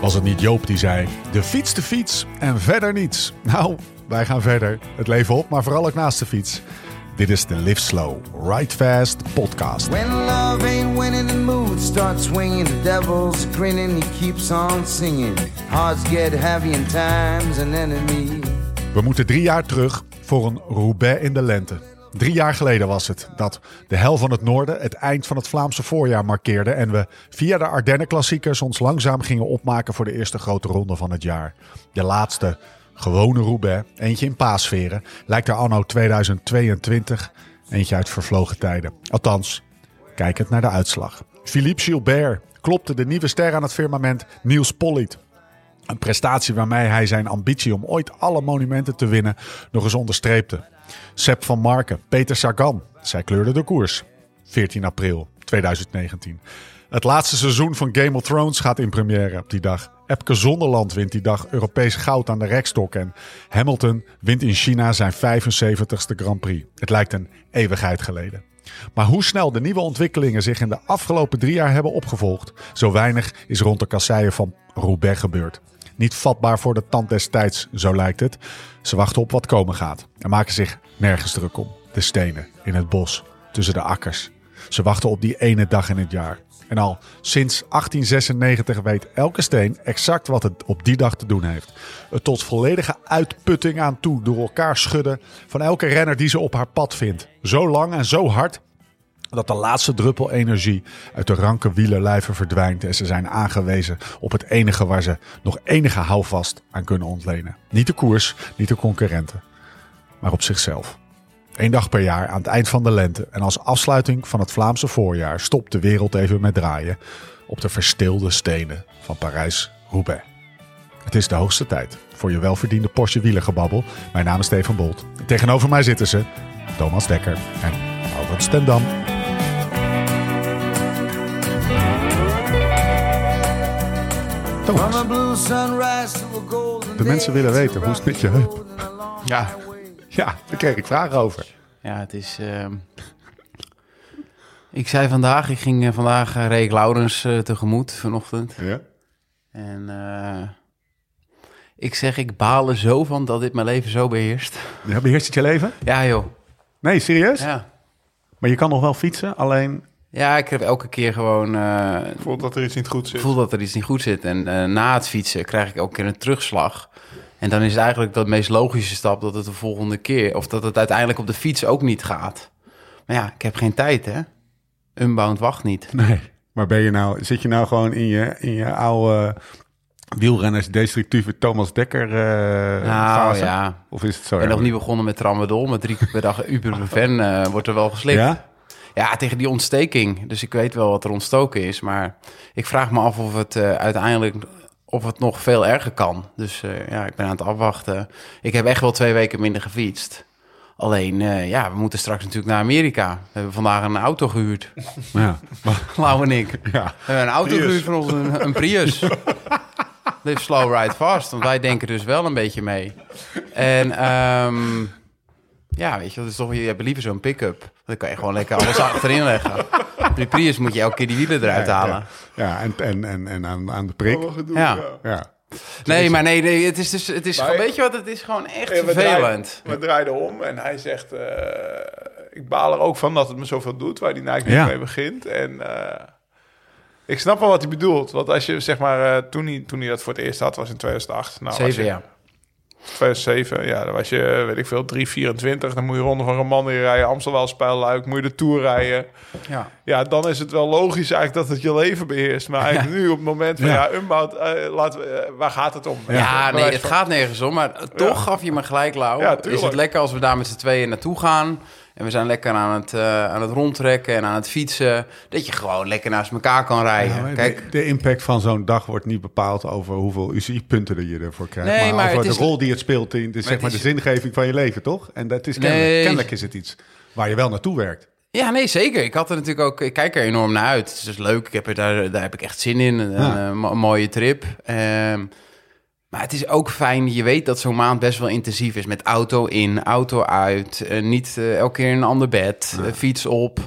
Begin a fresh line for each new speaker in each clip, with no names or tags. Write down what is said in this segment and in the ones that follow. Was het niet Joop die zei: de fiets, de fiets en verder niets? Nou, wij gaan verder. Het leven op, maar vooral ook naast de fiets. Dit is de Live Slow, Ride Fast podcast.
When love ain't winning, the mood starts swinging. The devil's grinning, he keeps on singing. Hearts get heavy, and time's an enemy.
We moeten drie jaar terug voor een Roubaix in de lente. Drie jaar geleden was het dat de hel van het noorden het eind van het Vlaamse voorjaar markeerde en we via de Ardennen-klassiekers ons langzaam gingen opmaken voor de eerste grote ronde van het jaar. De laatste gewone Roubaix, eentje in paasveren, lijkt er anno 2022 eentje uit vervlogen tijden. Althans, kijkend naar de uitslag. Philippe Gilbert klopte de nieuwe ster aan het firmament Niels Polliet. Een prestatie waarmee hij zijn ambitie om ooit alle monumenten te winnen nog eens onderstreepte. Sepp van Marken, Peter Sagan, zij kleurden de koers. 14 april 2019. Het laatste seizoen van Game of Thrones gaat in première op die dag. Epke Zonderland wint die dag Europees goud aan de rekstok. En Hamilton wint in China zijn 75ste Grand Prix. Het lijkt een eeuwigheid geleden. Maar hoe snel de nieuwe ontwikkelingen zich in de afgelopen drie jaar hebben opgevolgd, zo weinig is rond de kasseien van Roubaix gebeurd. Niet vatbaar voor de tand des tijds, zo lijkt het. Ze wachten op wat komen gaat en maken zich nergens druk om. De stenen, in het bos, tussen de akkers. Ze wachten op die ene dag in het jaar. En al sinds 1896 weet elke steen exact wat het op die dag te doen heeft. Het tot volledige uitputting aan toe door elkaar schudden van elke renner die ze op haar pad vindt. Zo lang en zo hard dat de laatste druppel energie uit de ranke wielerlijven verdwijnt en ze zijn aangewezen op het enige waar ze nog enige houvast aan kunnen ontlenen. Niet de koers, niet de concurrenten, maar op zichzelf. Eén dag per jaar aan het eind van de lente en als afsluiting van het Vlaamse voorjaar stopt de wereld even met draaien op de verstilde stenen van Parijs-Roubaix. Het is de hoogste tijd voor je welverdiende Porsche wielergebabbel. Mijn naam is Stefan Bolt. Tegenover mij zitten ze Thomas Dekker en Alfred Stendam.
From
Thomas,
a blue sunrise to a golden
De mensen
day,
willen
it's
weten,
a
hoe
rocky
zit je heup?
road and a long
Ja.
way.
ja, daar kreeg ik vragen over.
Ja, het is. ehm, ik zei vandaag, ik ging eh, vandaag eh, Rick Laurens eh, tegemoet vanochtend.
Ja?
En eh, ik zeg, ik baal er zo van dat dit mijn leven zo beheerst.
Ja, beheerst het je leven?
Ja, joh.
Nee, serieus?
Ja.
Maar je kan nog wel fietsen, alleen...
Ja, ik heb elke keer gewoon. eh,
voel dat er iets niet goed
ik
zit.
voel dat er iets niet goed zit. En eh, na het fietsen krijg ik elke keer een terugslag. En dan is het eigenlijk dat meest logische stap dat het de volgende keer. of dat het uiteindelijk op de fiets ook niet gaat. Maar ja, ik heb geen tijd, hè? Unbound wacht niet.
Nee.
Maar ben je nou, zit je nou gewoon in je, in je oude wielrenners destructieve Thomas Dekker eh
Nou
fase?
ja,
Of is het zo?
En nog
erg?
niet begonnen met tramadol, maar drie keer per dag ibuprofen eh, wordt er wel geslikt. Ja?
Ja?
tegen die ontsteking. Dus ik weet wel wat er ontstoken is, maar ik vraag me af of het eh, uiteindelijk of het nog veel erger kan. Dus eh, ja, ik ben aan het afwachten. Ik heb echt wel twee weken minder gefietst. Alleen, eh, ja, we moeten straks natuurlijk naar Amerika. We hebben vandaag een auto gehuurd,
Ja.
Lau en ik.
ja.
We hebben een auto gehuurd van ons, een, een Prius. Live slow, ride fast. Want wij denken dus wel een beetje mee. En ehm, ja, weet je, dat is toch, je hebt liever zo'n pick-up. Dan kan je gewoon lekker alles achterin leggen. Die Prius moet je elke keer die wielen eruit halen.
Ja, en, en, en, en aan, aan de prik.
Oh,
Ja.
nou?
Ja.
Nee, maar nee, nee het is dus, het is, weet je wat, het is gewoon echt
Ja, we,
vervelend.
draaiden, we draaiden om en hij zegt... eh, ik baal er ook van dat het me zoveel doet, waar die Nike
Ja.
mee begint. En eh, ik snap wel wat hij bedoelt. Want als je, zeg maar, eh, toen, hij, toen hij dat voor het eerst had, was in 2008. Nou, was
Zeven
je-
jaar.
2007, ja. Dan was je, weet ik veel, 3,24. Dan moet je Ronde van Romandie rijden, Amstelwaalspijlluik. Moet je de Tour rijden.
Ja.
Ja, dan is het wel logisch eigenlijk dat het je leven beheerst. Maar eigenlijk nu op het moment van,
Ja.
ja, Unbout, eh, laten we, eh, waar gaat het om?
Ja, nee, het gaat nergens om. Maar toch
Ja.
gaf je me gelijk, Lau.
Ja,
is het
tuurlijk.
lekker als we daar met z'n tweeën naartoe gaan? En we zijn lekker aan het, eh, aan het rondtrekken en aan het fietsen. Dat je gewoon lekker naast elkaar kan rijden.
Ja, maar
Kijk,
de, de impact van zo'n dag wordt niet bepaald over hoeveel UCI-punten je ervoor krijgt.
Nee,
maar,
maar
over
het
de
is-
rol die het speelt in dus zeg
het
maar de
is-
zingeving van je leven, toch? En dat is kennelijk,
Nee.
kennelijk is het iets waar je wel naartoe werkt.
Ja, nee, zeker. Ik had er natuurlijk ook. Ik kijk er enorm naar uit. Het is dus leuk. Ik heb er, daar, daar heb ik echt zin in. Een,
Ja.
eh, mo- mooie trip. Ehm, maar het is ook fijn. Je weet dat zo'n maand best wel intensief is. Met auto in, auto uit. eh, niet eh, elke keer in een ander bed. eh, fiets op.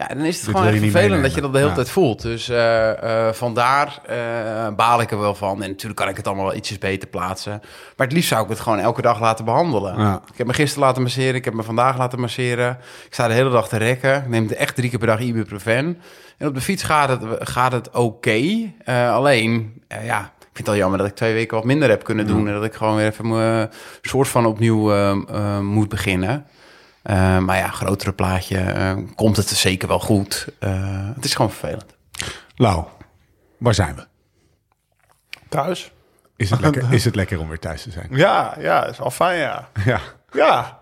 Ja, dan is het
Dit
gewoon
wil je
echt
niet
vervelend dat
meenemen.
je dat de hele
Ja.
tijd voelt. Dus eh, eh, vandaar eh, baal ik er wel van. En natuurlijk kan ik het allemaal wel ietsjes beter plaatsen. Maar het liefst zou ik het gewoon elke dag laten behandelen.
Ja.
Ik heb me gisteren laten masseren, ik heb me vandaag laten masseren. Ik sta de hele dag te rekken. Ik neem echt drie keer per dag ibuprofen. En op de fiets gaat het, gaat het oké. Eh, alleen, eh, ja, ik vind het al jammer dat ik twee weken wat minder heb kunnen doen. En dat ik gewoon weer even mijn soort van opnieuw eh, eh, moet beginnen. Eh, maar ja, grotere plaatje eh, komt het zeker wel goed. Eh, het is gewoon vervelend.
Lau, waar zijn we?
Thuis?
Is het, lekker, is het lekker om weer thuis te zijn?
Ja, ja, is wel fijn, ja.
Ja,
Ja.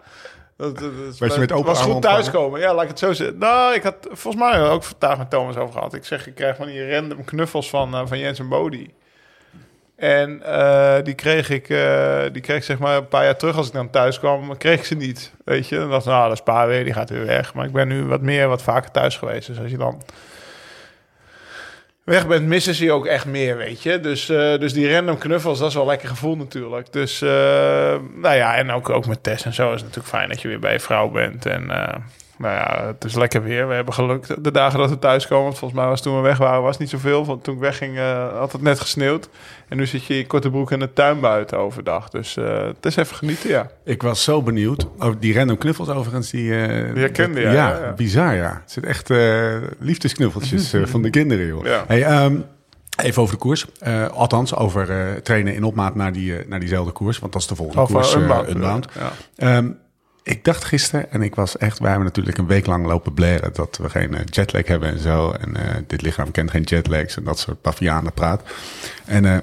Dat, dat, dat is-
je met open
was
armen
goed thuiskomen. Ja, laat ik het zo zeggen. Nou, ik had volgens mij ook vandaag met Thomas over gehad. Ik zeg, ik krijg van die random knuffels van, eh, van Jens en Bodie. En eh, die kreeg ik, eh, die kreeg ik zeg maar een paar jaar terug als ik dan thuis kwam, kreeg ik ze niet. Weet je, dan dacht ik, nou, dat is pa weer, die gaat weer weg. Maar ik ben nu wat meer, wat vaker thuis geweest. Dus als je dan weg bent, missen ze je ook echt meer, weet je. Dus, eh, dus die random knuffels, dat is wel een lekker gevoel natuurlijk. Dus, eh, nou ja, en ook, ook met Tess en zo is het natuurlijk fijn dat je weer bij je vrouw bent. En, eh, nou ja, het is lekker weer. We hebben geluk de dagen dat we thuiskomen. Want volgens mij was toen we weg waren, was het niet zoveel. Want toen ik wegging, eh, had het net gesneeuwd. En nu zit je in korte broek in de tuin buiten overdag. Dus eh, het is even genieten, ja.
ik was zo benieuwd. Oh, die random knuffels overigens, die... eh,
Die herkende
dat-
je,
Ja,
ja, ja.
bizar ja. Het zit echt eh, liefdesknuffeltjes eh, van de kinderen, joh.
Ja.
Hey, ehm, even over de koers. Eh, althans, over eh, trainen in opmaat naar, die, eh, naar diezelfde koers. Want dat is de volgende
Of, eh,
koers, eh,
Unbound. eh.
Unbound.
Ja.
Ehm, ik dacht gisteren, en ik was echt, wij hebben natuurlijk een week lang lopen blaren dat we geen eh, jetlag hebben en zo. En eh, dit lichaam kent geen jetlags en dat soort pavianen praat. En eh,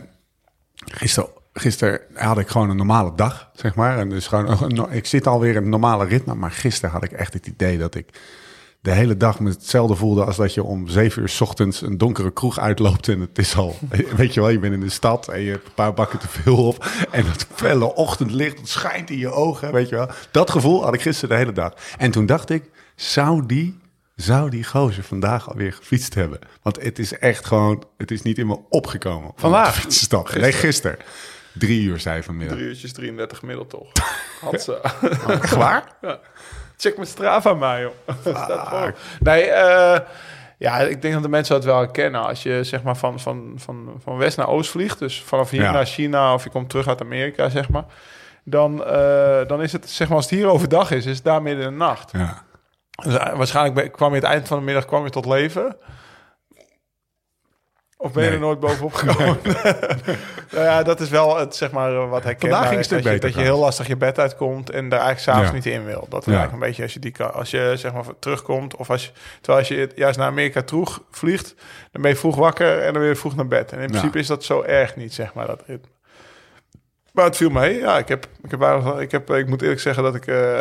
gisteren, gisteren had ik gewoon een normale dag, zeg maar. En dus gewoon, een no- ik zit alweer in het normale ritme, maar gisteren had ik echt het idee dat ik de hele dag me hetzelfde voelde als dat je om zeven uur 's ochtends een donkere kroeg uitloopt en het is al, weet je wel, je bent in de stad en je hebt een paar bakken te veel op en dat felle ochtendlicht dat schijnt in je ogen, weet je wel. Dat gevoel had ik gisteren de hele dag. En toen dacht ik, zou die, zou die gozer vandaag alweer gefietst hebben? Want het is echt gewoon, het is niet in me opgekomen. om
Vandaag?
op de fiets te stappen. Nee, gisteren. Drie uur zei hij vanmiddag.
Drie uurtjes 33 gemiddeld toch. Hansa.
Echt waar?
Check mijn Strava maar, joh. Staat voor. Ah. nee, eh, ja, ik denk dat de mensen dat wel herkennen. Als je zeg maar van, van, van, van west naar oost vliegt, dus vanaf hier
Ja.
naar China of je komt terug uit Amerika, zeg maar. Dan, eh, dan is het, zeg maar, als het hier overdag is, is het daar midden in de nacht.
Ja.
Dus, eh, waarschijnlijk ben- kwam je het eind van de middag kwam je tot leven. Of ben je
Nee.
er nooit bovenop gekomen? nou ja, dat is wel het, zeg maar, eh, wat herkenbaar
ging het
is.
stuk
dat, je,
beter
dat je heel lastig je bed uitkomt en daar eigenlijk s'avonds
Ja.
niet in wil. Dat is
Ja.
eigenlijk een beetje als je, die kan, als je zeg maar, terugkomt. Of als je, terwijl als je juist naar Amerika terug vliegt, dan ben je vroeg wakker en dan weer vroeg naar bed. En in principe is dat zo erg niet, zeg maar, dat ritme. Maar het viel mee. Ja, ik, heb, ik, heb, eigenlijk- ik, heb, ik moet eerlijk zeggen dat ik... eh,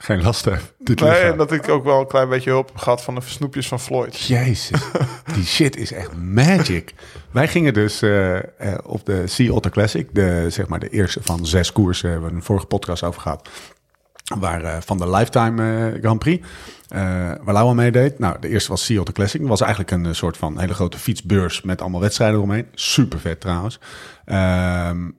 Geen last heb. Dit
Nee,
lichaam.
en dat ik ook wel een klein beetje hulp heb gehad van de snoepjes van Floyd.
Jezus, die shit is echt magic. Wij gingen dus eh, eh, op de Sea Otter Classic, de, zeg maar de eerste van zes koersen, hebben we een vorige podcast over gehad. Waar eh, van de Lifetime eh, Grand Prix, eh, waar Lauwe meedeed. Nou, de eerste was Sea Otter Classic. Dat was eigenlijk een eh, soort van hele grote fietsbeurs met allemaal wedstrijden eromheen. Super vet trouwens. Ehm,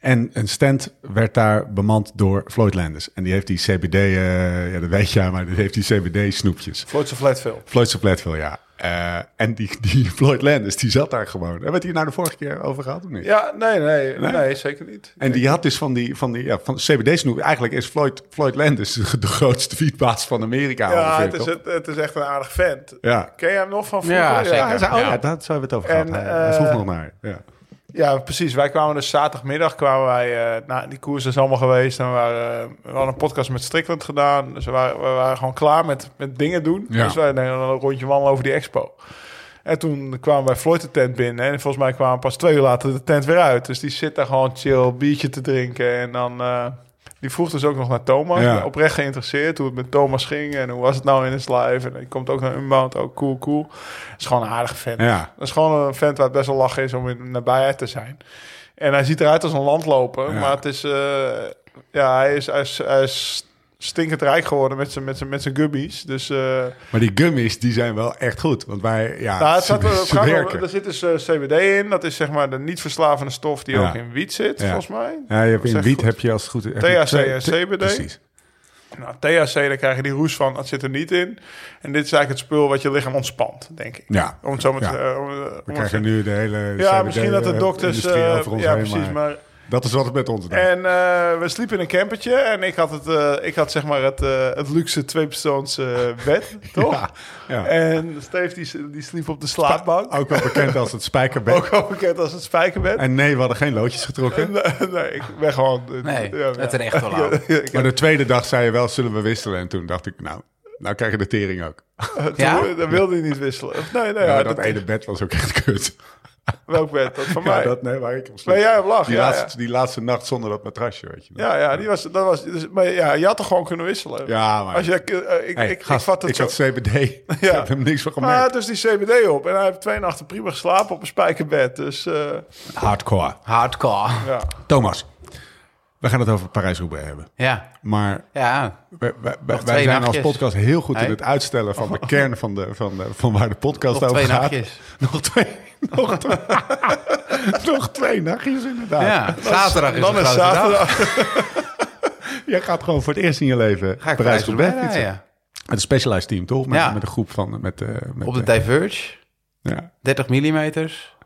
en een stand werd daar bemand door Floyd Landers. En die heeft die CBD, eh, ja dat weet je, maar die heeft die CBD snoepjes.
Floyd of Flatville.
Floyd van Platville, ja. Eh, en die, die Floyd Landers, die zat daar gewoon. Hebben we het hier nou de vorige keer over gehad of niet?
Ja, nee, nee, nee,
Nee?
zeker niet.
En die had dus van die, van die ja, van CBD-snoep. Eigenlijk is Floyd, Floyd Landers de grootste fietsbaas van Amerika.
Ja,
ongeveer,
het is,
toch?
het, het is echt een aardig vent.
Ja.
Ken je hem nog van vroeger?
Ja, zeker.
Ja, hij zei, oh ja,
Ja.
daar hebben we het over gehad.
En,
hij, hij vroeg
eh,
nog naar. Ja.
Ja, precies. Wij kwamen dus zaterdagmiddag kwamen wij eh, na die koers is allemaal geweest. En we, waren, eh, we hadden een podcast met Strickland gedaan. Dus we waren, we waren gewoon klaar met, met dingen doen.
Ja.
Dus wij deden dan een rondje wandelen over die expo. En toen kwamen wij Floyd de tent binnen. En volgens mij kwamen pas twee uur later de tent weer uit. Dus die zit daar gewoon chill, biertje te drinken. En dan eh, Die vroeg dus ook nog naar Thomas.
Ja.
Ik ben Oprecht geïnteresseerd hoe het met Thomas ging en hoe was het nou in het live. En hij komt ook naar Unbound, ook cool, cool. Dat is gewoon een aardige vent.
Ja.
Dat is gewoon een vent waar het best wel lachen is om in de nabijheid te zijn. En hij ziet eruit als een landloper,
Ja.
maar het is... eh, ja, hij is, hij, is, hij is stinkend rijk geworden met zijn, met zijn, met zijn gubbies. Dus... eh,
Maar die gummies, die zijn wel echt goed. Want wij, ja,
nou, het
ze,
staat, het
ze
gaat
werken.
om, er zit dus eh, CBD in. Dat is zeg maar de niet verslavende stof die
Ja.
ook in wiet zit,
Ja.
volgens mij.
Ja, je hebt
Zeg
in wiet
goed.
heb je als het goed heb je
THC
twee-
en
twee-
CBD.
Precies.
Nou, THC, daar krijg je die roes van. Dat zit er niet in. En dit is eigenlijk het spul wat je lichaam ontspant, denk ik.
Ja.
Om het zo met...
Ja.
eh, om, eh, om het-
We krijgen nu de hele
ja, misschien dat de dokters...
industrie
eh,
over ons
ja,
heen,
precies,
maar
maar...
Dat is wat het met ons doet.
En eh, we sliepen in een campertje en ik had, het, eh, ik had zeg maar het, eh, het luxe tweepersoons eh, bed, toch?
Ja, ja.
En Steve die, die sliep op de slaapbank.
Ook wel bekend als het spijkerbed.
Ook al bekend als het spijkerbed.
En nee, we hadden geen loodjes getrokken.
Nee, nee, ik ben gewoon...
Nee,
ja, ja.
het recht wel aan.
Ja, ik
Maar de tweede dag zei je wel, zullen we wisselen? En toen dacht ik, nou, nou krijg je de tering ook.
heb-
Ja?
toen- Dan wilde hij niet wisselen. Of Nee, nee.
Ja,
ja,
dat ene bed was ook echt kut.
Welk bed? Dat van
Ja,
mij.
dat, nee, waar ik om sliep.
Nee, jij hebt lachen.
die,
Ja,
laatste, die laatste nacht zonder dat matrasje, weet je. wel.
ja, ja, die was, dat was, dus, maar ja, je had toch gewoon kunnen wisselen?
Ja, maar-
Als je, eh, ik,
Hey,
ik,
gast,
ik vat het
ik
zo.
had CBD. Ik heb hem niks van
Maar hij
gemerkt.
had dus die CBD op. En hij heeft twee nachten prima geslapen op een spijkerbed. Dus eh,
Hardcore.
Hardcore.
ja.
Thomas, we gaan het over Parijs-Roubaix hebben.
Ja,
Maar
ja.
wij, wij- wij- wij
twee
zijn
nachtjes.
als podcast heel goed
Hey?
in het uitstellen van de kern van, de, van, de, van waar de podcast
Nog
over
twee
gaat.
nachtjes.
Nog twee. Nog twee, nog twee nachtjes, inderdaad.
ja. Zaterdag is
Dan
een
is
grote dag.
zaterdag.
Jij gaat gewoon voor het eerst in je leven
Ga ik
Parijs-Roubaix
Parijs-Roubaix
fietsen.
rijden.
Met een specialized team, toch? Met,
Ja.
met een groep van... Met, eh, met,
Op de
eh,
Diverge,
ja.
30 millimeters.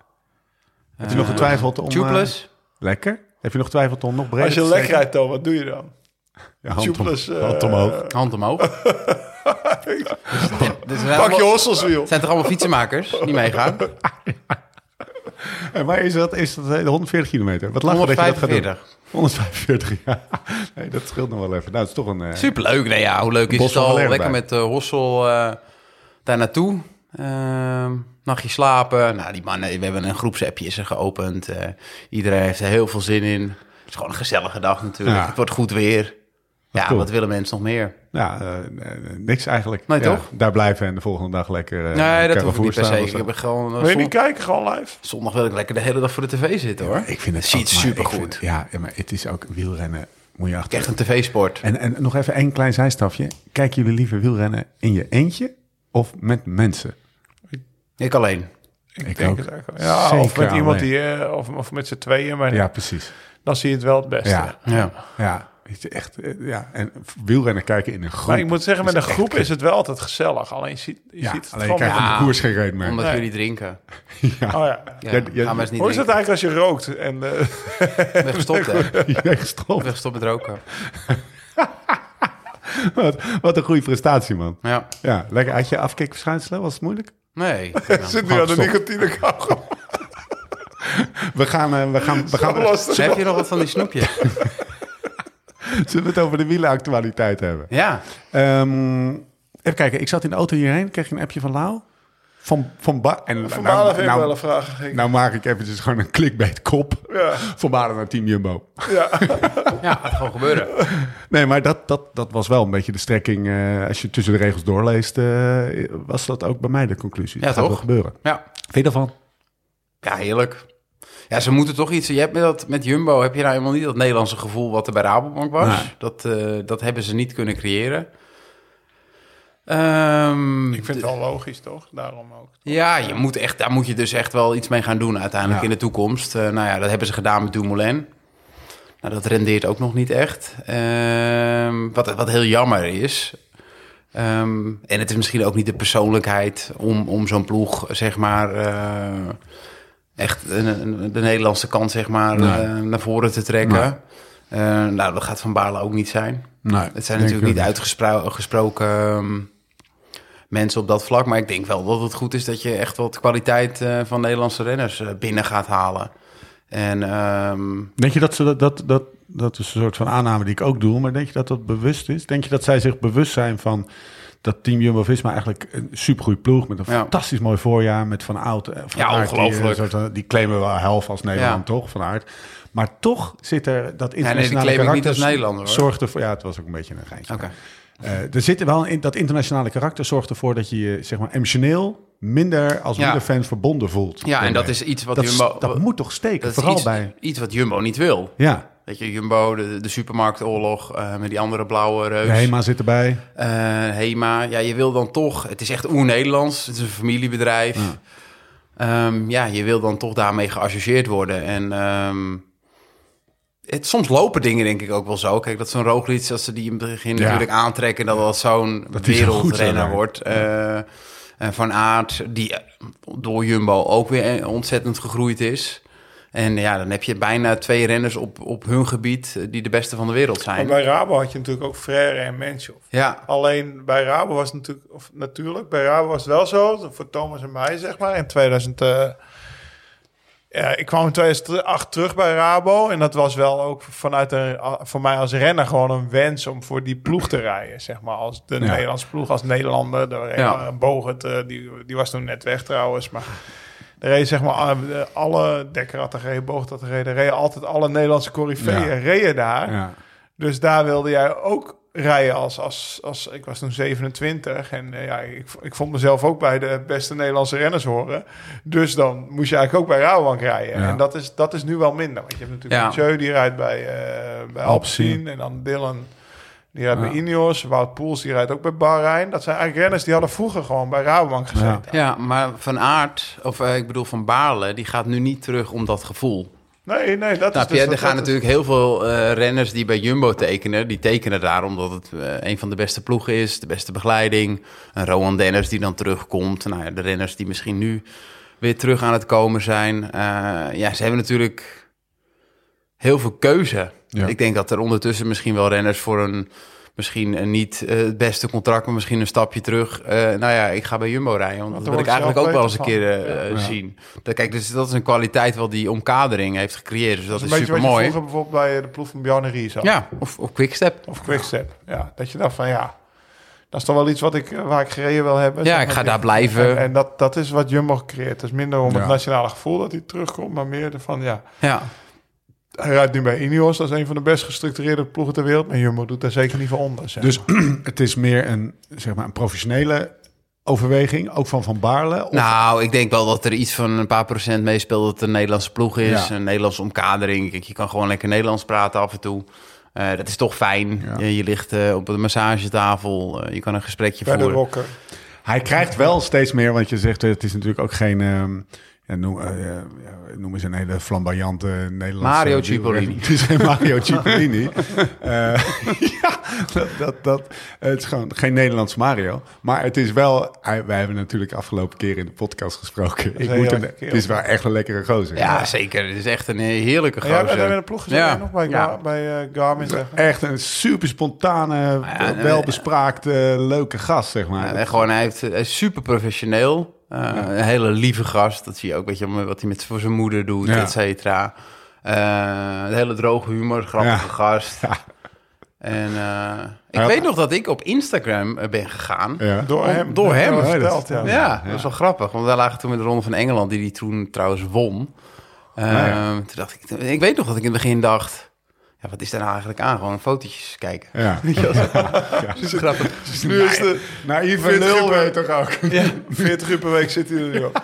Heb je nog getwijfeld om... eh,
Tubeless.
lekker? Heb je nog getwijfeld om nog breder
Als je
te
lek
trekken?
rijdt, Tom, wat doe je dan?
Ja, hand, om-
tubeless, eh,
hand omhoog.
Hand omhoog. Dit zijn,
Pak je
allemaal-
hosselswiel.
zijn toch allemaal fietsenmakers die meegaan?
En waar is dat? Is dat eh, 140 kilometer? Wat lachen dat je dat gaat doen.
145.
145, ja. Nee, dat scheelt nog wel even. Nou, het is toch een... eh,
Superleuk. Nee, ja, hoe leuk is
Bos
het
van
al?
Leeuwen
Lekker
bij.
met eh, Hossel eh, daar naartoe. Ehm, nachtje slapen. Nou, die mannen, we hebben een groepsappje is er geopend. Eh, iedereen heeft er heel veel zin in. Het is gewoon een gezellige dag natuurlijk.
Ja.
Het wordt goed weer. ja,
cool.
wat willen mensen nog meer?
Ja, eh, eh, niks eigenlijk.
Nee,
Ja,
toch?
Daar blijven en de volgende dag lekker... eh,
Nee, dat
Carrefour
hoeft niet per
staan
se.
of
Ik
zo.
heb gewoon, eh,
Wil je
zon-
niet kijken, gewoon live?
zondag wil ik lekker de hele dag voor de tv zitten, hoor.
Ik vind het
Ziet
ook, maar ik
supergoed.
vind- Ja, ja, maar het is ook wielrennen. Moet je achter.
Echt een tv-sport.
En, en nog even één klein zijstafje. Kijken jullie liever wielrennen in je eentje of met mensen?
Ik alleen.
Ik,
Denk het eigenlijk wel. Ja, of
Zeker
met iemand
alleen.
die, eh, of, of met z'n tweeën, maar
Ja, precies.
dan zie je het wel het beste.
Ja,
Ja.
ja. Weet je, Echt, eh, ja. En wielrennen kijken in een groep.
Maar ik moet zeggen, met een
echt
groep
kut.
is het wel altijd gezellig. Alleen je ziet, je
ja,
ziet het
alleen je
gewoon
krijgt
met-
aan
Ja.
de koers geen reet meer.
Omdat
Nee.
jullie drinken.
Ja.
Oh ja.
Ja,
Jij- jij-
gaan we eens niet
Hoe is dat
drinken.
eigenlijk als je rookt? En, eh,
Ik ben gestopt, hè. Ik
Je bent gestopt.
ben gestopt met roken.
Wat, wat een goede prestatie, man.
Ja.
Ja, lekker. Had je afkikverschijnselen? Was het moeilijk?
Nee.
zit nu aan de
Stop. Nou,
nicotinekachel.
We gaan, eh, we gaan, we gaan,
Lastig.
Heb je nog wat van die snoepjes?
zullen we het over de wielenactualiteit hebben?
Ja.
Ehm, even kijken, ik zat in de auto hierheen, kreeg een appje van Lau. Van, van ba en
Van
nou,
Balen heeft
nou,
wel een vraag. Ik-
nou maak ik eventjes gewoon een clickbait kop.
Ja.
Van Balen naar Team Jumbo.
Ja.
Ja, gaat gewoon gebeuren.
Nee, maar dat, dat, dat was wel een beetje de strekking. eh, als je tussen de regels doorleest, eh, was dat ook bij mij de conclusie.
Ja,
dat gaat
toch?
wel gebeuren.
Ja.
Vind je daarvan?
Ja, heerlijk. Ja, ze moeten toch iets... Je hebt met, dat, met Jumbo heb je nou helemaal niet dat Nederlandse gevoel wat er bij Rabobank was.
Nee.
Dat, eh, dat hebben ze niet kunnen creëren. Ehm,
Ik vind het wel logisch, toch? Daarom ook.
Ja, je moet echt, daar moet je dus echt wel iets mee gaan doen uiteindelijk
Ja.
in de toekomst. Eh, nou ja, dat hebben ze gedaan met Dumoulin. Nou, dat rendeert ook nog niet echt. Ehm, wat, wat heel jammer is. Ehm, en het is misschien ook niet de persoonlijkheid om, om zo'n ploeg, zeg maar, eh, echt een- een- de Nederlandse kant, zeg maar,
Nee.
eh, naar voren te trekken. Eh, nou, dat gaat Van Baarle ook niet zijn.
Nee.
Het zijn natuurlijk niet uitgesproken ehm, mensen op dat vlak. Maar ik denk wel dat het goed is dat je echt wat kwaliteit eh, van Nederlandse renners eh, binnen gaat halen. En ehm,
Denk je dat ze dat, dat, dat, dat is een soort van aanname die ik ook doe, maar denk je dat dat bewust is? Denk je dat zij zich bewust zijn van dat Team Jumbo-Visma eigenlijk een supergoeie ploeg met een
Ja,
fantastisch mooi voorjaar met Van Oud. eh, Van
Ja,
Aert, die, eh,
ongelooflijk.
soort van- Die, claimen wel half als Nederland,
Ja.
toch? Van Aert. Maar toch zit er dat
nee, die
internationale
claim ik niet
karakter...
als Nederlander, hoor.
Zorgt ervoor, ja, het was ook een beetje een geintje.
Oké.
Eh, er zit er wel in, dat internationale karakter zorgt ervoor dat je je zeg maar, emotioneel minder als
Ja.
wielerfan verbonden voelt.
Ja, en dat
Daarmee.
is iets wat
dat,
Jumbo...
dat moet toch steken,
dat is
vooral
iets, dus-
bij...
iets wat Jumbo niet wil.
Ja,
Weet je, Jumbo, de, de supermarktoorlog eh, met die andere blauwe reus.
de HEMA zit erbij.
Eh, Hema. Ja, je wil dan toch... Het is echt oer-Nederlands. Het is een familiebedrijf. Ja. ja, je wil dan toch daarmee geassocieerd worden. En ehm, het, soms lopen dingen denk ik ook wel zo. Kijk, dat zo'n Roglic, als ze die in het begin
Ja.
natuurlijk aantrekken... dat dat zo'n
Dat die zo goed zou
wereldrenner
zijn.
wordt. Eh, en van Aert, die eh, door Jumbo ook weer eh, ontzettend gegroeid is... En ja, dan heb je bijna twee renners op, op hun gebied eh, die de beste van de wereld
Maar
zijn.
bij Rabo had je natuurlijk ook Frère en Menschov.
Ja,
Alleen bij Rabo was het natuurlijk, of natuurlijk, bij Rabo was het wel zo, voor Thomas en mij zeg maar, in 2000. eh, ja, ik kwam in 2008 terug bij Rabo en dat was wel ook vanuit een, a- voor mij als renner gewoon een wens om voor die ploeg te rijden, zeg maar, als de Nederlandse ploeg, als Nederlander. Daar reed
Ja.
een Bogert, eh, die, die was toen net weg trouwens, maar er reed zeg maar alle- alle, Dekker had er gereden, Bogert had er gereden, er reden altijd alle Nederlandse coryfeeën
Ja.
reden daar.
Ja.
Dus daar wilde jij ook rijden als, als, als ik was toen 27 en eh, ja, ik, ik vond mezelf ook bij de beste Nederlandse renners horen. Dus dan moest je eigenlijk ook bij Rabobank rijden.
Ja.
En dat is, dat is nu wel minder, want je hebt natuurlijk
Ja.
Mathieu die rijdt bij, eh bij Alpecin en dan Dylan die rijdt bij Ineos, Wout Poels die rijdt ook bij Bahrein. Dat zijn eigenlijk renners die hadden vroeger gewoon bij Rabobank gezeten.
Ja, maar Van Aert, of eh, ik bedoel Van Baarle, die gaat nu niet terug om dat gevoel.
Nee, nee, dat
Nou,
is dus...
Pierre,
dat-
er gaan
dat is-
natuurlijk heel veel eh, renners die bij Jumbo tekenen. Die tekenen daar omdat het eh, een van de beste ploegen is, de beste begeleiding. Een Rowan Dennis die dan terugkomt. Nou ja, de renners die misschien nu weer terug aan het komen zijn. Eh, ja, ze hebben natuurlijk heel veel keuze.
Ja.
Ik denk dat er ondertussen misschien wel renners voor een... Misschien een niet eh, het beste contract, maar misschien een stapje terug. Eh, nou ja, ik ga bij Jumbo rijden. Want
Want
dat
daar
wil ik
word je
eigenlijk ook wel eens een
zelf
keer eh, eh, zien. Dat- Kijk, dus dat is een kwaliteit wel die omkadering heeft gecreëerd. Dus dat,
een
is
beetje
super
wat je
mooi.
vroeger bijvoorbeeld bij eh, de ploeg van Bjarne Ries had.
Ja, of, of Quickstep.
Of Quickstep. Ja, dat je dacht van ja, dat is toch wel iets wat ik, waar ik gereden wil hebben.
Ja,
Zeg
ik
maar.
ga daar blijven.
En, en dat, dat is wat Jumbo creëert. Dus minder om
Ja.
het nationale gevoel dat hij terugkomt, maar meer van ja.
Ja,
Hij rijdt nu bij Ineos, dat is een van de best gestructureerde ploegen ter wereld. Maar Jumbo doet daar zeker niet voor onder. Zeg.
Dus het is meer een, zeg maar, een professionele overweging, ook van Van Baarle. Of-
nou, ik denk wel dat er iets van een paar procent meespeelt dat het een Nederlandse ploeg is.
Ja.
Een Nederlandse omkadering. Kijk, je kan gewoon lekker Nederlands praten af en toe. Eh, dat is toch fijn.
Ja.
Je, je ligt eh, op de massagetafel. Eh, je kan een gesprekje
bij de
voeren.
Rocker.
Hij krijgt wel steeds meer, want je zegt eh, het is natuurlijk ook geen. ehm, ja, noem, eh, eh, ja, noem eens een hele flamboyante Nederlandse...
Mario Cipollini.
wielrenner. Het is geen Mario Cipollini. Eh, ja, dat, dat, dat, het is gewoon geen Nederlands Mario. Maar het is wel... hij- Wij hebben natuurlijk afgelopen keer in de podcast gesproken. Ik
een
moet
heel
een,
lekker
het is wel echt een lekkere gozer.
Ja, zeker. Het is echt een heerlijke
Ja, jij bent
gozer.
daar in de ploeg gezeten
Ja.
nog bij,
Ja.
Ga- bij eh, Garmin. Zeg. maar.
Echt een super spontane,
ja, en-
welbespraakte, leuke gast, zeg maar.
Ja, en gewoon, hij, heeft, hij is super professioneel. Uh, Een hele lieve gast. Dat zie je ook, weet je, wat hij met, voor zijn moeder doet,
Ja.
et cetera. Eh, een hele droge humor, grappige
Ja.
gast.
Ja.
En eh, ik
Ja.
weet nog dat ik op Instagram eh, ben gegaan. Ja.
Ja.
Door
Om-
hem.
door
Dat
hem.
hebben we
Oh, dat-
verteld, ja.
dat was wel grappig. Want wij lagen toen met de Ronde van Engeland, die die toen trouwens won. Eh,
ja.
Toen dacht ik, ik weet nog dat ik in het begin dacht... Ja, wat is daar nou eigenlijk aan? Gewoon fotootjes kijken.
Ja.
Dat is grappig.
Nu is de
Naïeve
Vindt
nul
Gubbe-
weet toch ook.
40 uur per week zit hij er nu op.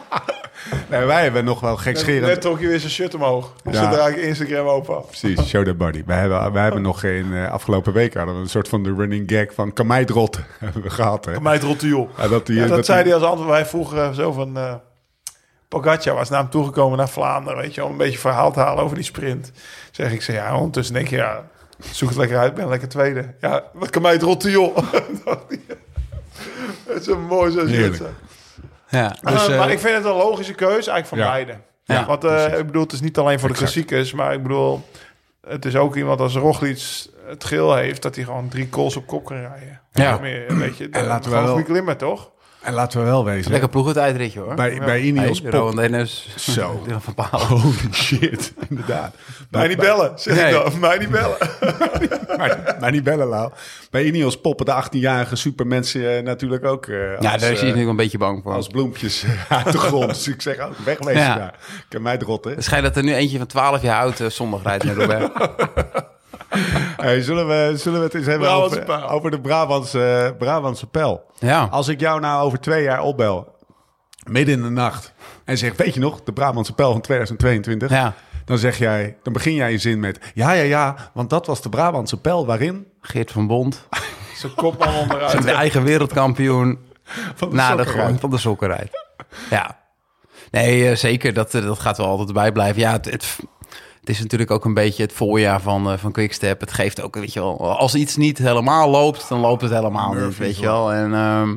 Nee, wij hebben nog wel
Net, net
gekscherend...
trok je weer zijn shirt omhoog. Dan
Ja.
zit er eigenlijk Instagram open. af.
Precies, show the body. Wij hebben, wij hebben nog in eh, afgelopen week hadden we een soort van de running gag van kan mij het rot hebben we gehad. Hè?
Mij het rotte joh.
Ja, dat, die,
Ja, dat,
dat
zei
die-
hij als antwoord. Wij vroegen eh, zo van... eh Pogacar was naar hem toegekomen naar Vlaanderen, weet je wel. Om een beetje verhaal te halen over die sprint. Zeg ik ze, ja, ondertussen denk je, ja... Zoek het lekker uit, ik ben lekker tweede. Ja, wat kan mij het rotte joh. Dat die- Het is een mooi zo
Heerlijk. Dus,
zitten.
Ja.
Eh, maar ik vind het een logische keuze eigenlijk van
Ja.
beide.
Ja,
Want eh, ik bedoel, het is niet alleen voor de
Exact.
klassiekers, maar ik bedoel... Het is ook iemand als Roglic het geel heeft, dat hij gewoon drie calls op kop kan rijden.
Ja.
Nog Meer, weet je,
En laten we
gewoon een
wel-
goede klimmer, toch?
En laten we wel wezen.
Lekker ploegentijdritje hoor.
Bij, bij Ineos
hey,
Pop-
Rowan Dennis.
Zo.
Dylan van Baal.
Holy shit, inderdaad.
Mij niet bellen, zeg
Nee.
ik dan. Mij niet bellen.
maar, maar niet bellen, Lau. Bij Ineos poppen de 18-jarige supermensen eh, natuurlijk ook eh, als,
Ja, daar is
eh,
hij nu een beetje bang voor.
als bloempjes uit de grond. Dus ik zeg ook, wegwezen
Ja.
daar. Ik heb mij het rot, hè.
Het schijnt dat er nu eentje van 12 jaar oud eh, zondag rijdt met Robert.
Hey, zullen, we, zullen we het eens hebben
Brabantse
over,
pijl.
over de Brabantse, eh, Brabantse pijl?
Ja.
Als ik jou nou over twee jaar opbel, midden in de nacht, en zeg, weet je nog, de Brabantse pijl van 2022?
Ja.
Dan zeg jij, dan begin jij je zin met, ja, ja, ja, want dat was de Brabantse pijl waarin...
Geert van Bond.
Zijn kop al onderuit.
De eigen wereldkampioen.
Van de
na de
sokken
grond van de sokkenrijd. Ja. Nee, eh, zeker. Dat, eh, dat gaat wel altijd bij blijven. Ja, het, het, het is natuurlijk ook een beetje het voorjaar van, eh, van Quickstep. Het geeft ook, weet je wel, als iets niet helemaal loopt, dan loopt het helemaal niet, weet je wel. En ehm,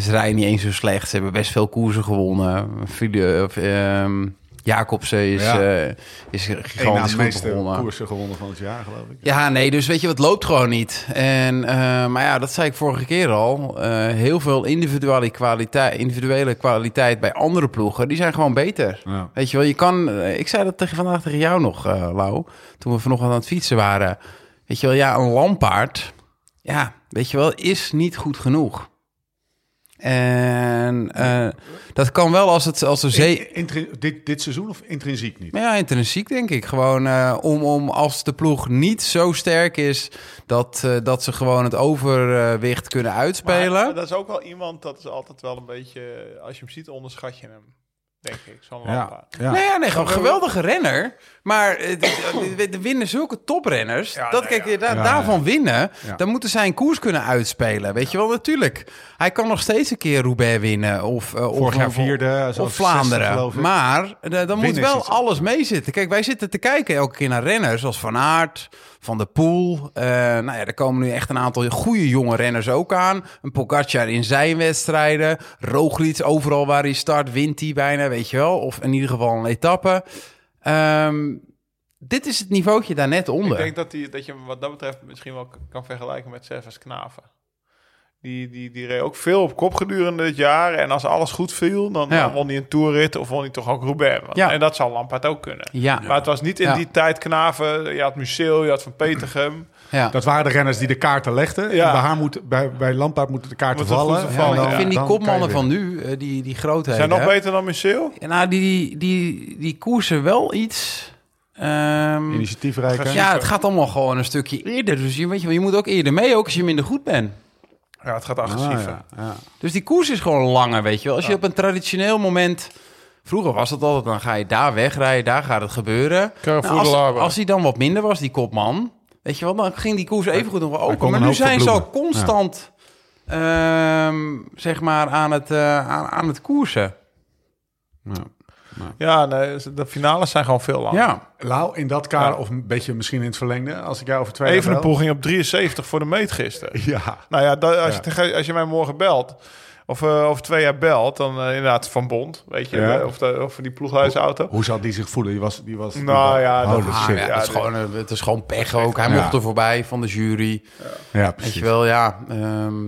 ze rijden niet eens zo slecht. Ze hebben best veel koersen gewonnen. Friede, of, ehm, Jacobsen is,
Ja.
eh, is
Eén na
gigantisch
de
goed
meeste
begonnen.
koersen gewonnen van het jaar, geloof ik.
Ja, nee, dus weet je, wat loopt gewoon niet. En, eh, maar ja, dat zei ik vorige keer al. eh, heel veel individuele kwaliteit, individuele kwaliteit bij andere ploegen, die zijn gewoon beter.
Ja.
Weet je wel, je kan... eh, ik zei dat tegen, vandaag tegen jou nog, eh Lau, toen we vanochtend aan het fietsen waren. Weet je wel, ja, een lampaard, ja, weet je wel, is niet goed genoeg. En eh, dat kan wel als, het, als er zee...
In- intrin- dit, dit seizoen of intrinsiek niet?
Maar ja, intrinsiek denk ik. Gewoon eh, om, om als de ploeg niet zo sterk is dat, eh, dat ze gewoon het overwicht kunnen uitspelen.
eh,
Maar Dat is ook wel iemand, dat is altijd wel een beetje... Als je hem ziet, onderschat je hem. Denk ik, zo'n
Ja,
ja.
ja.
Nee, ja, nee, gewoon een geweldige renner. Maar eh, de- de- de winnen zulke toprenners.
Ja,
dat,
nee,
kijk,
ja.
da-
Ja,
daarvan winnen,
Ja.
dan moeten zij een koers kunnen uitspelen. Weet je wel, natuurlijk. Hij kan nog steeds een keer Roubaix winnen. Of, eh, of,
Vorig jaar
of-
vierde, zo'n
Of Vlaanderen.
60, geloof ik.
maar eh, dan moet
Winnen is
wel
iets.
alles meezitten. Kijk, wij zitten te kijken elke keer naar renners. Als Van Aert, Van der Poel. Eh, nou ja, er komen nu echt een aantal goede jonge renners ook aan. Een Pogacar in zijn wedstrijden. Roglic, overal waar hij start, wint hij bijna, weet je wel. Of in ieder geval een etappe. Ehm, dit is het niveautje daar net onder.
Ik denk dat, die, dat je hem wat dat betreft misschien wel k- kan vergelijken met Servas Knaven. Die, die, die reed ook veel op kop gedurende het jaar. En als alles goed viel, dan,
Ja.
dan won hij een toerrit of won hij toch ook Roubaix. Want-
Ja.
En dat zal Lampaard ook kunnen.
Ja.
Maar het was niet in
Ja.
die tijd Knaven. Je had Museeuw, je had Van Petergem.
ja.
Dat waren de renners die de kaarten legden.
Ja.
En bij, haar moet, bij, bij Lampaard moeten de kaarten
Moet het
vallen.
goed
En
Ja, maar
vallen,
ik
ja.
vind die
dan kan je
kopmannen
winnen.
van nu, eh, die, die grootheden...
Zijn nog beter dan Museeuw?
Ja, Nou, die, die, die koersen wel iets. ehm,
Initiatiefrijker.
ja, het gaat allemaal gewoon een stukje eerder. Dus je, weet je, wel, je moet ook eerder mee, ook als je minder goed bent.
Ja, het gaat
Ah,
agressiever.
ja, ja.
Dus die koers is gewoon langer, weet je wel. Als je op een traditioneel moment... Vroeger was dat altijd, dan ga je daar wegrijden, daar gaat het gebeuren. Nou, als, als hij dan wat minder was, die kopman... Weet je wel, dan ging die koers even goed nog wel
kon
open. Maar
een
nu
hoop
zijn ze al
verbloemen.
constant ehm, zeg maar aan het, eh, aan, aan het koersen.
Ja.
Ja, nee, de finales zijn gewoon veel langer.
Ja.
Oh, Lau, in dat kader, of een beetje misschien in het verlengde, als ik jou over twee
Even een
jaar bel.
poging op 73 voor de meet gisteren.
Ja,
Nou ja, da-
Ja.
als, Je, tegen- als je mij morgen belt, of eh, over twee jaar belt, dan eh, inderdaad van Bond, weet je,
Ja.
eh, of, de, of die ploeghuisauto.
hoe zal die zich voelen? Die was, die was, die
Nou
was-
ja, dat-
holy
Ah,
shit.
ja,
Ja,
het, is
dit-
gewoon, eh, het is gewoon pech ook. Hij
Ja.
mocht er voorbij van de jury.
Ja,
Weet
precies.
je wel, ja. ehm,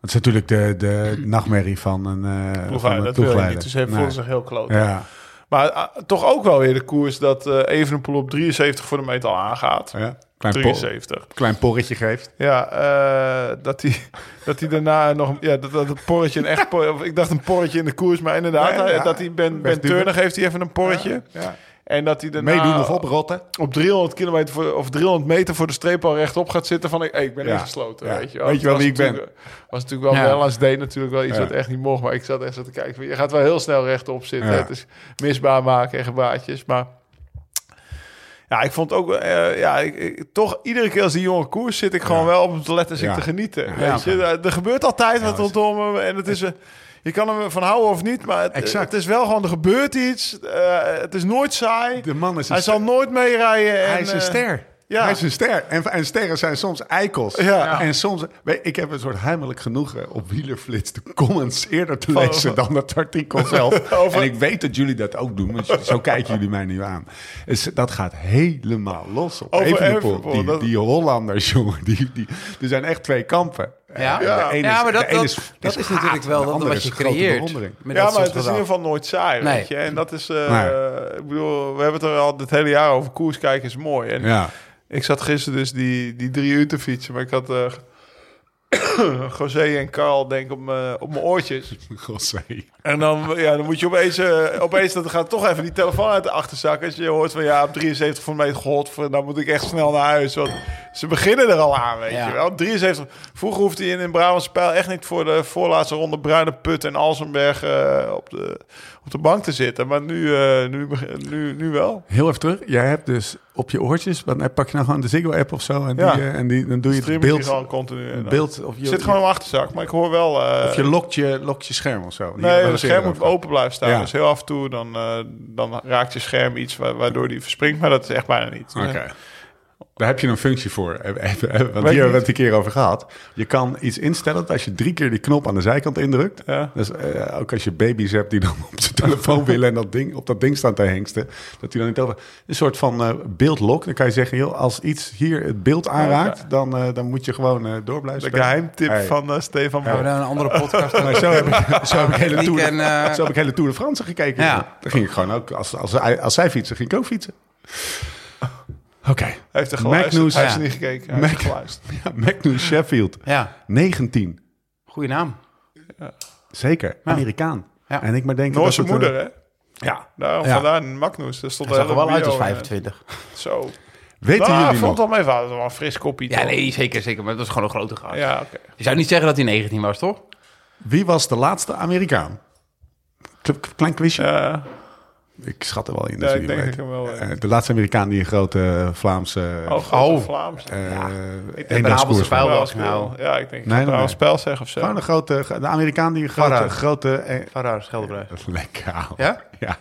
Het is natuurlijk de, de nachtmerrie van een eh, van
Ploeghuis,
een
dat wil je niet.
ploegleider.
Dus hij
Nee.
voelde zich heel kloot.
Ja,
Maar ah, toch ook wel weer de koers dat eh Evenepoel op 73 voor de meet al aangaat.
ja. Klein, por,
73.
klein porretje geeft.
Ja, eh, dat hij dat hij daarna nog... Ja, dat, dat het porretje een echt... por- of ik dacht een porretje in de koers, maar inderdaad,
Nee,
hij-
ja.
dat hij Ben, ben
Best duur.
Turner geeft hij even een porretje.
Ja.
En dat hij daarna...
Meedoen of oprotten.
op 300 kilometer voor, of 300 meter voor de streep al rechtop gaat zitten van ik, hey, ik ben
Ja.
ingesloten.
Ja.
Weet je wel,
Weet je wel
Het was
wie ik ben?
natuurlijk- Was natuurlijk wel
Ja.
wel als deed natuurlijk wel iets
Ja.
wat echt niet mocht, maar ik zat echt zo te kijken. Je gaat wel heel snel rechtop zitten.
Ja.
Het is misbaar maken en gebaatjes, maar ja, ik vond ook eh, ja, ik, ik- toch iedere keer als die jonge koers zit, ik gewoon wel op hem te letten, zit
Ja.
te genieten.
Ja.
Weet je, er, er gebeurt altijd wat
is-
rondom hem en het is een je kan hem van houden of niet, maar het,
Exact.
het is wel gewoon, er gebeurt iets. eh, het is nooit saai.
De man is een
Hij zal nooit meerijden. eh,
Hij is
eh,
een ster.
ja.
Hij is een ster. En, en sterren zijn soms eikels.
Ja.
En soms... weet je, Ik heb een soort heimelijk genoegen op Wielerflits de comments eerder te lezen dan het artikel zelf.
Over-
En ik weet dat jullie dat ook doen, want zo kijken jullie mij nu aan. Dus dat gaat helemaal los op
Over
Evenepoel.
Evenepoel,
Die,
dat-
die Hollanders, jongen. Die, die, er zijn echt twee kampen.
Ja,
Ja.
Eh, De ene
ja maar
is-
dat,
de ene
dat,
is-
dat is,
is
natuurlijk
haat,
wel
de
dat,
andere
wat je
is grote
creëert.
bewondering.
met
Ja,
dat
maar
soort
het is in ieder
gedrag.
geval nooit saai,
Nee.
weet je. En dat is, eh,
Nee.
ik bedoel, we hebben het er al het hele jaar over. Koers kijken is mooi. En
Ja.
ik zat gisteren dus die, die drie uur te fietsen, maar ik had eh José en Carl denk ik op mijn op mijn oortjes.
Godzij.
En dan, ja, dan moet je opeens, eh, opeens dat gaat toch even die telefoon uit de achterzak. Als je hoort van ja, op 73 van meter godver, dan moet ik echt snel naar huis. Want ze beginnen er al aan, weet
Ja.
je wel. Op 73. Vroeger hoefde je in een Brabantse pijl echt niet voor de voorlaatste ronde Bruine Put en Alsenberg eh, op, de, op de bank te zitten. Maar nu, eh, nu, beg- nu, nu wel.
Heel even terug. Jij hebt dus op je oortjes, want dan pak je nou gewoon de Ziggo-app of zo en,
Ja.
die, eh, en die, dan doe je
Stream
het
ik hier gewoon
beeld,
continu. En dan-
beeld of je,
Ik zit gewoon in mijn achterzak, maar ik hoor wel... eh,
of je lokt je, lokt je scherm of zo.
Nee, het scherm moet open blijven staan.
Ja.
Dus heel af en toe dan, eh, dan raakt je scherm iets wa- waardoor die verspringt. Maar dat is echt bijna niet.
Oké. Daar heb je een functie voor. Eh, eh, eh, Want hier hebben
niet.
we het een keer over gehad. Je kan iets instellen dat als je drie keer die knop aan de zijkant indrukt.
Ja.
Dus eh, ook als je baby's hebt die dan op zijn telefoon willen en dat ding, op dat ding staan te hengsten. Dat die dan niet over. Een soort van eh beeldlok. Dan kan je zeggen, joh, als iets hier het beeld aanraakt, dan, eh, dan moet je gewoon eh, door blijven.
De
spelen.
geheimtip
Hey.
van eh, Stefan
We
Bol.
hebben een andere podcast.
Maar zo heb ik, zo heb ik hele Tour de-
Weekend, eh,
zo heb ik hele Tour de France gekeken.
Ja.
Dan ging ik gewoon ook, als, als, als, zij fietsen, ging ik ook fietsen.
Oh.
Oké.
Hij heeft er geluisterd.
Magnus-
hij heeft
Ja.
er niet gekeken. Hij heeft
Mag-
geluisterd.
Ja, Magnus Sheffield.
Ja,
19.
goede naam.
Zeker. Amerikaan.
Ja.
En ik maar denk dat
Noorse
het, eh,
moeder, hè?
ja.
Daarom
Ja.
vandaar Magnus. Daar stond
Hij zag er wel uit als
vijfentwintig.
25.
Zo.
Weten
Nou,
jullie
vond
nog?
al mijn vader wel een fris koppie.
Ja,
toch?
nee, zeker, zeker. Maar dat is gewoon een grote gast.
Ja, oké.
Je zou niet zeggen dat hij 19 was, toch?
Wie was de laatste Amerikaan? K- k- Klein quizje.
Ja,
Ik schat er wel in. dus
Ja,
dat
ik
jullie
denk
weten.
ik hem wel weet.
Eh, de laatste Amerikaan die een grote Vlaamse...
oh, grote
Oh.
Vlaams.
eh,
de Brabantse
eendagskoers won.
pijl
Nou,
was nou.
Ja, ik denk, ik
Nee,
ga
nee,
trouwens
nee.
spel zeggen of zo.
Gewoon een grote... De Amerikaan die een grote...
Farah.
grote eh,
Farrar Scheldebrecht.
Lekker.
Ja?
Ja.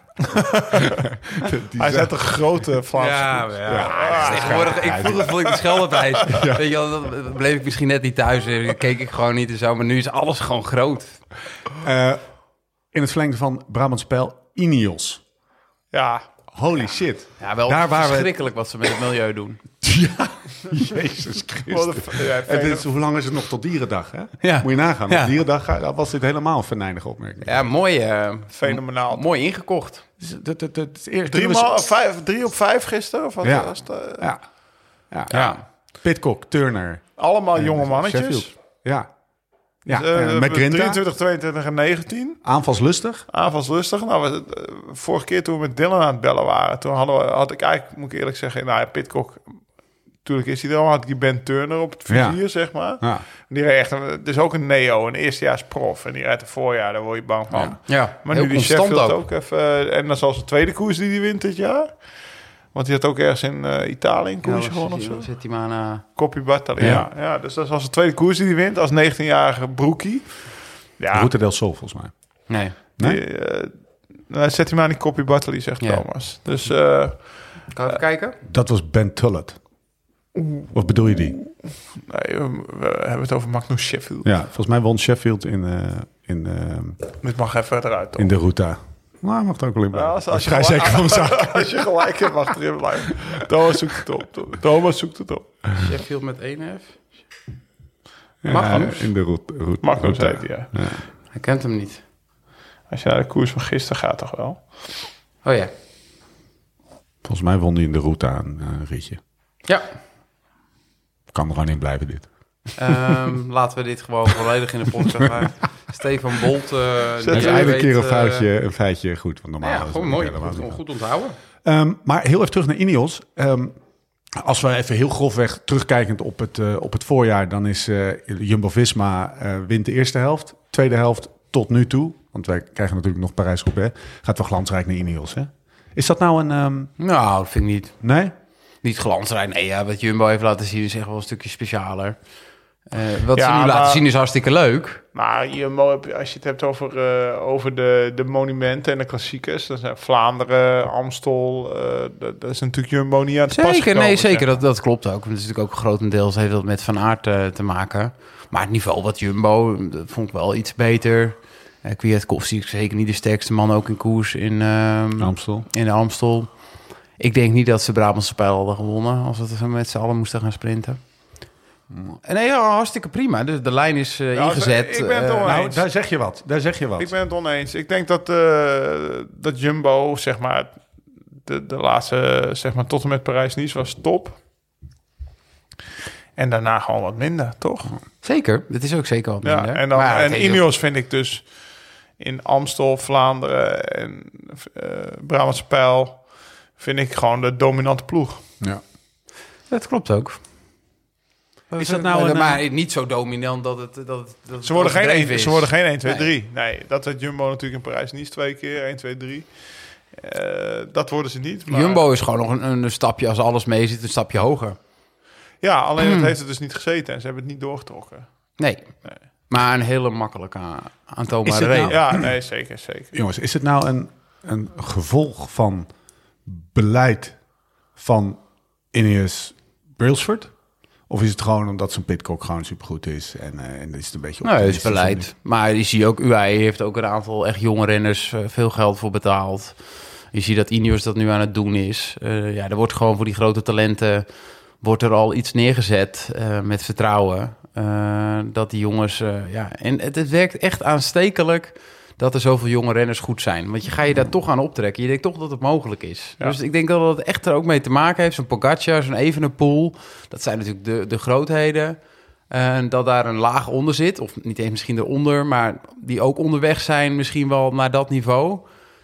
Die zijn-
Hij zet een grote Vlaamse
ja.
Ah,
Tegenwoordig, ik, vroeger vond ik de Scheldeprijs. Weet je wel, dan bleef ik misschien net niet thuis. en keek ik gewoon niet en zo. Maar nu is alles gewoon groot.
Eh, in het verlengde van Brabants Pijl, Ineos.
Ja,
Holy shit.
Ja, wel
Daar waren we-
verschrikkelijk wat ze met het milieu doen.
Ja, Jezus
Wat
Christus.
een v- ja,
Het is, hoe lang is het nog tot dierendag, hè?
Ja.
Moet je nagaan.
Ja.
Op dierendag ga- was dit helemaal een venijnige opmerking.
Ja, mooi, eh,
fenomenaal.
mooi ingekocht.
Dus dat- dat- dat- het eerste
Drie,
nummer is-
maal, vijf, drie op vijf gisteren? Of wat
Ja.
was het, eh?
Ja. Ja.
Ja.
Pitcock, Turner.
Allemaal jonge mannetjes.
Sheffield. Ja. Ja,
Eh,
eh, McGrinta.
23, 22 en 19.
Aanvalslustig.
Aanvalslustig. Nou, was het, eh, vorige keer toen we met Dylan aan het bellen waren... toen hadden we, had ik eigenlijk, moet ik eerlijk zeggen... nou ja, Pitcock, natuurlijk is hij er al... had ik die Ben Turner op het
Ja.
vizier, zeg maar.
Ja.
Die reed echt... een- Het is ook een neo, een eerstejaars prof. En die rijdt het voorjaar, daar word je bang van.
Ja,
Maar
heel
nu die
constant
Sheffield ook.
ook.
even... eh, en dat is al zijn tweede koers die hij wint dit jaar. Want die had ook ergens in eh, Italië een koersje gewonnen of zo.
Dan zit die man aan. eh,
Copy Bartali,
Ja.
ja. ja. dus dat is als de tweede koers die hij wint als 19-jarige broekie. Ja,
Route del Sol, volgens mij.
nee,
die,
Nee?
eh, nou, zet hij maar aan die Copy Bartali, zegt
Ja.
Thomas. Dus eh,
kan ik even kijken?
Dat was Ben Tullet. Of bedoel je die?
nee, we, we hebben het over Magnus Sheffield.
Ja, volgens mij won Sheffield in, eh, in, eh,
Dit mag even verder uit, toch?
in de Ruta. Nou, mag het ook wel in.
Ja,
blijven.
als-
Dat
als
is
je
vrij
gewoon-
zeker van zaak.
Als je gelijk hebt, mag erin blijven. Thomas zoekt het op. Thomas zoekt het op.
Sheffield met 1F.
Ja,
Magnus.
eh, in de route. route
Magnus
Ruta.
heet hij, ja.
Hij kent hem niet.
Als je naar de koers van gisteren gaat, toch wel?
Oh ja.
Volgens mij won hij in de route aan een ritje.
Ja,
Kan er gewoon in blijven dit.
Ehm, laten we dit gewoon volledig in de podcast laten. Stefan Bolt. eh die
Dat is
weet,
eigenlijk een keer een
eh,
feitje, een feitje goed. Want normaal
nou
is
ja,
het
gewoon
niet
mooi.
helemaal
Goed,
niet.
goed onthouden.
Ehm, maar heel even terug naar Ineos. Ehm, als we even heel grofweg terugkijkend op het, eh, op het voorjaar, dan is eh, Jumbo-Visma eh, wint de eerste helft. Tweede helft tot nu toe, want wij krijgen natuurlijk nog Parijs-Roubaix, gaat wel glansrijk naar Ineos. Hè? Is dat nou een... ehm,
Nou, dat vind ik niet,
nee?
niet glansrijk. Nee, ja, wat Jumbo heeft laten zien is echt wel een stukje specialer. Eh, wat ze
Ja,
nu
maar-
laten zien is hartstikke leuk.
Maar je, mo- als je het hebt over, eh, over de, de monumenten en de klassiekers, dan zijn Vlaanderen, Amstel, eh dat, dat is natuurlijk Jumbo niet aan het pas
Zeker,
gekomen,
nee,
zeg.
zeker. Dat, dat klopt ook. Want het is natuurlijk ook grotendeels heeft dat met Van Aert eh, te maken. Maar het niveau wat Jumbo, dat vond ik wel iets beter. Uh, Kwiatkowski is zeker niet de sterkste man ook in koers in, ehm,
Amstel.
in de Amstel. Ik denk niet dat ze Brabantse pijl hadden gewonnen als we het met z'n allen moesten gaan sprinten. Eh, Nee, ja, hartstikke prima. Dus de lijn is eh,
Ja,
ingezet.
ik ben het
Eh,
onwe-
Nou,
eens.
daar zeg je wat. Daar zeg je wat.
Ik ben het oneens. Ik denk dat, eh, dat Jumbo, zeg maar, de, de laatste, zeg maar, tot en met Parijs-Nice was top. En daarna gewoon wat minder, toch?
Zeker. Het is ook zeker wat
Ja,
minder.
en, dan,
Maar ja,
en
het heeft-
Ineos vind ik dus in Amstel, Vlaanderen en eh Brabantse Pijl... vind ik gewoon de dominante ploeg.
Ja.
Dat klopt ook.
Is dat nou een,
Maar niet zo dominant dat het... Dat, het- dat het
Ze worden, geen
overdreven
1,
is.
ze worden geen 1, 2, 3. Nee, dat had Jumbo natuurlijk in Parijs-Nice twee keer. 1, 2, 3. Eh, dat worden ze niet. Maar...
Jumbo is gewoon nog een, een stapje, als alles mee zit, een stapje hoger.
Ja, alleen
Mm.
het heeft er dus niet gezeten en ze hebben het niet doorgetrokken.
Nee. Maar een hele makkelijke a-
Is
aantoonbare
het
reden.
nou-
Ja, nee, zeker, zeker.
Jongens, is het nou een, een gevolg van beleid van Ineus Brailsford? Of is het gewoon omdat zijn pitcock gewoon supergoed is en, eh, en is het een beetje...
Nou, het is
optimistisch?
beleid. Maar je ziet ook, UAE heeft ook een aantal echt jonge renners eh, veel geld voor betaald. Je ziet dat Ineos dat nu aan het doen is. Eh, ja, er wordt gewoon voor die grote talenten wordt er al iets neergezet eh, met vertrouwen. eh, dat die jongens... eh, ja, en het, het werkt echt aanstekelijk dat er zoveel jonge renners goed zijn. Want je ga je daar toch aan optrekken. Je denkt toch dat het mogelijk is.
Ja.
Dus ik denk dat dat echt er ook mee te maken heeft. Zo'n Pogacar, zo'n Evenepoel. Dat zijn natuurlijk de, de grootheden. En dat daar een laag onder zit, of niet eens misschien eronder, maar die ook onderweg zijn, misschien wel naar dat niveau,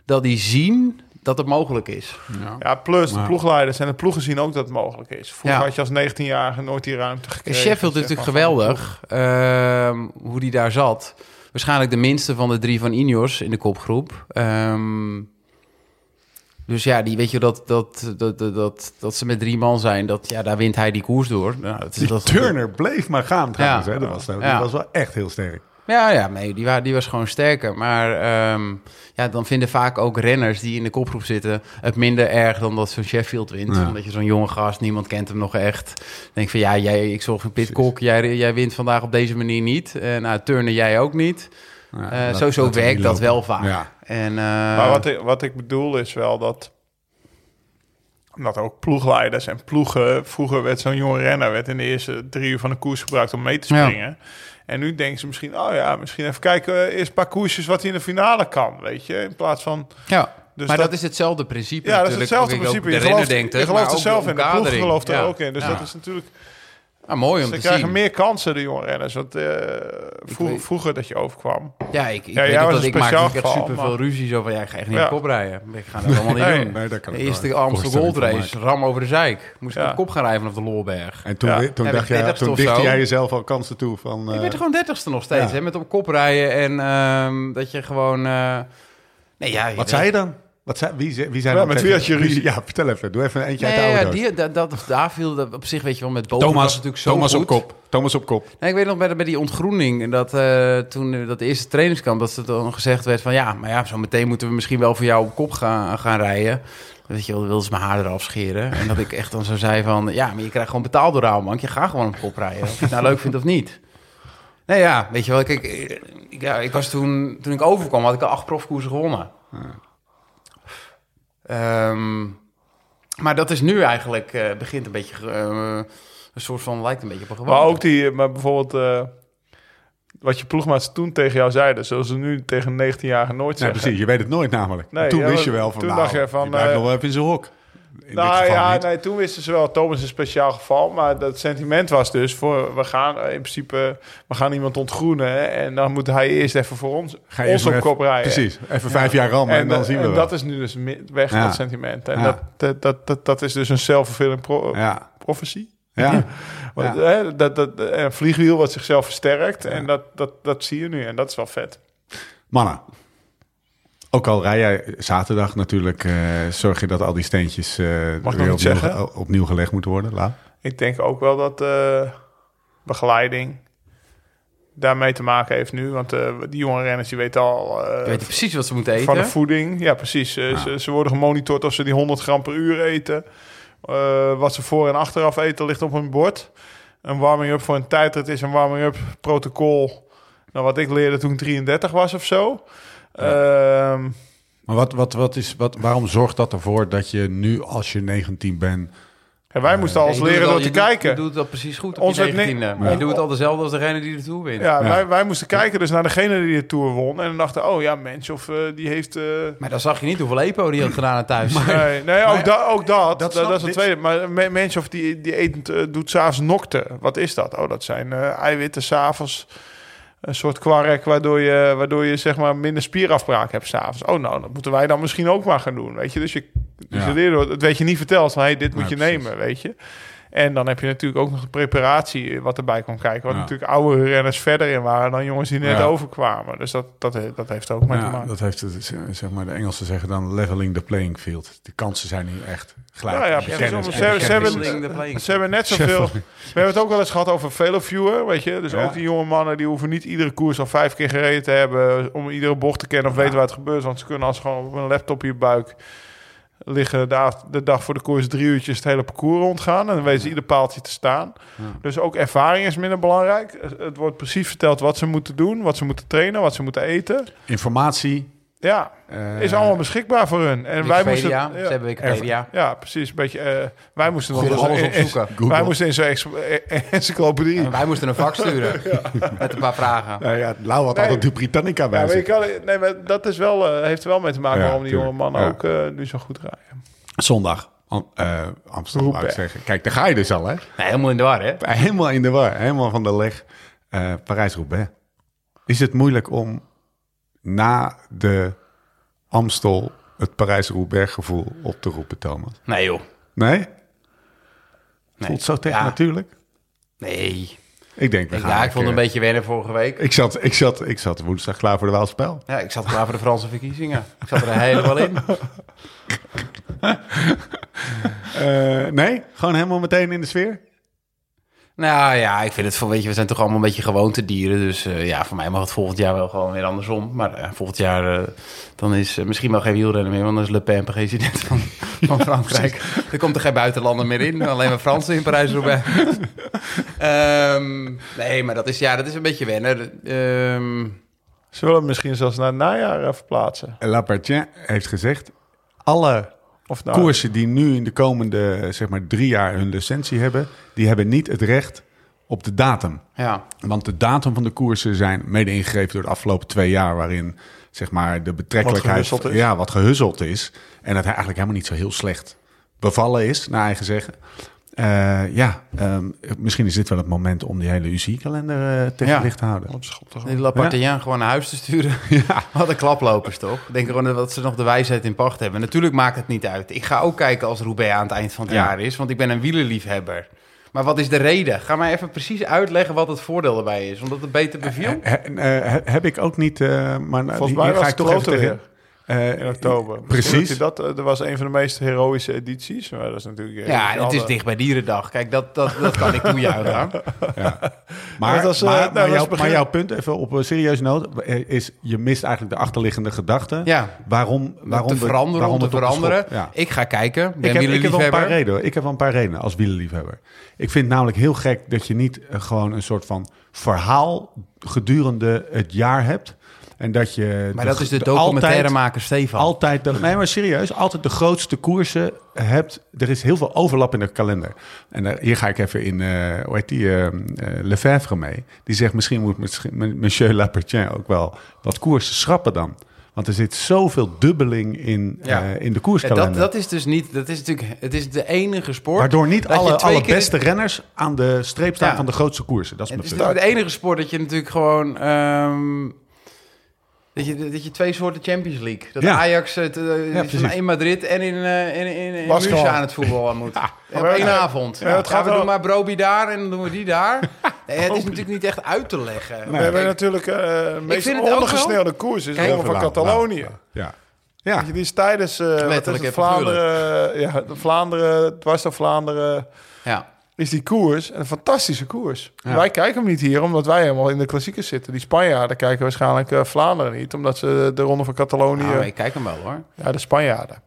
dat die zien dat het mogelijk is.
Ja, plus de
Maar-
ploegleiders en de ploegen zien ook dat het mogelijk is. Vroeger
Ja.
had je als 19-jarige nooit die ruimte
En
gekregen.
Sheffield is
zeg
natuurlijk
maar, van de
geweldig, ehm, hoe die daar zat. Waarschijnlijk de minste van de drie van Ineos in de kopgroep. Ehm, dus ja, die, weet je, dat, dat, dat, dat, dat, dat ze met drie man zijn, dat, ja, daar wint hij die koers door. Nou, dat, is-
Die
dat,
Turner bleef maar gaan trouwens.
Ja.
Hè? Dat, was, dat
Ja.
was wel echt heel sterk.
Ja, ja nee, die, wa die was gewoon sterker. Maar ehm, ja, dan vinden vaak ook renners die in de kopgroep zitten... het minder erg dan dat zo'n Sheffield wint.
Ja.
Omdat je zo'n jonge gast, niemand kent hem nog echt. Dan denk ik van, ja, jij, ik zorg voor Pitcock. Jij, jij wint vandaag op deze manier niet. Eh nou, turnen jij ook niet.
Ja,
Eh,
dat-
sowieso
dat we
werkt
niet
dat
lopen.
wel vaak.
Ja.
En, eh,
Maar wat ik, wat ik bedoel is wel dat... Dat ook ploegleiders en ploegen... Vroeger werd zo'n jonge renner werd in de eerste drie uur van de koers gebruikt om mee te
Ja.
springen. En nu denken ze misschien... Oh ja, misschien even kijken. eh, Eerst een paar koersjes wat hij in de finale kan, weet je. In plaats van...
ja.
Dus
maar dat,
dat-
is hetzelfde principe
Ja, dat is
natuurlijk.
hetzelfde
Ook ik ook
principe.
de
Je
renner
gelooft,
denkt
je
het,
gelooft
maar
er
ook
zelf
de
in. De ploeg
omkadering.
gelooft er
Ja.
ook in. Dus
Ja.
dat is natuurlijk...
Ja, mooi om
Ze
te
krijgen
zien.
meer kansen, de jonge renners. Want eh, vroeg-
weet-
vroeger dat je overkwam.
Ja, ik, ik
Ja,
weet
jij
ook
was
dat
een
ik maak
speciaal
natuurlijk echt
geval,
super veel
maar-
ruzie. Zo van, ja, ik ga echt niet
Ja.
op kop rijden. Ik ga dat allemaal niet
Nee,
doen.
nee, dat kan ik
de
wel
eerste Amsterdam Gold
voorstellen,
Race, ram over de zeik. Moest ik
Ja.
op kop gaan rijden vanaf de Lolberg.
En toen,
Ja.
toen,
Ja,
dacht
de
jij,
30ste
toen
of
dichtte
zo.
jij jezelf al kansen toe van...
Ik
eh,
werd er gewoon dertigste nog steeds,
ja.
hè, met op kop rijden. En ehm, dat je gewoon... eh, nee, ja,
wat zei je dan? Wat zei, wie, zei- wie zei
Ja,
dan
met
tegen-
wie had je ruzie?
Ja, vertel even. Doe even een eentje
Nee,
uit de
ja,
oude doos.
die, dat, dat, daar viel dat op zich, weet je wel, met boven was
Thomas,
natuurlijk zo
Thomas
goed.
op kop. Thomas op kop.
Nee, ik weet nog bij, de- bij die ontgroening, en dat, eh, toen eh, dat eerste trainingskamp, dat er dan gezegd werd van ja, maar ja, zo meteen moeten we misschien wel voor jou op kop gaan, gaan rijden. Weet je wel, dan wilden ze mijn haar eraf scheren. En dat ik echt dan zo zei van ja, maar je krijgt gewoon betaald door Rabobank. Je gaat gewoon op kop rijden, of je het nou leuk vindt of niet. Nee, ja, weet je wel, kijk, eh, ik, ja, ik was toen, toen ik overkwam, had ik al acht profkoersen gewonnen. Ehm, maar dat is nu eigenlijk, eh, begint een beetje, eh, een soort van, lijkt een beetje op een
Maar
gewoonte.
ook die, maar bijvoorbeeld eh, wat je ploegmaats toen tegen jou zeiden, zoals ze nu tegen een 19-jarige nooit
Nee,
zeggen.
precies. Je weet het nooit namelijk.
Nee,
toen
ja,
wist je wel van,
toen
nou,
dacht je van,
die blijft
eh,
nog wel even in zijn hok. In dit
Nou
geval
ja,
niet.
nee, toen wisten ze wel, Thomas is een speciaal geval, maar dat sentiment was dus voor we gaan eh, in principe we gaan iemand ontgroenen hè, en dan moet hij eerst even voor ons,
Ga je
ons
eerst
op
maar
kop
even-
rijden.
Precies. Even vijf jaar rammen en,
En,
dan
dat-
zien we
en
wel.
dat is nu dus mi- weg,
Ja.
dat sentiment. En
Ja.
dat, dat, dat, dat, dat is dus een zelfvervullend pro
Ja.
prophecy.
Ja.
Want,
Ja.
hè, dat, dat, een vliegwiel wat zichzelf versterkt. En dat, dat, dat zie je nu. En dat is wel vet.
Mannen, ook al rij jij zaterdag natuurlijk, eh, zorg je dat al die steentjes eh,
nog
weer
niet
opnieuw,
zeggen?
ge- opnieuw gelegd moeten worden. Laat.
Ik denk ook wel dat eh, begeleiding daarmee te maken heeft nu. Want eh, die jonge renners die weten al eh,
Weet je precies wat ze moeten eten? Ah.
van de voeding. Ja, precies. Eh, Ze, ze worden gemonitord of ze die 100 gram per uur eten. Eh, wat ze voor en achteraf eten ligt op hun bord. Een warming-up voor een tijdrit is een warming-up protocol. Nou, wat ik leerde toen ik 33 was of zo. Ehm,
Maar wat, wat, wat is, wat, waarom zorgt dat ervoor dat je nu, als je 19 bent,
En wij moesten alles
Nee, Eh, je doet
leren
het
door
al-
te
je doet-
kijken.
je doet dat precies goed op
Ons
je
werd ni-
19e. Maar je
on-
doet het al dezelfde als degene die de Tour wint.
Ja,
Ja.
Wij, wij moesten kijken dus naar degene die de Tour won. En dachten, oh ja, mens of eh, die heeft... eh,
Maar dan zag je niet hoeveel EPO die had gedaan aan thuis.
nee, nee ook, da- ook dat. Dat,
snap-
dat is het
dit-
tweede. Maar me- mens of die, die eet, eh, doet s'avonds nokten. Wat is dat? Oh, dat zijn eh, eiwitten s'avonds. Een soort kwark waardoor je, waardoor je zeg maar minder spierafbraak hebt s'avonds. Oh, nou, dat moeten wij dan misschien ook maar gaan doen. Weet je, dus je, dus
Ja.
je leert door- het weet je niet verteld. Van, hey, dit moet
Ja,
je
precies.
nemen, weet je. En dan heb je natuurlijk ook nog de preparatie eh, wat erbij kwam kijken. Wat
Ja.
natuurlijk oude renners verder in waren dan jongens die net
Ja.
overkwamen. Dus dat, dat, he- dat heeft er ook mee te
Ja,
maken.
dat heeft het, eh, zeg maar, de Engelsen zeggen dan leveling the playing field. De kansen zijn nu echt gelijk.
Ja, ja,
Je
precies.
kent het,
Ze
je
hebben-
kent
ze hebben-
het.
Building the playing.
Ze hebben net zoveel. We hebben het ook wel eens gehad over Veloviewer, weet je. Dus
Ja.
ook die jonge mannen die hoeven niet iedere koers al vijf keer gereden te hebben eh, om iedere bocht te kennen of weten waar het gebeurt. Want ze kunnen als ze gewoon op een laptop in je buik liggen de, av- de dag voor de koers drie uurtjes het hele parcours rondgaan en dan weten ze ieder paaltje te staan. Dus ook ervaring is minder belangrijk. Het wordt precies verteld wat ze moeten doen, wat ze moeten trainen, wat ze moeten eten.
Informatie.
Ja,
eh,
is allemaal beschikbaar voor hun. En wij moesten,
Wikipedia.
ja.
Ze hebben Wikipedia.
Ja, precies. Een beetje, eh, wij moesten nog
Gewoon alles
in- in-
opzoeken.
Wij
Google.
moesten in zo'n ex- eh, encyclopedie.
En wij moesten een vak sturen. Met een paar vragen.
Nou ja, Lau had
Nee.
altijd de Britannica bij
Ja, maar je
zich.
kan- nee, maar dat is wel, eh, heeft er wel mee te maken
Ja,
waarom die jonge
tuurlijk. Ja.
mannen ook eh, nu zo goed rijden.
Zondag. Am- eh, Amsterdam, wou ik
Roubaix.
zeggen. Kijk, daar ga je dus al, hè?
Nee, helemaal in de war, hè?
Helemaal in de war. Helemaal van de leg. Eh, Parijs-Roubaix. Is het moeilijk om na de Amstel het Parijs-Roubaix gevoel op te roepen, Thomas?
Nee, joh.
Nee?
Nee.
Voelt zo tegen
Ja.
natuurlijk?
Nee.
Ik denk, we
Ik,
gaan
ja, ik
lekker-
vond het een beetje wennen vorige week.
Ik zat, ik, zat, ik zat woensdag klaar voor de Waalspel.
Ja, ik zat klaar voor de Franse verkiezingen. Ik zat er helemaal in.
Eh nee, gewoon helemaal meteen in de sfeer.
Nou ja, ik vind het van, weet je, we zijn toch allemaal een beetje gewoontedieren. Dus eh, ja, voor mij mag het volgend jaar wel gewoon weer andersom. Maar eh, volgend jaar, eh, dan is eh, misschien wel geen wielrenner meer, want dan is Le Pen president van, van Frankrijk. er komt er geen buitenlander meer in, alleen maar Fransen in Parijs erbij. Ehm, nee, maar dat is, ja, dat is een beetje wennen. Ehm,
Ze willen hem misschien zelfs naar het najaar eh, verplaatsen.
Lapertien heeft gezegd... alle
Of nou,
koersen die nu in de komende eh, zeg maar, drie jaar hun licentie hebben... die hebben niet het recht op de datum.
ja,
Want de datum van de koersen zijn mede ingegeven door de afgelopen twee jaar... waarin zeg maar, de betrekkelijkheid...
Wat gehuzzeld is.
ja, wat gehuzzeld is. En dat hij eigenlijk helemaal niet zo heel slecht bevallen is, naar eigen zeggen. Eh, ja, ehm, misschien is dit wel het moment om die hele UCI-kalender eh, tegen
Ja.
het licht te houden.
op schop toch?
die Lapartien gewoon naar huis te sturen.
Ja.
Wat een klaplopers, toch? Ik Denk gewoon dat ze nog de wijsheid in pacht hebben. Natuurlijk maakt het niet uit. Ik ga ook kijken als Roubaix aan het eind van het
Ja.
jaar is, want ik ben een wielerliefhebber. Maar wat is de reden? Ga mij even precies uitleggen wat het voordeel erbij is, omdat het beter beviel.
He- eh, he- heb ik ook niet, eh, maar
Volgens mij was het groter
eh,
In oktober. Misschien
Precies.
Dat, hij dat, eh, dat was een van de meest heroïsche edities. Maar dat is natuurlijk... eh,
Ja,
die
en het is
hadden-
dicht bij Dierendag. Kijk, dat, dat, dat kan ik toejuichen.
Maar,
dat was, eh,
maar, maar
nou, dat was
jouw,
het begin.
maar jouw punt, even op een serieuze noot, eh, is je mist eigenlijk de achterliggende gedachte.
Ja.
Waarom, waarom
Waarom te
we-
veranderen,
waarom
om
het
te
op de schop-
veranderen.
Ja.
Ik ga kijken. Ben
Ik heb, ik heb wel een paar
wielerliefhebber.
redenen. hoor. Ik heb wel een paar redenen als wielerliefhebber. Ik vind het namelijk heel gek dat je niet eh, gewoon een soort van verhaal gedurende het jaar hebt. En dat je
Maar dat is de
altijd-
documentairemaker Stefan.
Altijd de, nee, maar serieus, altijd de grootste koersen hebt. Er is heel veel overlap in de kalender. En daar, hier ga ik even in, eh hoe heet die, eh, eh, Lefebvre mee. Die zegt, misschien moet misschien, monsieur Lapertien ook wel wat koersen schrappen dan. Want er zit zoveel dubbeling in,
Ja.
eh, in de
Ja,
koerskalender.
dat, dat is dus niet, dat is natuurlijk, het is de enige sport.
Waardoor niet
dat je
alle,
twee
alle
keer-
beste renners aan de streep staan
Ja.
van de grootste koersen. Dat is
Het
mijn
is
punt.
natuurlijk het enige sport dat je natuurlijk gewoon... ehm, dat, je, dat je twee soorten Champions League... Dat
Ja.
Ajax het, eh, is
precies.
in Madrid en in, eh in, in, in
Basketal.
München aan het voetbal aan moet. Op
maar-
één
ja.
avond.
Ja, het
Ja,
gaat
we
wel-
doen maar Broby daar en dan doen we die daar. Nee, het is natuurlijk niet echt uit te leggen.
We hebben natuurlijk eh de meest
vind het ook wel-
ondergesneeuwde koers. Is de
Kijk,
Ronde van
Lauw,
Catalonië.
Lauw, Ja. Ja.
Weet je, Die is tijdens eh, wat is het,
Letterlijk en
Vlaanderen, eh, ja, de Vlaanderen, dwars door Vlaanderen,
Ja.
is die koers een fantastische koers. Wij kijken hem niet hier, omdat wij helemaal in de klassiekers zitten. Die Spanjaarden kijken waarschijnlijk eh, Vlaanderen niet, omdat ze de Ronde van Catalonië...
Nou, ik kijk hem wel hoor.
Ja, de Spanjaarden.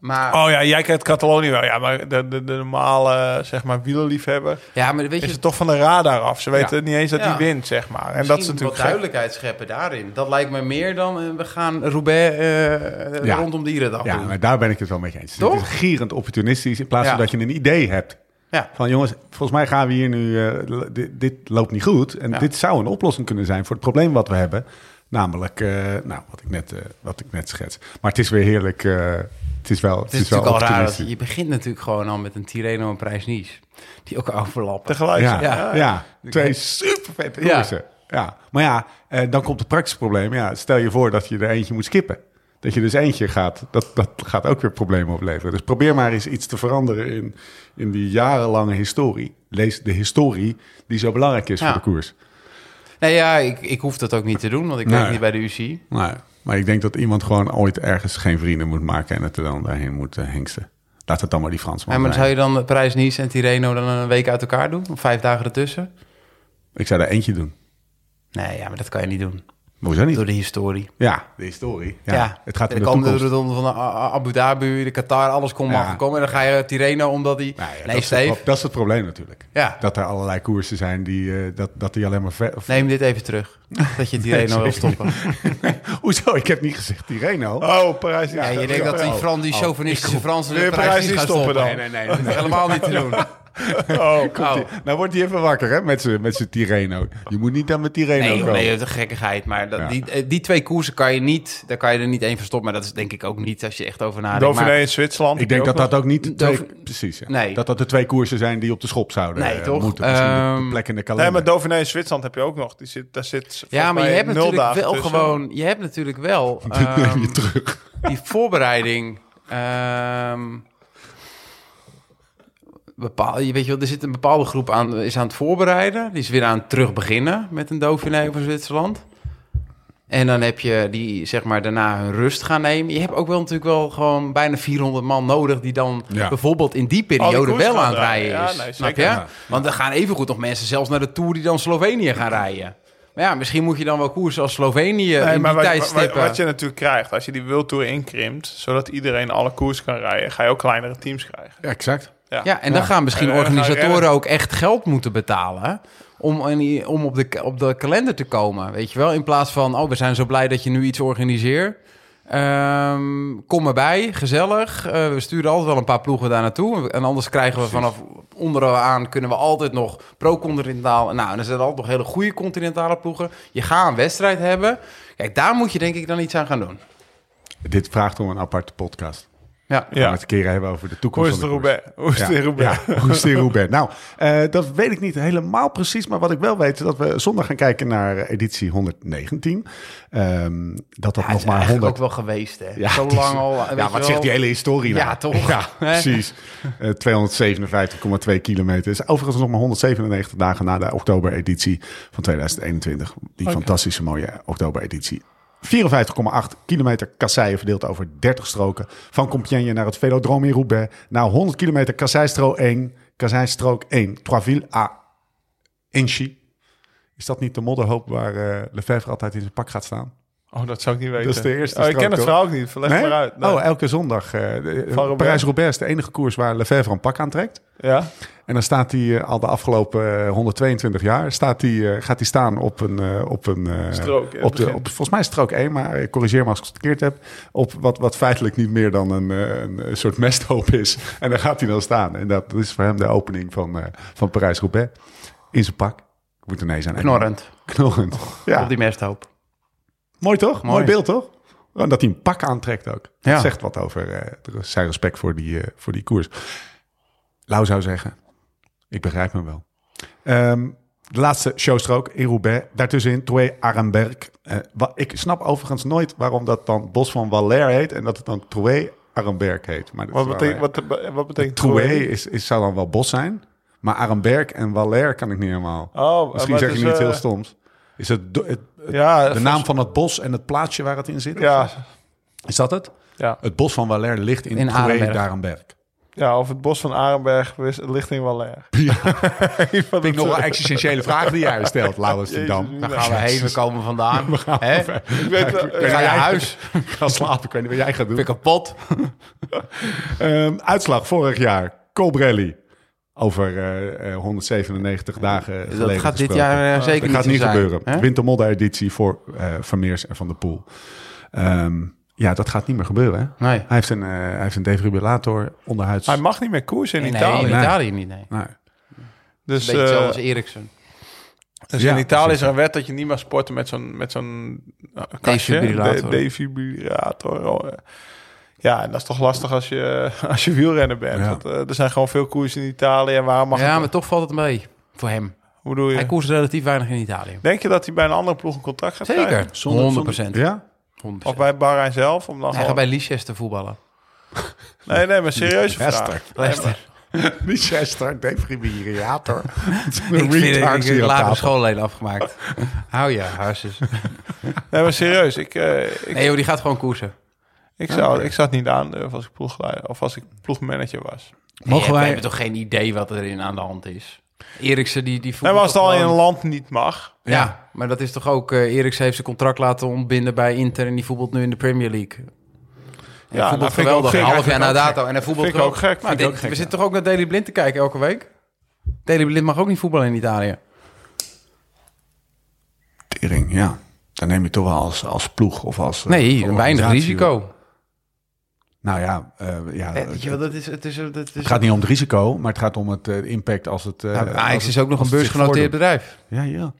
Maar,
Oh ja, jij kijkt Catalonië wel. Ja, maar de, de, de normale, zeg maar, wielerliefhebber
ja, maar weet
is
je...
het toch van de radar af. Ze weten
Ja.
niet eens dat
Ja.
die wint, zeg maar. En dat is
misschien
natuurlijk
wat
gek.
duidelijkheid scheppen daarin. Dat lijkt me meer dan eh, we gaan Roubaix eh
Ja.
rondom dierendag
Ja,
doen.
maar daar ben ik het wel mee eens.
Toch?
Dit is gierend opportunistisch in plaats
Ja.
van dat je een idee hebt.
Ja.
Van jongens, volgens mij gaan we hier nu, eh, l- dit, dit loopt niet goed. En
Ja.
dit zou een oplossing kunnen zijn voor het probleem wat we hebben. Namelijk, eh, nou, wat ik, net, eh, wat ik net schets. Maar het is weer heerlijk. eh, het is wel
Het is natuurlijk al
wel
raar. Dat,
optimistisch.
je begint natuurlijk gewoon al met een Tireno en Prijs Nice. Die ook overlappen.
Tegelijk.
Ja,
ja.
ja. twee super vette
Ja.
koersen. Ja. Maar ja, eh, dan komt het praktische probleem. Ja, stel je voor dat je er eentje moet skippen. Dat je dus eentje gaat, dat, dat gaat ook weer problemen opleveren. Dus probeer maar eens iets te veranderen in, in die jarenlange historie. Lees de historie die zo belangrijk is
Ja.
voor de koers.
Nee, ja, ik, ik hoef dat ook niet te doen, want ik
Nee.
werk niet bij de UCI.
Nou, maar ik denk dat iemand gewoon ooit ergens geen vrienden moet maken en het er dan daarheen moet eh, hengsten. Laat het dan maar die Fransman
Ja, maar
zijn.
zou je dan Prijs Nice en Tireno dan een week uit elkaar doen? Of vijf dagen ertussen?
Ik zou er eentje doen.
Nee, ja, maar dat kan je niet doen.
Hoezo niet?
Door de historie.
Ja, de historie. Ja,
Ja,
het gaat om
dan
de
kwam de
toekomst.
rotonde van de A- A- Abu Dhabi, de Qatar, alles kon
Ja.
mag komen. En dan ga je Tireno omdat die...
Nou ja, dat,
nee,
is het,
Steve,
pro- dat is het probleem natuurlijk.
Ja.
Dat er allerlei koersen zijn die, eh, dat, dat die alleen maar... ver- of-
neem dit even terug. Dat je Tireno wil stoppen.
Hoezo? Ik heb niet gezegd Tireno.
Oh, Parijs.
Ja, je denkt dat
Oh,
die, Fran, die chauvinistische Fransen
Wil
de
je
Prijs Nice gaan stoppen.
dan?
Nee, nee, nee, dat is helemaal niet te doen. Oh,
Nou wordt hij even wakker hè, met zijn met z'n Tireno. Je moet niet aan met Tireno
Nee, joh,
komen.
nee, dat is gekkigheid. Maar dat,
Ja.
die, eh, die twee koersen kan je niet, daar kan je er niet één verstoppen. Maar dat is denk ik ook niet als je echt over nadenkt.
Dauphiné
Maar-
in Zwitserland.
ik denk dat dat ook niet de twee,
Doof-
precies, ja.
Nee.
dat dat de twee koersen zijn die op de schop zouden
Nee,
eh,
toch?
moeten. Misschien de- de
Ehm,
plek in de
Nee,
kalender.
maar Dauphiné in Zwitserland heb je ook nog. Die zit, daar zit
ja, maar je hebt natuurlijk wel
tussen.
gewoon, je hebt natuurlijk wel
Dit neem je
ehm,
terug.
die voorbereiding. ehm, bepaal, je weet je wel, er zit een bepaalde groep aan, is aan het voorbereiden. Die is weer aan het terugbeginnen met een Dauphiné over Zwitserland. En dan heb je die, zeg maar, daarna hun rust gaan nemen. Je hebt ook wel natuurlijk wel gewoon bijna 400 man nodig... die dan
Ja.
bijvoorbeeld in die
Al die
periode
koers
wel
gaan
aan het
draaien.
rijden is.
Ja, nee,
snap je?
zeker.
Ja.
Want er gaan evengoed nog mensen zelfs naar de Tour... die dan Slovenië gaan rijden. Maar ja, misschien moet je dan wel koersen als Slovenië
Nee,
in
maar
die
wat,
tijd
wat,
stippen.
wat je natuurlijk krijgt, als je die World Tour inkrimpt, zodat iedereen alle koers kan rijden, ga je ook kleinere teams krijgen.
Ja, exact.
Ja.
Ja, en dan gaan misschien
En dan gaan
organisatoren
rennen.
ook echt geld moeten betalen om, in die- om op, de, op de kalender te komen. Weet je wel, in plaats van, oh, we zijn zo blij dat je nu iets organiseert. Ehm, kom erbij, gezellig. Eh, we sturen altijd wel een paar ploegen daar naartoe. En anders krijgen we vanaf onderaan kunnen we altijd nog pro-continentaal. Nou, en er zijn altijd nog hele goede continentale ploegen. Je gaat een wedstrijd hebben. Kijk, daar moet je denk ik dan iets aan gaan doen.
Dit vraagt om een aparte podcast.
Ja.
Gaan we
Ja.
het een keer hebben over de
Hoe
toekomst
is de
van de koers.
Roubaix? Hoe is
Ja,
de Roubaix?
ja, hoe is de Roubaix? Nou, eh, dat weet ik niet helemaal precies. Maar wat ik wel weet, is dat we zondag gaan kijken naar eh, editie 119. Ehm, dat dat
Hij
nog
is
maar
eigenlijk
100...
ook wel geweest, hè?
Ja,
zo
het is-
lang al. weet
Ja,
je
wat zegt
wel.
die hele historie nou?
Ja, toch?
Ja,
Hè?
precies. Eh, 257,2 kilometer. Is overigens nog maar 197 dagen na de oktobereditie van 2021. Die fantastische mooie oktobereditie. 54,8 kilometer kasseien verdeeld over 30 stroken. Van Compiègne naar het Velodrome in Roubaix. Na 100 kilometer kasseistrook 1. Kasseistrook 1. Troisville à Inchy. Is dat niet de modderhoop waar eh, Lefebvre altijd in zijn pak gaat staan?
Oh, dat zou ik niet weten.
Dat is de eerste
Oh, ik ken
strook,
het
toch?
verhaal ook niet. Verleg
Nee?
maar uit. Nee.
Oh, elke zondag. eh, de-
Van Robert.
Parijs-Roubaix is de enige koers waar Lefebvre een pak aantrekt.
ja?
En dan staat hij eh, al de afgelopen eh, 122 jaar... Staat hij, eh, gaat hij staan op een... eh, op een eh,
Strook, eh,
Op de,
begin.
op, volgens mij is strook 1, maar eh, corrigeer me als ik het verkeerd heb. Op wat, wat feitelijk niet meer dan een, eh, een eh, soort mesthoop is. En daar gaat hij dan staan. En dat is voor hem de opening van, eh, van Parijs-Roubaix. In zijn pak. Ik moet ineens aan
Knorrend Oh,
Knorrend. Ja.
op die mesthoop.
Mooi toch? Mooi,
Mooi.
beeld toch? En dat hij een pak aantrekt ook.
Ja.
Dat zegt wat over eh, zijn respect voor die, eh, voor die koers. Lau zou zeggen, ik begrijp hem wel. Ehm, de laatste showstrook in Roubaix. Daartussenin Troy Arenberg. Eh, wa- ik snap overigens nooit waarom dat dan Bos van Waller heet... en dat het dan Troy Arenberg heet. Maar dat
Wat
is wel,
betekent,
eh,
wat, wat betekent
Troué
Troué?
is, is, zou dan wel Bos zijn. Maar Arenberg en Waller kan ik niet helemaal.
Oh,
Misschien
maar
zeg
het
ik
is,
niet heel
eh,
stoms. Is het, do- het- het-
Ja,
de
volgens-
naam van het bos en het plaatsje waar het in zit?
Ja,
Is dat het?
ja.
Het bos van Waller ligt in,
In
Troué
Arenberg.
Darenberg.
ja, of het bos van Arenberg, wist- ligt in Waller.
Vind ik nog wel existentiële vraag die jij stelt, Laurens ten Dam.
Jezus,
Daar gaan we heen, we komen vandaan. Hè?
Ik weet wel- eh,
We gaan
ja.
naar huis,
Ga slapen, ik weet niet wat jij gaat doen.
weer kapot.
Ehm, uitslag vorig jaar. Colbrelli. Over eh, eh, 197 dagen geleden
Dat gaat dit
gesproken.
jaar eh, zeker
Dat
niet
gaat
zo
niet
zijn,
gebeuren.
hè?
Wintermodder editie voor eh Vermeers en Van der Poel. Ehm, Ja, dat gaat niet meer gebeuren. Hè?
Nee.
Hij heeft een, eh, hij heeft een defibrillator onderhuids.
Hij mag niet meer koersen in
Nee,
Italië.
in Italië niet, nee.
Nou,
Dus,
Beetje
eh,
hetzelfde als Eriksen.
dus
Ja,
in Italië is
precies.
er een wet dat je niet mag sporten met zo'n met zo'n eh, kastje.
Defibrillator.
De- defibrillator. Oh, eh. Ja, en dat is toch lastig als je, als je wielrenner bent.
Ja.
Want, eh, er zijn gewoon veel koersen in Italië. En waarom mag
ja,
het-
maar toch valt het mee voor hem.
Hoe doe je?
Hij koerst relatief weinig in Italië.
Denk je dat hij bij een andere ploeg een contract gaat
Zeker,
krijgen?
100 procent.
ja?
Of bij Bahrein zelf? Om dan
Hij gaat
gewoon-
bij Leicester voetballen.
Nee, nee, maar serieuze
Leicester.
vraag.
Leicester.
Niet Chester, defibrillator.
Ik vind ik- ik
Retard
heb
hier
de
aan
lagere
tafel.
school alleen afgemaakt. Hou je, hartjes.
Nee, maar serieus. Ik, eh, ik,
Nee joh, die gaat gewoon koersen.
ik, zou, ik zou het niet aandurven als ik ploegleider of als ik ploegmanager was.
Mogen
wij-
wij... hebben toch geen idee wat erin aan de hand is? Eriksen die... die
Nee, maar als het al in een
gewoon-
land niet mag.
Ja. maar dat is toch ook... eh Eriksen heeft zijn contract laten ontbinden bij Inter... en die voetbalt nu in de Premier League. Ja,
nou,
ja voetbalt
vind ik ook
geweldig.
gek.
Een half jaar na
Vind ik ook
dato. En hij voetbalt
Vind ik ook
geweldig.
gek,
Maar
vind ik
dit-
ook gek,
we
ja.
zitten toch ook naar Daily Blind te kijken elke week? Daily Blind mag ook niet voetballen in Italië.
Tering, ja. Dan neem je toch wel als, als ploeg of als... eh,
Nee, een weinig
organisatie.
risico.
Nou ja, eh, ja
Eh, weet je wel, dat is... Het is, dat is
het gaat niet om het risico, maar het gaat om het eh, impact als het... eh,
Nou,
als
Ajax
het-
is ook nog
als
een
het zich
beursgenoteerd bedrijf.
voordoet. Ja, ja.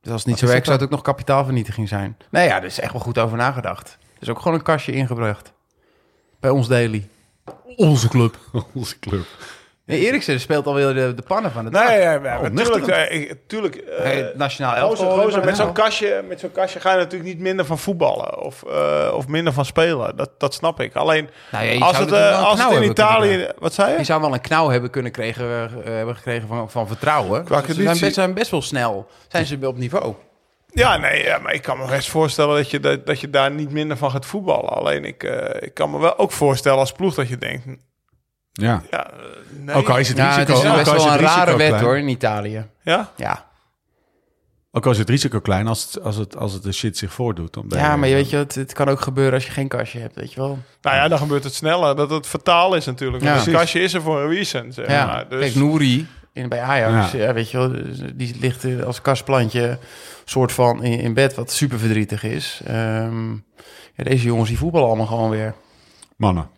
Dus als het niet
Wat
zo
is
werkt,
dat
zou het ook nog kapitaalvernietiging zijn. Nee, ja, er is echt wel goed over nagedacht. Er is ook gewoon een kastje ingebracht. Bij ons daily. Onze club.
Onze club. Oh,
Nee, Eriksen speelt alweer de, de pannen van de dag.
Nee, ja, maar
nuchterend.
natuurlijk. eh, ik- Tuurlijk, eh,
Hey, het nationaal
gozer,
elftal.
gozer, met zo'n
kastje.
kastje, met zo'n kastje ga je natuurlijk niet minder van voetballen of, eh, of minder van spelen. Dat, dat snap ik. Alleen
Nou ja, je
als
zou
het,
natuurlijk wel
eh,
een
als het
knauw
in
hebben kunnen
Italië, wat zei
Je
je?
zou wel een knauw hebben kunnen kregen, eh, hebben gekregen van, van vertrouwen.
Qua
Ze zijn
conditie.
best, zijn best wel snel. Zijn ze op niveau.
Ja, nee, ja, maar ik kan me best voorstellen dat je, dat, dat je daar niet minder van gaat voetballen. Alleen ik, eh, ik kan me wel ook voorstellen als ploeg dat je denkt,
Ja.
ja, eh, nee.
Ook al is het
Ja, het
risico...
is
ook al
best wel
het
een
risico
rare wet
klein.
hoor in Italië.
Ja?
Ja,
Ook al is het risico klein, als het, als het, als het de shit zich voordoet. Dan ben
ja maar je weet je, het, het kan ook gebeuren als je geen kastje hebt, weet je wel.
Nou ja, dan gebeurt het sneller. Dat het fataal is natuurlijk.
Ja.
Want het
Precies.
kastje is er voor een reason, zeg
Ja,
maar. Dus,
kijk, Nouri in, bij Ajax, ja. weet je wel, die ligt eh, als kastplantje soort van in, in bed, wat super verdrietig is. Ehm, ja, deze jongens die voetballen allemaal gewoon weer.
Mannen.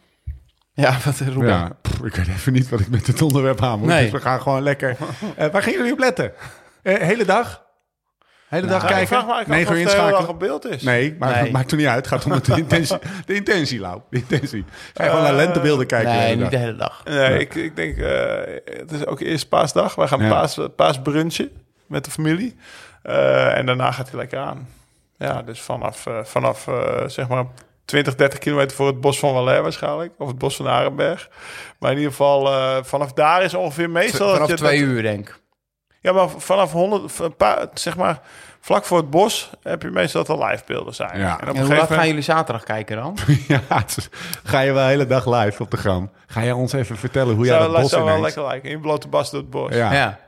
Ja, wat roepen.
Ja, pff, ik weet even niet wat ik met dit onderwerp aan moet.
Nee.
Dus we gaan gewoon lekker. Eh, waar gingen jullie op letten? Eh, hele dag? Hele dag
Ja, Nou, ik
kijken?
vraag me eigenlijk af
Negen
of
uur
het de hele dag
inschakelen?
op beeld is.
Nee, maar
Nee.
het maakt er niet uit. Het gaat om het- de intentie. De intentie, Lau. De intentie. Ga je gewoon
Eh,
naar lentebeelden kijken. de
nee,
hele
niet
dag.
de hele dag.
Nee, Ik, ik denk, eh, het is ook eerst paasdag. Wij gaan
Ja.
paas, paasbrunchen met de familie. Eh, en daarna gaat hij lekker aan. Ja, dus vanaf, eh, vanaf eh, zeg maar 20, 30 kilometer voor het bos van Waller waarschijnlijk. Of het bos van Arenberg. Maar in ieder geval, eh, vanaf daar is ongeveer
Tw-
meestal...
Vanaf
dat je,
twee
dat-
uur, denk ik.
Ja, maar vanaf 100, v- een paar, zeg maar vlak voor het bos heb je meestal dat er live beelden zijn.
Ja.
En op
En
En hoe
een gegeven
laat
moment...
gaan jullie zaterdag kijken dan?
Ja, het is- ga je wel de hele dag live op de gram. Ga je ons even vertellen hoe jij
Zou,
dat bos
zou wel
ineens...
lekker lijken. In blote bas door het bos.
Ja.
Ja.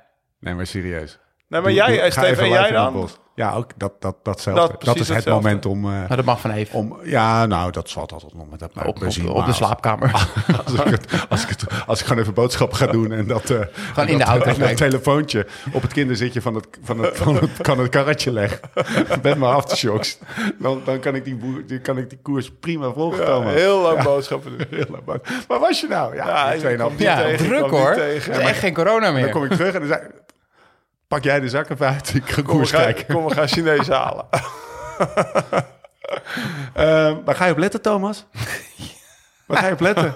Nee, maar serieus.
Nee, maar
Doe-
jij,
doe-
eh,
ga
Steven,
even
en
live
jij
in het
dan?
bos. Ja, ook dat, dat, datzelfde.
Dat-
Dat,
precies
is het
hetzelfde.
moment om... eh,
Maar dat mag van even.
om, eh, ja, nou, dat valt altijd nog met dat
Op, op,
plezier,
op
maar
de
als-
slaapkamer.
Als ik, het, als, ik het, als ik gewoon even boodschappen ga doen en dat, eh, en
in de
dat,
auto
en dat
kijken.
telefoontje op het kinderzitje van het, van het, van het, kan het karretje leggen met mijn aftershocks, dan, dan kan, ik die boer, die, kan ik die koers prima volgen.
Ja,
Thomas.
heel lang boodschappen doen.
Heel erg bang. Waar was je nou? Ja,
Ja,
ja
ik kwam niet
ja.
Ja,
tegen, ik
druk
kwam
hoor.
niet
Het
tegen.
is
Ja, maar-
echt geen corona
Dan
meer.
kom ik terug en dan zei pak jij de zak even uit, ik ga
Kom, we
koers
gaan,
kijken.
kom, we gaan Chinees halen.
Eh, waar ga je op letten, Thomas? Waar ga je op letten?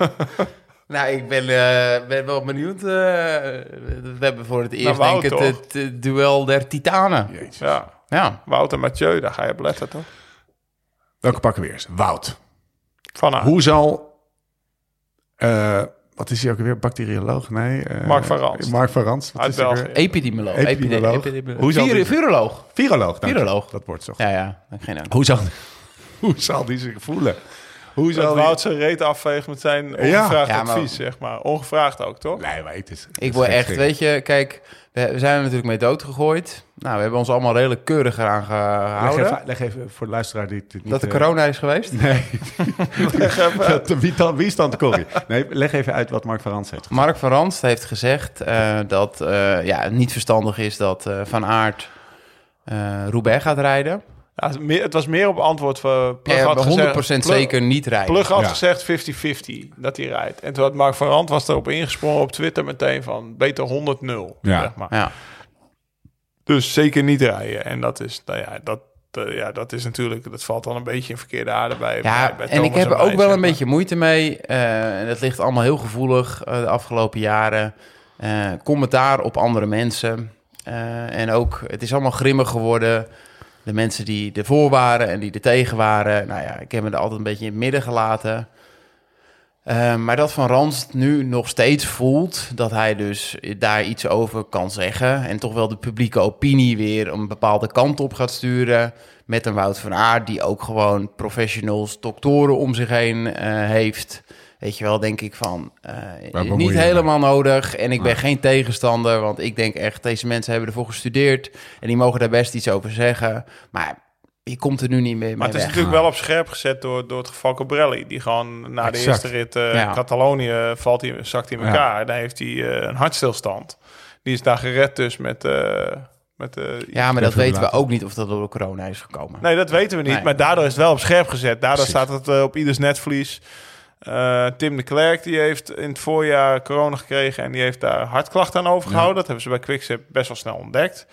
Nou, ik ben, eh, ben wel benieuwd. eh, we hebben voor het eerst,
Wout,
denk ik, het,
toch?
het, eh, duel der titanen.
Ja,
Ja.
Wout en Mathieu, daar ga je op letten, toch?
Welke pakken we eerst? Wout.
Van Aert.
Hoe zal. eh, wat is hij ook weer? Bacterioloog? Nee. eh,
Mark van Ranst.
Mark van Rans. Wat
Uit
is hij
België.
weer?
Epidemioloog.
Epidemioloog.
Epide- epidemioloog.
Hoe zal
Viru-
die-
Viroloog.
Viroloog. dank je.
Viroloog.
Dat wordt zo.
Ja, ja. Geen idee.
Hoe, zal, hoe zal die zich voelen? Hoe
Dat
zal die-
Wout zijn reet afveegt met zijn ongevraagd
Ja, maar-
advies, zeg maar. Ongevraagd ook, toch?
Nee, maar het is. het
Ik
is
wil
geen
echt,
schrik.
weet je, kijk, we we zijn er natuurlijk mee doodgegooid. Nou, we hebben ons allemaal redelijk keurig eraan
Leg
gehouden.
even, leg even voor de luisteraar die dit niet.
Dat de
eh,
corona is geweest.
Nee. dat de wie- wie stand Corrie? Nee, leg even uit wat Mark van Rans heeft.
Mark van Ranst heeft gezegd eh, dat eh, ja, het niet verstandig is dat eh, Van Aert eh Roubaix gaat rijden.
Ja, het, meer, het was meer op antwoord van Plug
Ja,
had gezegd-
100%
Plug-
zeker niet rijden.
Plug had
Ja.
gezegd 50-50 dat hij rijdt. En toen had Mark van Rand was erop ingesprongen op Twitter meteen van beter 100-0.
Ja.
Zeg maar.
Ja.
Dus zeker niet rijden. En dat is, nou ja, dat, eh, ja, dat is natuurlijk, dat valt dan een beetje in verkeerde aarde bij.
Ja,
bij- bij
en ik
Thomas
heb er ook
mij,
wel
zeg
een
maar.
beetje moeite mee. eh, en dat ligt allemaal heel gevoelig eh, de afgelopen jaren. Eh, commentaar op andere mensen. Eh, en ook, het is allemaal grimmer geworden. De mensen die ervoor waren en die er tegen waren. Nou ja, ik heb me er altijd een beetje in het midden gelaten. Eh, maar dat Van Rans nu nog steeds voelt dat hij dus daar iets over kan zeggen. En toch wel de publieke opinie weer een bepaalde kant op gaat sturen. Met een Wout van Aert die ook gewoon professionals, doktoren om zich heen eh, heeft. Weet je wel, denk ik van, eh,
bemoeien
niet
je mee?
helemaal nodig. En ik ben geen tegenstander, want ik denk echt, deze mensen hebben ervoor gestudeerd. En die mogen daar best iets over zeggen. Maar je komt er nu niet meer
Maar
mee
het is
weg.
natuurlijk wel op scherp gezet door, door het geval Cobrelli. Die gewoon na de
Exact.
eerste rit eh
Ja.
Catalonië valt hij, zakt hij in
Ja.
elkaar. Daar heeft hij eh, een hartstilstand. Die is daar gered dus met... eh, met eh,
Ja, maar dat
Even
weten we
laten.
ook niet of dat door corona is gekomen.
Nee, dat weten we niet.
Nee.
Maar daardoor is het wel op scherp gezet. Daardoor
Precies.
staat het eh, op ieders netvlies. Eh, Tim de Klerk die heeft in het voorjaar corona gekregen en die heeft daar hartklachten aan overgehouden. Dat hebben ze bij Quickstep best wel snel ontdekt.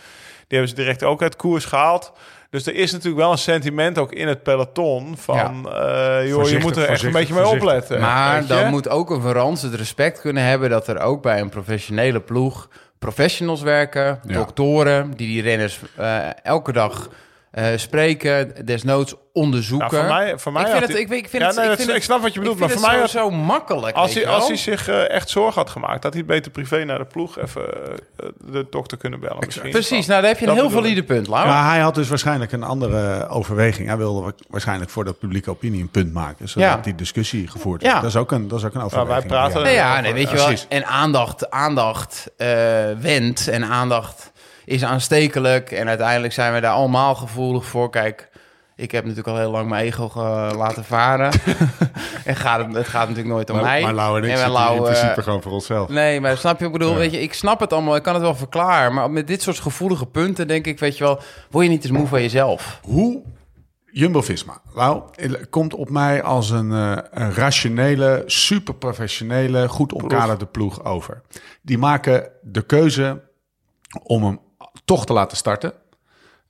Die hebben ze direct ook uit koers gehaald. Dus er is natuurlijk wel een sentiment ook in het peloton van... eh, joh, je
Voorzichtig,
moet er echt een
voorzichtig,
beetje mee
voorzichtig.
opletten.
maar
eh, weet je?
dan moet ook een Verans het respect kunnen hebben dat er ook bij een professionele ploeg professionals werken,
Ja.
doktoren, die die renners eh, elke dag eh, spreken, desnoods onderzoeken.
Nou, voor mij, voor mij
ik
had
vind het,
hij-
ik, ik vind
Ja,
het,
nee,
ik
dat-
vind het,
ik snap wat je bedoelt, maar voor mij had-
zo, zo makkelijk. weet
Als hij,
je
als
wel.
hij zich eh, echt zorgen had gemaakt, had hij beter privé naar de ploeg even eh, de dokter kunnen bellen. misschien.
Precies, nou daar heb je een
Dat
heel
bedoel
valide punt, Lau.
Maar hij had dus waarschijnlijk een andere overweging. Hij wilde wa- waarschijnlijk voor de publieke opinie een punt maken. Zodat
Ja.
die discussie gevoerd
Ja.
wordt. Dat, is ook een, dat is ook een Nou,
wij
overweging.
praten
Ja.
Nee, ja,
over-
nee, weet je wel.
precies.
En aandacht, aandacht eh wendt en aandacht is aanstekelijk. En uiteindelijk zijn we daar allemaal gevoelig voor. Kijk, ik heb natuurlijk al heel lang mijn ego eh, laten varen. en gaat, het het gaat natuurlijk nooit om
Maar,
mij.
maar Lau en ik zitten
Lau,
in
eh,
principe gewoon voor onszelf.
Nee, maar snap je? Ik bedoel, weet je, ik snap het allemaal. Ik kan het wel verklaren. Maar met dit soort gevoelige punten denk ik, weet je wel... Word je niet eens moe van jezelf?
Hoe Jumbo-Visma, Lau, het komt op mij als een, eh, een rationele, superprofessionele, goed omkaderde ploeg over. Die maken de keuze om hem toch te laten starten.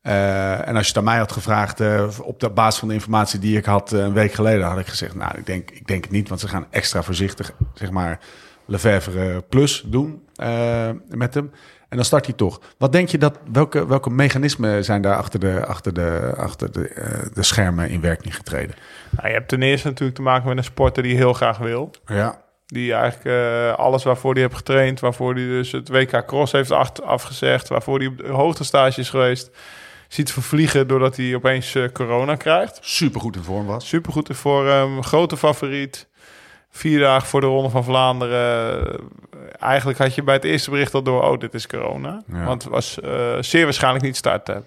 Eh, en als je het aan mij had gevraagd, eh, op de basis van de informatie die ik had eh, een week geleden, had ik gezegd, nou, ik denk, ik denk het niet, want ze gaan extra voorzichtig, zeg maar, Lefevre eh, plus doen eh, met hem. En dan start hij toch. Wat denk je dat, welke, welke mechanismen zijn daar achter de, achter de, achter de, eh, de schermen in werking getreden?
Nou, je hebt ten eerste natuurlijk te maken met een sporter die heel graag wil.
Nou Ja,
Die eigenlijk eh, alles waarvoor hij heeft getraind, waarvoor hij dus het WK Cross heeft acht- afgezegd, waarvoor hij op de hoogtestage is geweest, ziet vervliegen doordat hij opeens eh, corona krijgt.
supergoed in vorm was.
Supergoed ervoor, hem, grote favoriet. Vier dagen voor de Ronde van Vlaanderen. Eigenlijk had je bij het eerste bericht al door, oh, dit is corona.
Ja.
Want het was eh, zeer waarschijnlijk niet starten.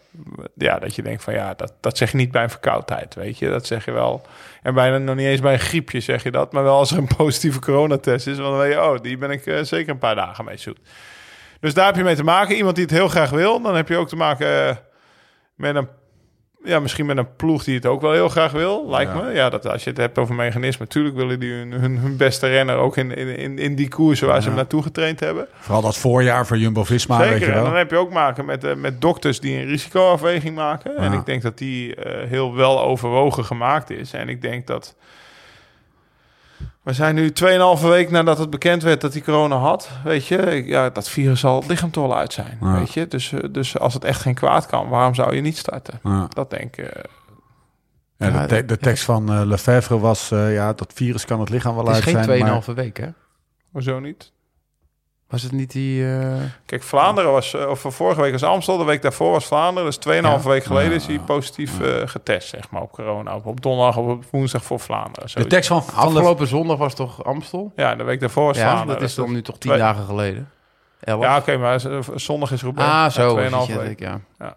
Ja, dat je denkt van ja, dat, dat zeg je niet bij een verkoudheid, weet je. Dat zeg je wel. En bijna nog niet eens bij een griepje zeg je dat. Maar wel als er een positieve coronatest is, want dan weet je, oh, die ben ik eh, zeker een paar dagen mee zoet. Dus daar heb je mee te maken. Iemand die het heel graag wil. Dan heb je ook te maken eh, met een... Ja, misschien met een ploeg die het ook wel heel graag wil, lijkt
Ja.
me. Ja, dat als je het hebt over mechanismen. Natuurlijk willen die hun, hun, hun beste renner ook in, in, in, in die koers waar ze hem naartoe getraind hebben.
Vooral dat voorjaar voor Jumbo-Visma, Ah, weet je
Zeker. En dan
wel.
heb je ook maken met, eh, met dokters die een risicoafweging maken. En
Ja.
ik denk dat die eh, heel wel overwogen gemaakt is. En ik denk dat. We zijn nu 2,5 week nadat het bekend werd dat hij corona had. Weet je, ik- ja, dat virus zal het lichaam toch al uit zijn.
Ja.
Weet je, dus, eh, dus als het echt geen kwaad kan, waarom zou je niet starten?
Ja.
Dat denk ik. eh,
Ja, de, te- de tekst van eh, Lefevre was, eh, ja, dat virus kan het lichaam wel
Het is
uit zijn. maar-
geen 2,5 week, hè?
hoezo niet?
Was het niet die... eh,
Kijk, Vlaanderen was, eh, of vorige week was Amstel, de week daarvoor was Vlaanderen. Dus 2,5 week geleden is hij positief eh, getest, zeg maar, op corona. Op, op donderdag of op woensdag voor Vlaanderen.
De
zoiets.
tekst van, van Lef-
Afgelopen zondag was toch Amstel?
Ja, de week daarvoor was
Ja,
Vlaanderen.
dat is
Dus
dan nu toch tien
twee-
dagen geleden. Elf.
Ja, oké, maar z- eh, zondag is Roubaix.
Ah, zo.
Ja, 2,5
zit je,
week.
denk ik, ja.
Ja.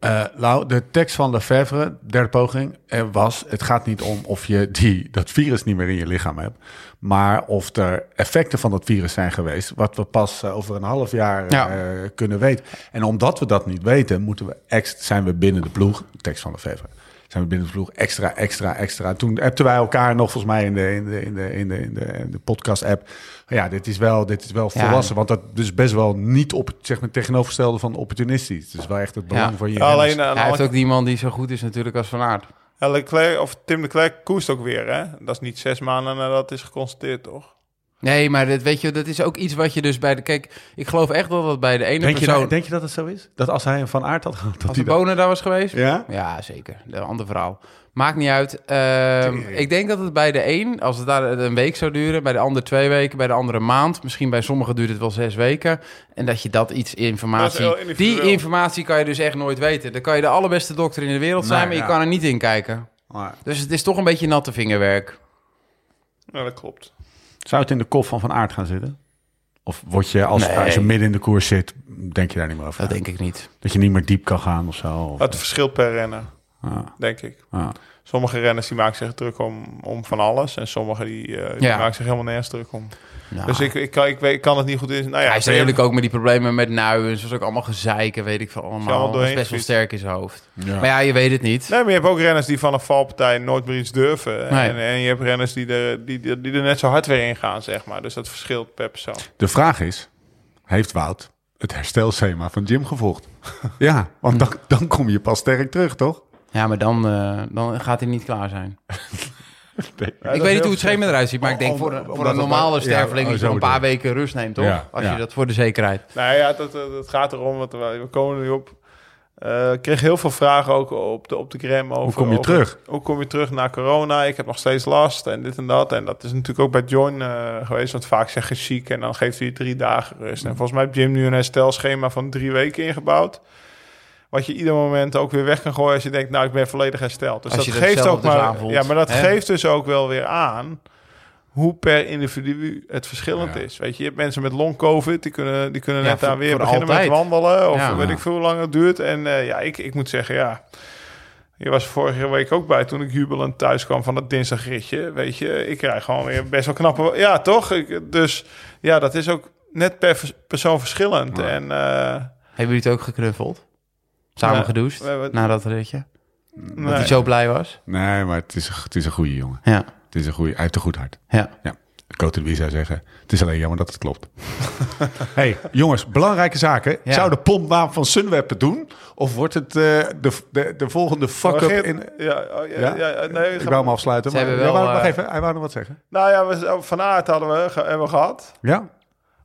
Eh, Lau, de tekst van Lefebvre, derde poging, eh, was... het gaat niet om of je die, dat virus niet meer in je lichaam hebt... maar of er effecten van dat virus zijn geweest... wat we pas eh, over een half jaar eh,
Ja.
eh, kunnen weten. En omdat we dat niet weten, moeten we ex- zijn we binnen de ploeg... tekst van Lefebvre, zijn we binnen de ploeg extra, extra, extra. Toen appten wij elkaar nog volgens mij in de, in de, in de, in de, in de, in de podcast-app... ja, dit is wel, dit is wel
Ja.
volwassen, want dat is best wel niet... op zeg maar, tegenovergestelde van opportunistisch. Het is wel echt het belang
Ja.
van je renners.
Alleen eh, aan
Hij heeft
alle-
ook die man die zo goed is natuurlijk als Van Aert.
Ja, Leclerc, of Tim de Klerk koerst ook weer, hè? Dat is niet zes maanden nadat het is geconstateerd, toch?
Nee, maar dat, weet je, dat is ook iets wat je dus bij de... Kijk, ik geloof echt wel dat bij de ene
Denk je,
persoon...
dat, eh, denk je dat het zo is? Dat als hij een Van Aert had gehad, dat
als de
hij dat...
Bonen daar was geweest?
Ja?
Ja, zeker. Een ander verhaal. Maakt niet uit. Ehm, ik denk dat het bij de een, als het daar een week zou duren, bij de ander twee weken, bij de andere een maand, misschien bij sommigen duurt het wel zes weken. En dat je dat iets informatie.
Dat is heel individueel.
die informatie kan je dus echt nooit weten. Dan kan je de allerbeste dokter in de wereld zijn,
Nee,
maar
ja.
je kan er niet in kijken.
Maar
Dus het is toch een beetje natte vingerwerk.
Ja, dat klopt.
Zou het in de kop van Van Aert gaan zitten? Of word je, als,
Nee.
als je midden in de koers zit, denk je daar niet meer over?
Dat
na?
denk ik niet.
Dat je niet meer diep kan gaan of zo? Of,
Het verschilt per renner,
Ja.
denk ik.
Ja.
Sommige renners die maken zich druk om, om van alles. En sommige die, eh, die
Ja.
maken zich helemaal nergens druk om.
Nou,
Dus ik, ik, kan, ik, weet, ik kan het niet goed in. Nou ja,
hij is
ben je-
natuurlijk ook met die problemen met nuien. Dat is ook allemaal gezeik en weet ik veel allemaal.
allemaal
Dat is
doorheen
best wel
gefietst.
sterk in zijn hoofd. Maar ja, je weet het niet.
Nee, maar je hebt ook renners die van een valpartij nooit meer iets durven.
Nee.
En, en je hebt renners die er, die, die, die er net zo hard weer in gaan, zeg maar. Dus dat verschilt per persoon.
De vraag is, heeft Wout het herstelschema van Jim gevolgd? ja, want dan, dan kom je pas sterk terug, toch?
Ja, maar dan, eh, dan gaat hij niet klaar zijn.
Ja,
ik
dat is
weet niet
heel
hoe het schema eruit ziet, maar ik denk
Om-
voor,
om-
voor
omdat
een
het-
normale
ja,
sterveling
oh,
die
zo
je een
bedoel
paar
je.
weken rust neemt, toch?
Ja,
Als
ja.
je dat voor de zekerheid.
Nou ja, dat, dat, dat gaat erom, want we we komen er nu op. Eh, ik kreeg heel veel vragen ook op de, op de gram over...
Hoe kom je
over-
terug?
Hoe kom je terug na corona? Ik heb nog steeds last en dit en dat. En dat is natuurlijk ook bij John eh, geweest. Want vaak zeg je ziek en dan geeft hij je drie dagen rust. En
Mm.
volgens mij heeft Jim nu een herstelschema van drie weken ingebouwd. Wat je ieder moment ook weer weg kan gooien als je denkt... nou, ik ben volledig hersteld. Dus
Als
dat
je dat
geeft
zelf
ook
dus
maar...
aanvoelt,
ja, maar dat
hè?
geeft dus ook wel weer aan... hoe per individu het verschillend
Ja.
is. Weet je, je hebt mensen met long-covid... die kunnen, die kunnen
Ja,
net daar
voor-
weer
voor
beginnen met
altijd.
wandelen... of
Ja.
weet ik veel hoe lang het duurt. En eh, ja, ik, ik moet zeggen, ja... Je was vorige week ook bij toen ik jubelend thuis kwam van dat dinsdagritje. Weet je, ik krijg gewoon weer best wel knappe... Ja, toch? Ik, dus ja, dat is ook net per vers- persoon verschillend.
Ja.
En eh,
Hebben jullie het ook geknuffeld? Samen
Nee.
gedoucht?
We hebben-
Na dat ritje?
nee.
Dat hij zo blij was?
Nee, maar het is, het is een goede jongen.
Ja.
Het is een goede, hij heeft een goed hart.
ja.
Ja. Cote de Wie zou zeggen, het is alleen jammer dat het klopt. hey, jongens, belangrijke zaken.
Ja.
Zou de pompnaam van Sunweb het doen? Of wordt het eh, de, de, de volgende
Maar
fuck-up
Geert-
in...
Ja, oh, ja,
Ja?
ja? ja, nee,
ik
ga-
wou hem afsluiten,
Ze
maar
hebben
Ja,
wel,
wou- wacht
eh,
even, hij wou nog wat zeggen.
Nou ja, we, van aard hadden we, ge- hebben we gehad.
Ja?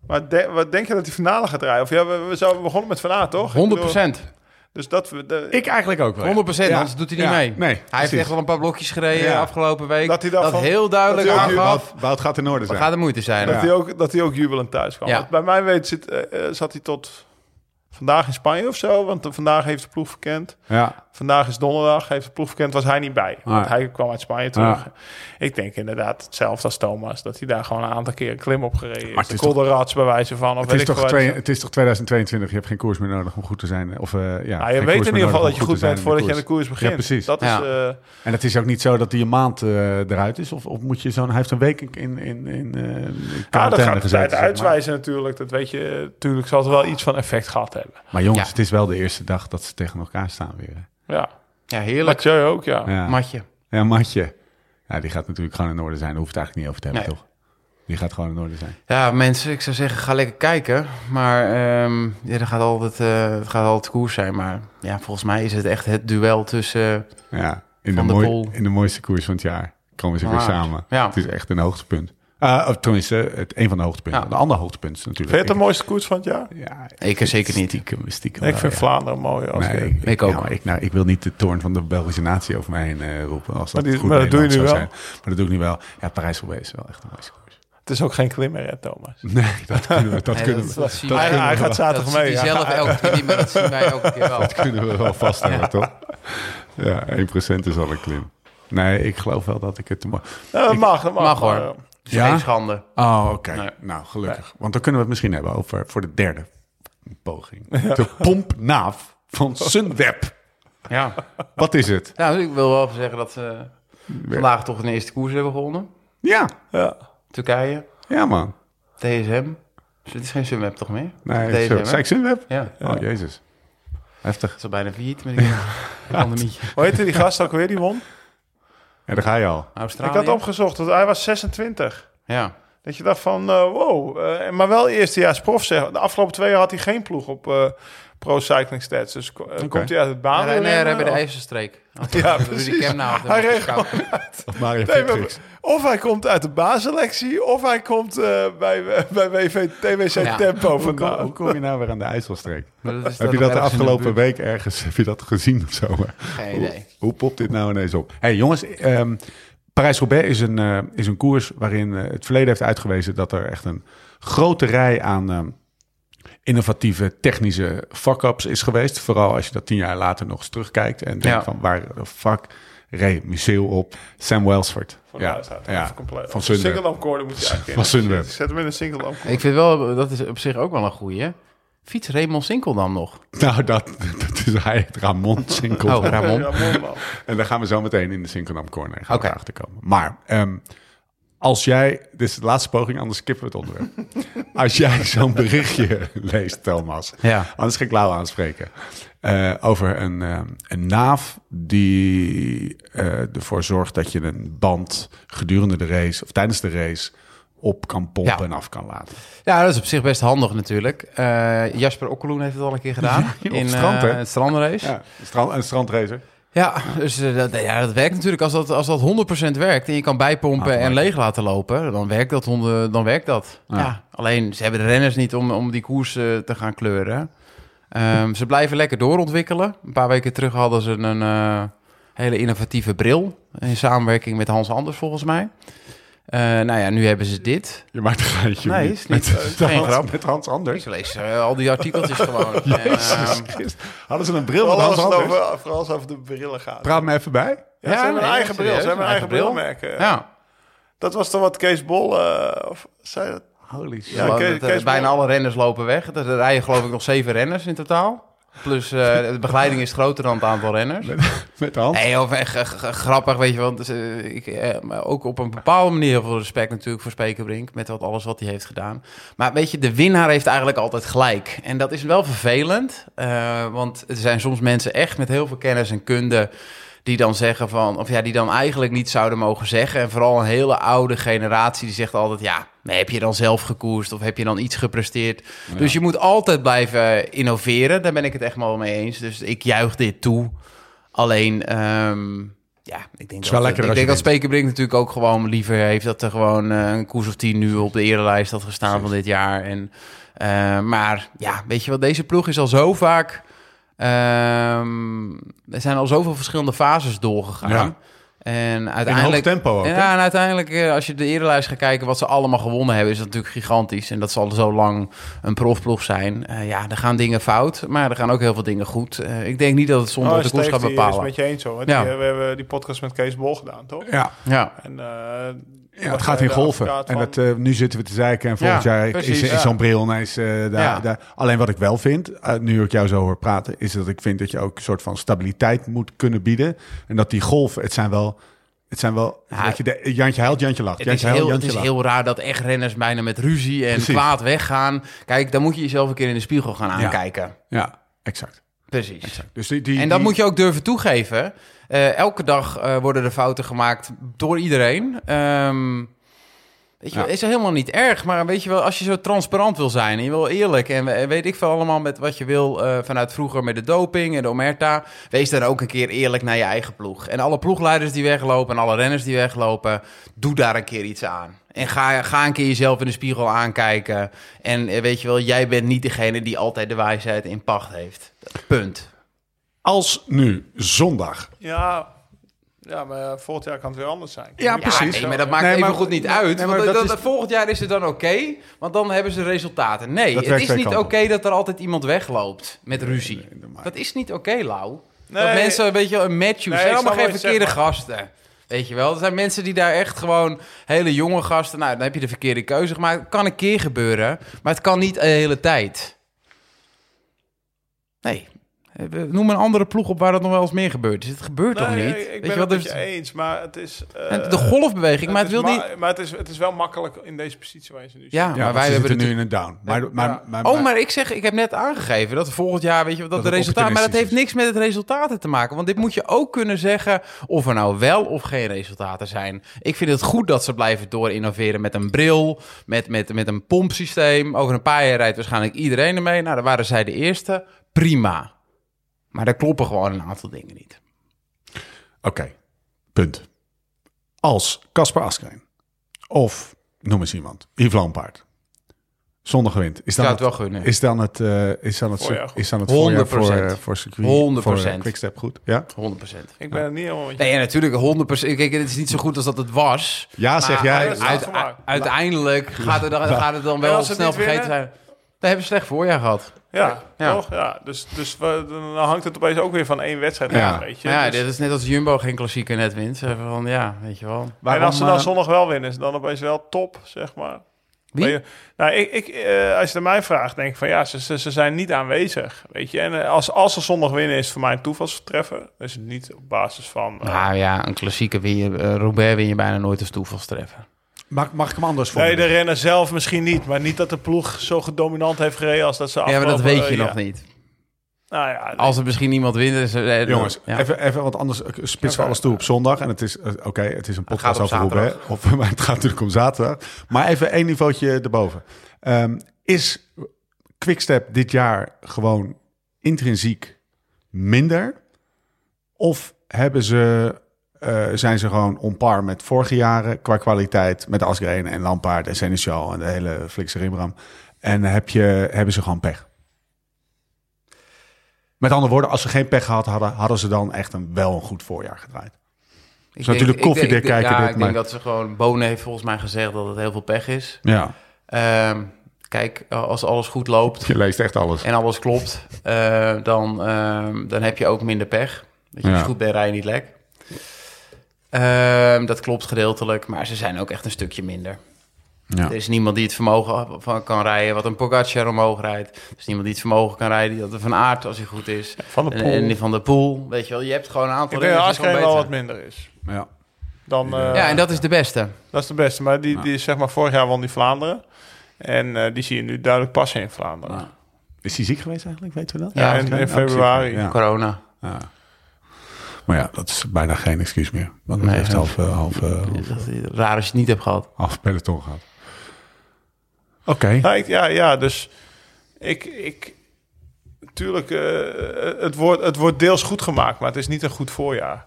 Maar de- wat denk je dat die finale gaat draaien? Of ja, we, we zouden begonnen met van aard, toch?
100%. 100%.
Ik bedoel,
Oh,
dus dat we... de-
Ik eigenlijk ook wel.
anders doet hij niet
Ja.
mee.
Nee,
hij heeft
precies.
echt wel een paar blokjes gereden
Ja.
afgelopen week.
Dat
Dat,
hij daarvan-
heel duidelijk
dat hij ook-
aangaf.
Wout gaat in orde
Dat
zijn.
gaat de moeite zijn.
Dat,
Ja.
hij ook, dat hij ook jubelend thuis kwam.
Ja.
Want Bij mij weet zit, eh, eh, zat hij tot vandaag in Spanje of zo. Want eh, vandaag heeft de ploeg verkend.
Ja.
Vandaag is donderdag, heeft de ploeg verkend, was hij niet bij. Want
Nee.
hij kwam uit Spanje terug.
Ja.
Ik denk inderdaad hetzelfde als Thomas. Dat hij daar gewoon een aantal keer een klim op gereden
Maar
is.
het
De
is toch-
Kolderats bij wijze van. Of
Het
weet
is,
ik
toch
veel
twee,
wat.
het is toch 2022, je hebt geen koers meer nodig om goed te zijn. Of, eh, ja,
Nou, je
geen
weet
koers
in
meer
ieder geval
nodig
dat
om
je goed
te zijn
bent
in
voordat je aan de koers begint.
Ja, precies.
Dat is,
Ja.
eh,
En het is ook niet zo dat hij een maand eh, eruit is. Of, of moet je zo'n... Hij heeft een week in, in, in, in eh,
ja,
quarantaine
dat gaat de tijd
gezeten, zeg maar.
uitwijzen natuurlijk. Dat weet je, eh, natuurlijk zal het wel iets van effect gehad hebben.
Maar jongens,
Ja.
het is wel de eerste dag dat ze tegen elkaar staan weer.
Ja,
Ja, heerlijk.
Mathieu ook, ja.
hè. Ja.
Matje.
ja, Matje. Ja, die gaat natuurlijk gewoon in orde zijn. Daar hoeft het eigenlijk niet over te hebben,
Nee.
toch? Die gaat gewoon in orde zijn.
Ja, mensen, ik zou zeggen, ga lekker kijken. Maar ehm ja, dat gaat altijd, eh, het gaat altijd koers zijn. Maar ja, volgens mij is het echt het duel tussen...
Ja, in, de,
Van de
mooi-
Poel.
in de mooiste koers van het jaar komen ze
Van
weer
Aert.
samen.
Ja.
Het is echt een hoogtepunt. Eh, of tenminste, het, een van de hoogtepunten.
Ja.
De ander hoogtepunt is natuurlijk...
Vind je het de mooiste koers van het jaar?
Ja,
Ik zeker niet.
Stiekem, stiekem
ik
wel,
vind
Oh, ja.
Vlaanderen mooi. Als
Nee,
ik-
ik,
Ik ook.
ja, maar ik, nou, ik wil niet de toorn van de Belgische natie over mij heen eh, roepen. Als dat
Maar die-
goed
maar dat doe je
Nederlands
nu
zou
wel.
zijn. Maar dat doe ik nu wel. Ja, Parijs-Roubaix is wel echt een mooiste koers.
Het is ook geen klim meer, hè, Thomas.
Nee, dat kunnen we, dat
Nee,
kunnen
dat-
we,
dat
dat
zien wij-
hij,
kunnen
hij
we,
gaat zaterdag
dat ziet
mee.
hij
ja.
zelf elke keer niet, maar dat zien wij elke keer wel.
dat kunnen we wel vaststellen, toch? Ja, 1% is al een klim. Nee, ik geloof wel dat ik het... te mo-
Ja, Nou, dat mag, dat mag. eh,
Mag hoor.
Maar,
Het eh, is
Ja?
geen schande.
Oh, oké. Nou, gelukkig. Want dan kunnen we het misschien hebben over voor de derde poging. De pompnaaf van Sunweb.
Ja.
Wat is het?
ja, dus ik wil wel even zeggen dat ze vandaag toch een eerste koers hebben gewonnen.
Ja,
Turkije,
ja man.
DSM. Dus het is geen Sunweb toch meer?
Nee, zo.
hè?
Zei ik Sunweb?
Ja, dat
Oh, jezus. Heftig.
is al bijna failliet met die pandemie.
Hoe heette die gast ook weer, die won?
En daar ga je al.
Ik
Australië.
had opgezocht, want hij was 26.
Ja.
Dat je dacht van, eh, wow. eh, maar wel eerstejaars prof, zeg. De afgelopen twee jaar had hij geen ploeg op eh, Pro Cycling Stats. Dus eh, komt hij uit het baan?
Ah,
oh.
Nee,
eh,
nee, bij de IJzerstreek.
Ja,
Rudy
precies.
Kemna had hem
Hij reed
gescout.
Of Mario
Nee, maar-
Fitrix.
Of hij komt uit de baanselectie, of hij komt eh, bij, bij WV, TWC
Ja.
Tempo
Hoe kom, hoe
vandaan.
kom je nou weer aan de IJsselstreek?
Maar is
Heb je
toch
dat de
ergens in
afgelopen
buurt?
week ergens heb je dat gezien of zo?
Geen
Hoe-
idee.
Hoe popt dit nou ineens op? hey, jongens, ehm, Parijs-Roubaix is, een, eh, is een koers waarin eh, het verleden heeft uitgewezen dat er echt een grote rij aan ehm, innovatieve technische fuck-ups is geweest. Vooral als je dat tien jaar later nog eens terugkijkt en denkt
Ja.
van waar de fuck reed Michiel op? Sam Welsford.
Van de luisteraar,
ja,
even compleet.
van
Single
Sunweb.
lamp koorden moet je eigenlijk
Van
in.
Sunweb.
Zet hem in een single lamp.
Ik vind wel, dat is op zich ook wel een goeie. hè? Fiets Raymond Sinkeldam nog.
Nou, dat, dat is hij, het Ramon Sinkel.
Oh, Ramon.
Ja, mooi man.
En daar gaan we zo meteen in de Sinkeldam Corner gaan
Oké.
we erachter komen. Maar ehm, als jij... Dit is de laatste poging, anders skippen we het onderwerp. als jij zo'n berichtje leest, Thomas...
Ja.
Anders ga ik Lau aanspreken. eh, over een, ehm, een naaf die eh, ervoor zorgt dat je een band gedurende de race... of tijdens de race op kan pompen
Ja.
en af kan laten.
Ja, dat is op zich best handig natuurlijk. Eh, Jasper Okkeloen heeft het al een keer gedaan.
op
in
het strand,
eh,
hè?
het strandrace. Ja,
Ja, een, strand, een strandracer.
dus eh, dat, ja, dat werkt natuurlijk. Als dat, als dat 100% werkt en je kan bijpompen en leeg laten lopen, dan werkt dat. Honden, dan werkt dat. Ja. Alleen, ze hebben de renners niet om, om die koers eh, te gaan kleuren. Ehm, ze blijven lekker doorontwikkelen. Een paar weken terug hadden ze een eh, hele innovatieve bril. In samenwerking met Hans Anders, volgens mij. Eh, nou ja, nu hebben ze dit.
Je maakt een geintje.
Nee,
niet.
is niet.
Met-
eh, geen
Hans-
grap.
Met Hans Anders.
Ik lees eh, al die artikeltjes gewoon. En, ehm,
Hadden ze een bril met
Vooral
Hans
als, het
Anders?
over, vooral als het over de brillen gaat.
Praat me even bij.
Ja, ze hebben
nee,
een eigen bril.
serieus,
Ze hebben een eigen brilmerk. eh.
Ja,
Dat was toch wat Kees Bol... eh, of, zei dat?
Holy shit.
Ja,
Gewoon
Kees-
dat, eh,
Kees
bijna
Bol.
alle renners lopen weg. Er rijden geloof ik nog zeven renners in totaal. Plus eh, de begeleiding is groter dan het aantal renners.
Met de hand.
Nee, of echt eh, g- g- grappig, weet je. Want dus, eh, ik, eh, maar ook op een bepaalde manier heel veel respect natuurlijk voor Spekerbrink. Met wat, alles wat hij heeft gedaan. Maar weet je, de winnaar heeft eigenlijk altijd gelijk. En dat is wel vervelend. eh, want er zijn soms mensen echt met heel veel kennis en kunde. Die dan zeggen van, of ja, die dan eigenlijk niet zouden mogen zeggen. En vooral een hele oude generatie die zegt altijd: ja, maar heb je dan zelf gekoerst of heb je dan iets gepresteerd? Dus je moet altijd blijven innoveren. Daar ben ik het echt wel mee eens. Dus ik juich dit toe. Alleen, ehm, ja, ik denk
is wel
dat,
lekkerder
ik
als
denk
je
dat Spekerbrink natuurlijk ook gewoon liever heeft dat er gewoon eh, een koers of tien nu op de erelijst had gestaan van dit jaar. En, eh, maar ja, weet je wat, deze ploeg is al zo vaak. ehm, er zijn al zoveel verschillende fases doorgegaan.
Ja.
En
In hoog
uiteindelijk.
tempo ook. hè?
ja, en uiteindelijk, eh, als je de erenlijst gaat kijken wat ze allemaal gewonnen hebben, is dat natuurlijk gigantisch. En dat zal zo lang een profploeg zijn. Eh, ja, er gaan dingen fout, maar er gaan ook heel veel dingen goed. Eh, ik denk niet dat het zonder
Oh,
de koers
Steve,
gaat
die is
bepalen.
met je eens, hoor.
Ja.
Die, eh, we hebben die podcast met Kees Bol gedaan, toch?
Ja,
Ja.
En, eh,
ja,
was
het gaat
hij
in
de
golven.
advocaat
En
van-
dat, eh, nu zitten we te zeiken en volgend
Ja,
jaar is,
precies,
is
ja.
zo'n bril ineens eh, daar,
Ja.
daar. Alleen wat ik wel vind, eh, nu ik jou zo hoor praten, is dat ik vind dat je ook een soort van stabiliteit moet kunnen bieden. En dat die golven, het zijn wel... Het zijn wel
Ja.
dat je de, Jantje huilt, Jantje lacht.
Het is,
Jantje huilt,
heel, het
Jantje
is
lacht.
heel raar dat echt renners bijna met ruzie en
Precies.
kwaad weggaan. Kijk, dan moet je jezelf een keer in de spiegel gaan aankijken.
Ja, exact.
Precies.
Dus die, die,
En dat
die-
moet je ook durven toegeven. Eh, elke dag eh, worden er fouten gemaakt door iedereen. Ehm, weet je,
Ja.
wel, is helemaal niet erg. Maar weet je wel, als je zo transparant wil zijn en je wil eerlijk en we- weet ik veel allemaal met wat je wil eh, vanuit vroeger met de doping en de omerta, wees dan ook een keer eerlijk naar je eigen ploeg. En alle ploegleiders die weglopen en alle renners die weglopen, doe daar een keer iets aan. En ga, ga een keer jezelf in de spiegel aankijken. En eh, weet je wel, jij bent niet degene die altijd de wijsheid in pacht heeft. Punt.
Als nu zondag.
ja, ja, maar eh, volgend jaar kan het weer anders zijn.
Ja, precies.
nee, maar dat maakt
Nee,
even
maar-
goed niet
nee,
uit.
nee, maar
want
dat
dat-
is-
dat- volgend jaar is het dan oké, want dan hebben ze resultaten. Nee,
Dat
het
werkt
is
twee
niet oké
kanten
dat er altijd iemand wegloopt met ruzie. dat is niet oké, Lau. dat
Nee.
mensen een beetje een match
Nee,
zijn
ik
allemaal
snap
geen
wat je zegt,
verkeerde gasten. Weet je wel, er zijn mensen die daar echt gewoon hele jonge gasten. Nou, dan heb je de verkeerde keuze gemaakt. Kan een keer gebeuren, maar het kan niet de hele tijd. Nee. eh, Noem een andere ploeg op waar dat nog wel eens meer gebeurt. Dus het gebeurt toch
Nee,
niet?
Ik, ik
Weet
ben
je
het
wat?
met
dus-
je eens, maar het is... eh,
en de golfbeweging, maar het
is
wil
ma-
niet...
Maar het is, het is wel makkelijk in deze positie waar je ze nu
Ja,
zit.
Ja,
maar wij hebben
nu
natuurlijk...
in een down. Maar, maar, maar,
Oh, maar ik zeg, ik heb net aangegeven dat volgend jaar, weet je, dat,
Dat
de
het
resultaten. Maar dat heeft
optimistisch
niks met het resultaten te maken. Want dit moet je ook kunnen zeggen of er nou wel of geen resultaten zijn. Ik vind het goed dat ze blijven doorinnoveren met een bril, met, met, met een pompsysteem. Over een paar jaar rijdt waarschijnlijk iedereen ermee. Nou, daar waren zij de eerste. Prima. Maar daar kloppen gewoon een aantal dingen niet.
Oké, punt. Als Casper Askreen of, noem eens iemand, Yves Lampaard zondag wint, is
Ik
dan
zou het
het,
wel gunnen.
is dan het, eh, is dan het,
Voorjaar
cir-
goed.
is dan het voorjaar voor,
100%.
eh, voor circuit,
100%.
voor eh, Quickstep goed? Ja,
100%.
Ik ben het niet helemaal met je
Nee, ja, natuurlijk 100%. Kijk, het is niet zo goed als dat het was.
ja zeg jij.
dat is-
Uit-
voor mij.
uiteindelijk gaat het, dan, gaat het dan
En
wel
als ze het
snel
niet
vergeten zijn. Daar hebben we slecht voorjaar gehad.
Ja,
Ja.
toch? Ja, dus, dus we, dan hangt het opeens ook weer van één wedstrijd
Ja.
af, weet je.
Maar ja,
Dus-
dit is net als Jumbo geen klassieker net wint. Ze hebben Van, ja, weet je wel.
en als ze dan
eh,
zondag wel winnen, is het dan opeens wel top, zeg maar.
Wie?
Maar je- nou, ik, ik, eh, als je het mij vraagt, denk ik van ja, ze, ze, ze zijn niet aanwezig, weet je. En eh, als, als ze zondag winnen, is het voor mij een toevalstreffer. Dus niet op basis van... eh,
Nou ja, een klassieker win je, eh, Roubaix win je bijna nooit als toevalstreffer.
Mag, mag ik hem anders
Nou,
voor?
Nee, de renner zelf misschien niet, maar niet dat de ploeg zo dominant heeft gereden als dat ze
Ja, maar dat
afgelopen,
weet je
eh,
nog niet.
ja. Nou ja,
Als er misschien niemand wint... Is, er- eh,
Jongens,
ja.
even, even, want anders eh, spitsen we alles toe op zondag. En het is, eh, oké, het is een
gaat
podcast
om
over Roubaix. Of, maar het gaat natuurlijk om zaterdag. Maar even één niveautje erboven. Ehm, is Quickstep dit jaar gewoon intrinsiek minder? Of hebben ze, eh, zijn ze gewoon on par met vorige jaren qua kwaliteit? Met Asgreen en Lampaard en Seneschal en de hele flikse Rimram. En heb je, hebben ze gewoon pech? Met andere woorden, als ze geen pech gehad hadden, hadden ze dan echt een, wel een goed voorjaar gedraaid.
Ik
natuurlijk
denk- ik
koffiedik
denk- ik denk-
kijken
Ja,
dit,
ik denk
maar-
dat ze gewoon... Bonen heeft volgens mij gezegd dat het heel veel pech is.
Ja,
Ehm, kijk, als alles goed loopt...
je leest echt alles.
en alles klopt, eh, dan, ehm, dan heb je ook minder pech. Dat je
Ja.
als je goed bent, rij je niet lek. Ehm, dat klopt gedeeltelijk, maar ze zijn ook echt een stukje minder.
Ja.
Er is niemand die het vermogen van kan rijden wat een Pogacar omhoog rijdt. Er is niemand die het vermogen kan rijden die dat een Van Aert, als hij goed is.
Van der
En-
Poel.
En die Van de Poel, weet je wel. Je hebt gewoon een aantal
ik denk dat
renners die
Askreen wel
gewoon beter
wat minder is.
Ja.
Dan, eh,
zijn. Ja, en dat is de beste.
Dat is de beste. Maar die, die is zeg maar vorig jaar won die Vlaanderen. En eh, die zie je nu duidelijk passen in Vlaanderen.
Ja. Is hij ziek geweest eigenlijk, weten we dat?
Ja,
in- in februari.
Ja.
Corona.
Ja. Maar ja, dat is bijna geen excuus meer. Want het
Nee,
heeft
ja.
half, eh, half, eh, half,
Dat is Raar als je het niet hebt gehad.
half peloton gehad. Oké.
Ja, ik- ja, ja, dus ik... ik tuurlijk, eh, het, wordt, het wordt deels goed gemaakt, maar het is niet een goed voorjaar.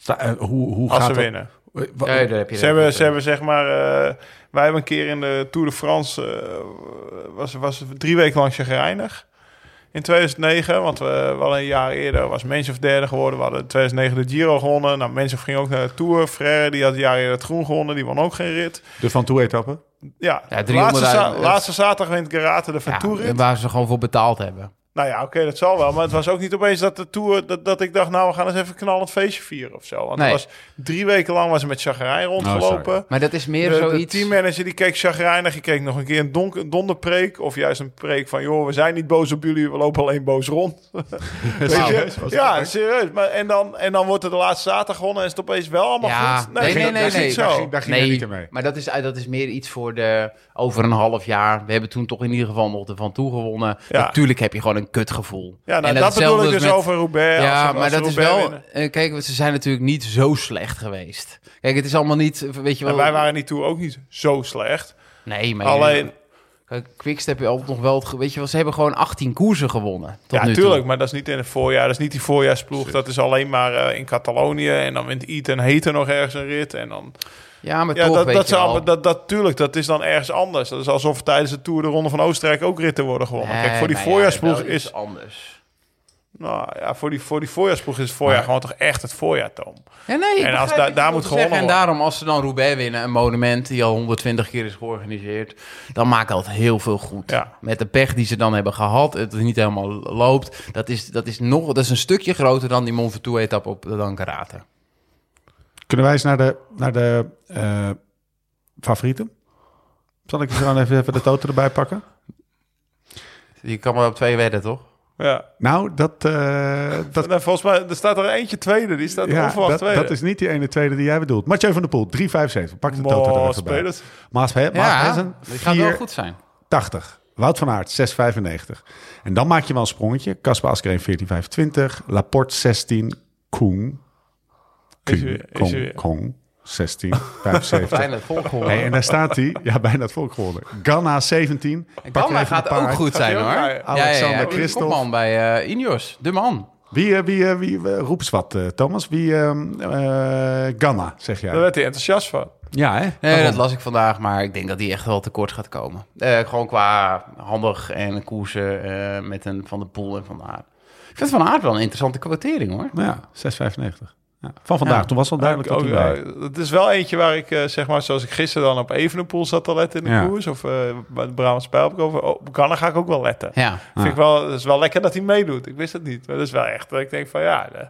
Sta- eh, Hoe, hoe
Als
gaat
ze
dat?
winnen.
Eh, wa-
Ja, daar heb je
Ze hebben, ze hebben zeg maar... eh, wij hebben een keer in de Tour de France... eh, was, was het drie weken lang chagrijnig. In 2009, want we, we hadden een jaar eerder... was Mens of derde geworden. We hadden in 2009 de Giro gewonnen. Nou, Mens of ging ook naar de Tour. Frère, die had een jaar eerder het groen gewonnen. Die won ook geen rit.
De Van Toe-etappe?
Ja,
Ja,
laatste,
300.000
za- laatste zaterdag wint Garate de
Ja,
Venturit.
waar ze gewoon voor betaald hebben.
Nou ja, oké, dat zal wel. Maar het was ook niet opeens dat de Tour... Dat, dat ik dacht, nou, we gaan eens even een knallend feestje vieren of zo. Want
Nee. Oh,
het was drie weken lang was ze met chagrijn rondgelopen.
Maar dat is meer
de, de
zoiets...
teammanager die keek chagrijnig. Je keek nog een keer een donk- donderpreek. Of juist een preek van... joh, we zijn niet boos op jullie. We lopen alleen boos rond. Weet je? Ja, serieus. Maar, en, dan, en dan wordt er de laatste zaterdag gewonnen... en is het opeens wel allemaal
Ja,
goed.
nee,
dat-
nee,
dat
nee,
is niet
nee.
zo.
Daar ging
nee,
je niet mee.
maar dat is, eh, dat is meer iets voor de over een half jaar. We hebben toen toch in ieder geval nog ervan toegewonnen.
Ja.
Natuurlijk heb je gewoon een kutgevoel.
Ja, nou,
En
dat bedoel
hetzelfde is
ik dus
met-
over Roubaix. als
Ja,
ze- als
maar
ze
dat is
Roubaix
wel...
winnen.
eh, Kijk, ze zijn natuurlijk niet zo slecht geweest. Kijk, het is allemaal niet... eh, Weet je wel...
En Nou, wij waren niet toe ook niet zo slecht.
Nee, maar...
Alleen,
Kijk, Quickstep heeft altijd nog wel... het ge- Weet je wel, ze hebben gewoon 18 koersen gewonnen. Tot
ja,
nu toe.
tuurlijk, maar dat is niet in het voorjaar. Dat is niet die voorjaarsploeg. Dat is alleen maar eh, in Catalonië. En dan wint Eaton Heter nog ergens een rit. En dan...
Ja, maar
Ja,
toch,
dat,
weet
dat,
je
zou,
wel.
dat, dat, tuurlijk, dat is dan ergens anders. Dat is alsof tijdens de Tour de Ronde van Oostenrijk ook ritten worden gewonnen. Kijk,
Nee,
voor die
maar ja,
voorjaarsploeg
wel
is...
iets anders.
Nou ja, voor die, voor die voorjaarsploeg is het voorjaar gewoon toch echt het voorjaartoom.
Ja, nee, ik
En als
begrijp
daar-
wat
daar
je wil
moet gewonnen
zeggen. En
worden.
daarom, als ze dan Roubaix winnen, een monument die al 120 keer is georganiseerd, dan maakt dat heel veel goed.
Ja.
Met de pech die ze dan hebben gehad, het niet helemaal loopt, dat is, dat is, nog, dat is een stukje groter dan die Mont Ventoux-etappe op de Dankarate.
Kunnen wij eens naar de, naar de eh, favorieten? Zal ik er gewoon even, even de toten erbij pakken?
Je kan maar op twee wedden, toch?
Ja.
Nou, dat, eh, dat,
Nou, volgens mij, er staat er eentje tweede. Die staat
ja,
onverwacht
dat,
tweede.
dat is niet die ene tweede die jij bedoelt. Mathieu van der Poel, 3,75. Pak de
Mo,
totaal er even bij.
spelers.
Maas, He- Maas Hessen,
die gaat wel
4,80.
goed zijn.
80. Wout van Aert 6,95. En dan maak je wel een sprongetje. Kasper Askreen 14,25. Laporte 16. Koen.
Is
Koen.
hij weer- is
Koen.
hij weer.
Koen. 16,
Bijna
75.
het volk
Hey, en daar staat hij. Ja, bijna het volk geworden. Ganna 17. Pak er
Gamma
even
gaat
een paar
ook
uit.
goed zijn
Gaat
hoor.
hij ook bij
Alexander
die
Christophe.
kopman bij eh Ineos, de man.
Wie, eh, wie, eh, wie eh, roept eens wat, eh, Thomas? Wie, ehm eh, Ganna, zeg
Daar
jij.
werd hij enthousiast van.
Ja, hè?
Nee,
Waarom?
dat las ik vandaag, maar ik denk dat hij echt wel tekort gaat komen. Eh, gewoon qua handig en koersen eh, met een Van de Poel en Van Aert. Ik vind Van Aert wel een interessante kwotering hoor.
Ja, 6,95. Ja, Van vandaag,
Ja.
toen was al duidelijk
Ook,
dat hij bij-
eh, het is wel eentje waar ik, eh, zeg maar, zoals ik gisteren dan op Evenepoel zat te letten in de
Ja.
koers. Of eh, bij de Brabant Spijl heb ik over. Oh, op Ganna ga ik ook wel letten.
Ja.
Vind ik wel, het is wel lekker dat hij meedoet. Ik wist het niet. Maar dat is wel echt dat ik denk van ja, de-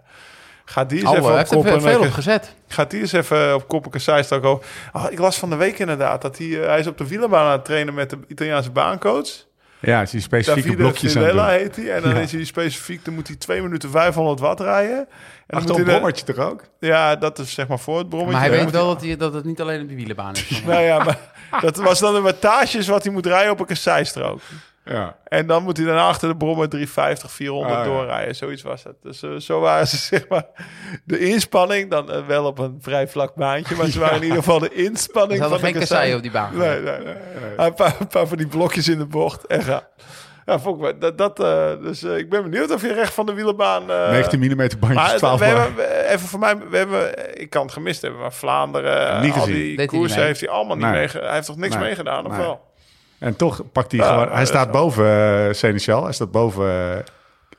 gaat die eens
Alle,
even
hij
op
heeft er
kop.
veel,
En
veel op
lekker-
gezet.
gaat die eens even op kop en saai staan komen. Oh, ik las van de week inderdaad dat hij, eh, hij is op de wielerbaan aan het trainen met de Italiaanse baancoach.
Ja, als je specifieke
Davide
blokjes aan het
Finella
doen.
heet hij. En dan
Ja.
is hij specifiek, dan moet hij 2 minuten 500 watt rijden. En dan
Achter een
moet hij de-
bommertje toch ook?
ja, dat is zeg maar voor het brommetje.
Maar hij
Dan
weet
moet
wel dat, hij, dat het niet alleen op de wielenbaan is.
Nou ja, maar dat was dan de wattages wat hij moet rijden op een kasseistrook.
Ja.
En dan moet hij daarna achter de brommer 350, 400
Ah, ja.
doorrijden. Zoiets was het. Dus eh, zo waren ze, zeg maar, de inspanning. Dan eh, wel op een vrij vlak baantje. Maar ze waren in ieder geval de
Ze
inspanning
hadden
van de
geen kassei
kassei.
op die baan.
Nee, nee, nee. Een, paar, een paar van die blokjes in de bocht. En ga. Ja, vond ik wel- dat, dat, eh, dus eh, ik ben benieuwd of je recht van de wielerbaan... eh,
19 mm bandjes,
maar
12
we
bar.
hebben, we- even voor mij, we hebben, eh, ik kan het gemist hebben, maar Vlaanderen, eh,
Niet
al
gezien.
die
Deed hij
koersen
niet mee?
heeft hij allemaal niet
Nee.
mee. Hij heeft toch niks
Nee.
meegedaan, of
Nee.
wel?
En toch pakt hij
Ja,
gewoon...
dat
Hij
is
staat
wel.
boven eh, Seneschal. Hij staat boven eh,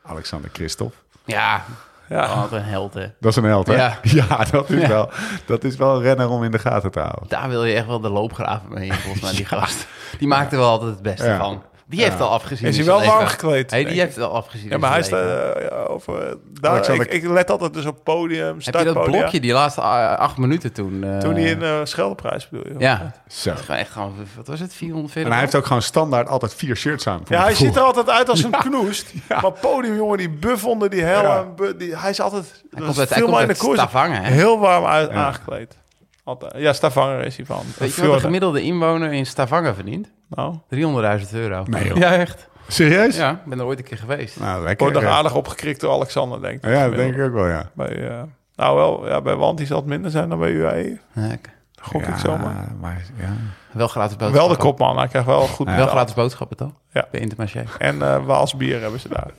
Alexander Christophe.
Ja,
Ja.
wat een held hè.
Dat is een held, hè?
Ja.
dat, is Wel, dat is wel een renner om in de gaten te houden.
Daar wil je echt wel de loopgraven mee, volgens mij, die gast. Die maakt er wel altijd het beste
Ja.
van. Die heeft al afgezien.
Is
in
hij wel
zijn
warm
leven.
gekleed,
Hey, die
denk ik.
heeft al afgezien.
Ja,
in
maar hij
zijn
staat...
leven.
eh, ja, of, eh, daar,
Alexander-
ik, ik let altijd dus op podium,
Heb je dat
startpodium.
blokje, die laatste ah, acht minuten toen... eh,
Toen hij in eh Scheldeprijs bedoel je?
Ja,
Zo.
Gewoon echt gewoon, wat was het, 440?
En hij heeft ook gewoon standaard altijd vier shirts aan.
Ja, hij ziet er altijd uit als een knoest. Maar podium, jongen, die buff onder die helm. bu- die, hij is altijd...
Hij
dat
komt
is
uit, hij
veel
komt
maar in
uit
de koers.
Stavanger, hè?
Heel warm uit, aangekleed. Altijd. Ja, Stavanger is hij van.
Weet je wat de
Fjorden.
gemiddelde inwoner in Stavanger verdient?
Nou,
300.000 euro.
Nee, joh.
Ja, echt.
Serieus?
Ja, ik ben er ooit een keer geweest.
Nou, lekker.
wordt nog
Ja,
aardig opgekrikt door Alexander, denk ik.
ja dat denk ik ook wel, ja.
Bij, eh, nou wel, ja, bij Wanti zal het minder zijn dan bij UAE.
Ja, ik-
Gok
ja,
ik zomaar.
maar ja.
Wel gratis boodschappen.
Wel de kopman, hij krijgt wel goed
Wel
betaald.
gratis boodschappen, toch?
Ja.
Bij Intermarché.
En eh Waals bier hebben ze daar.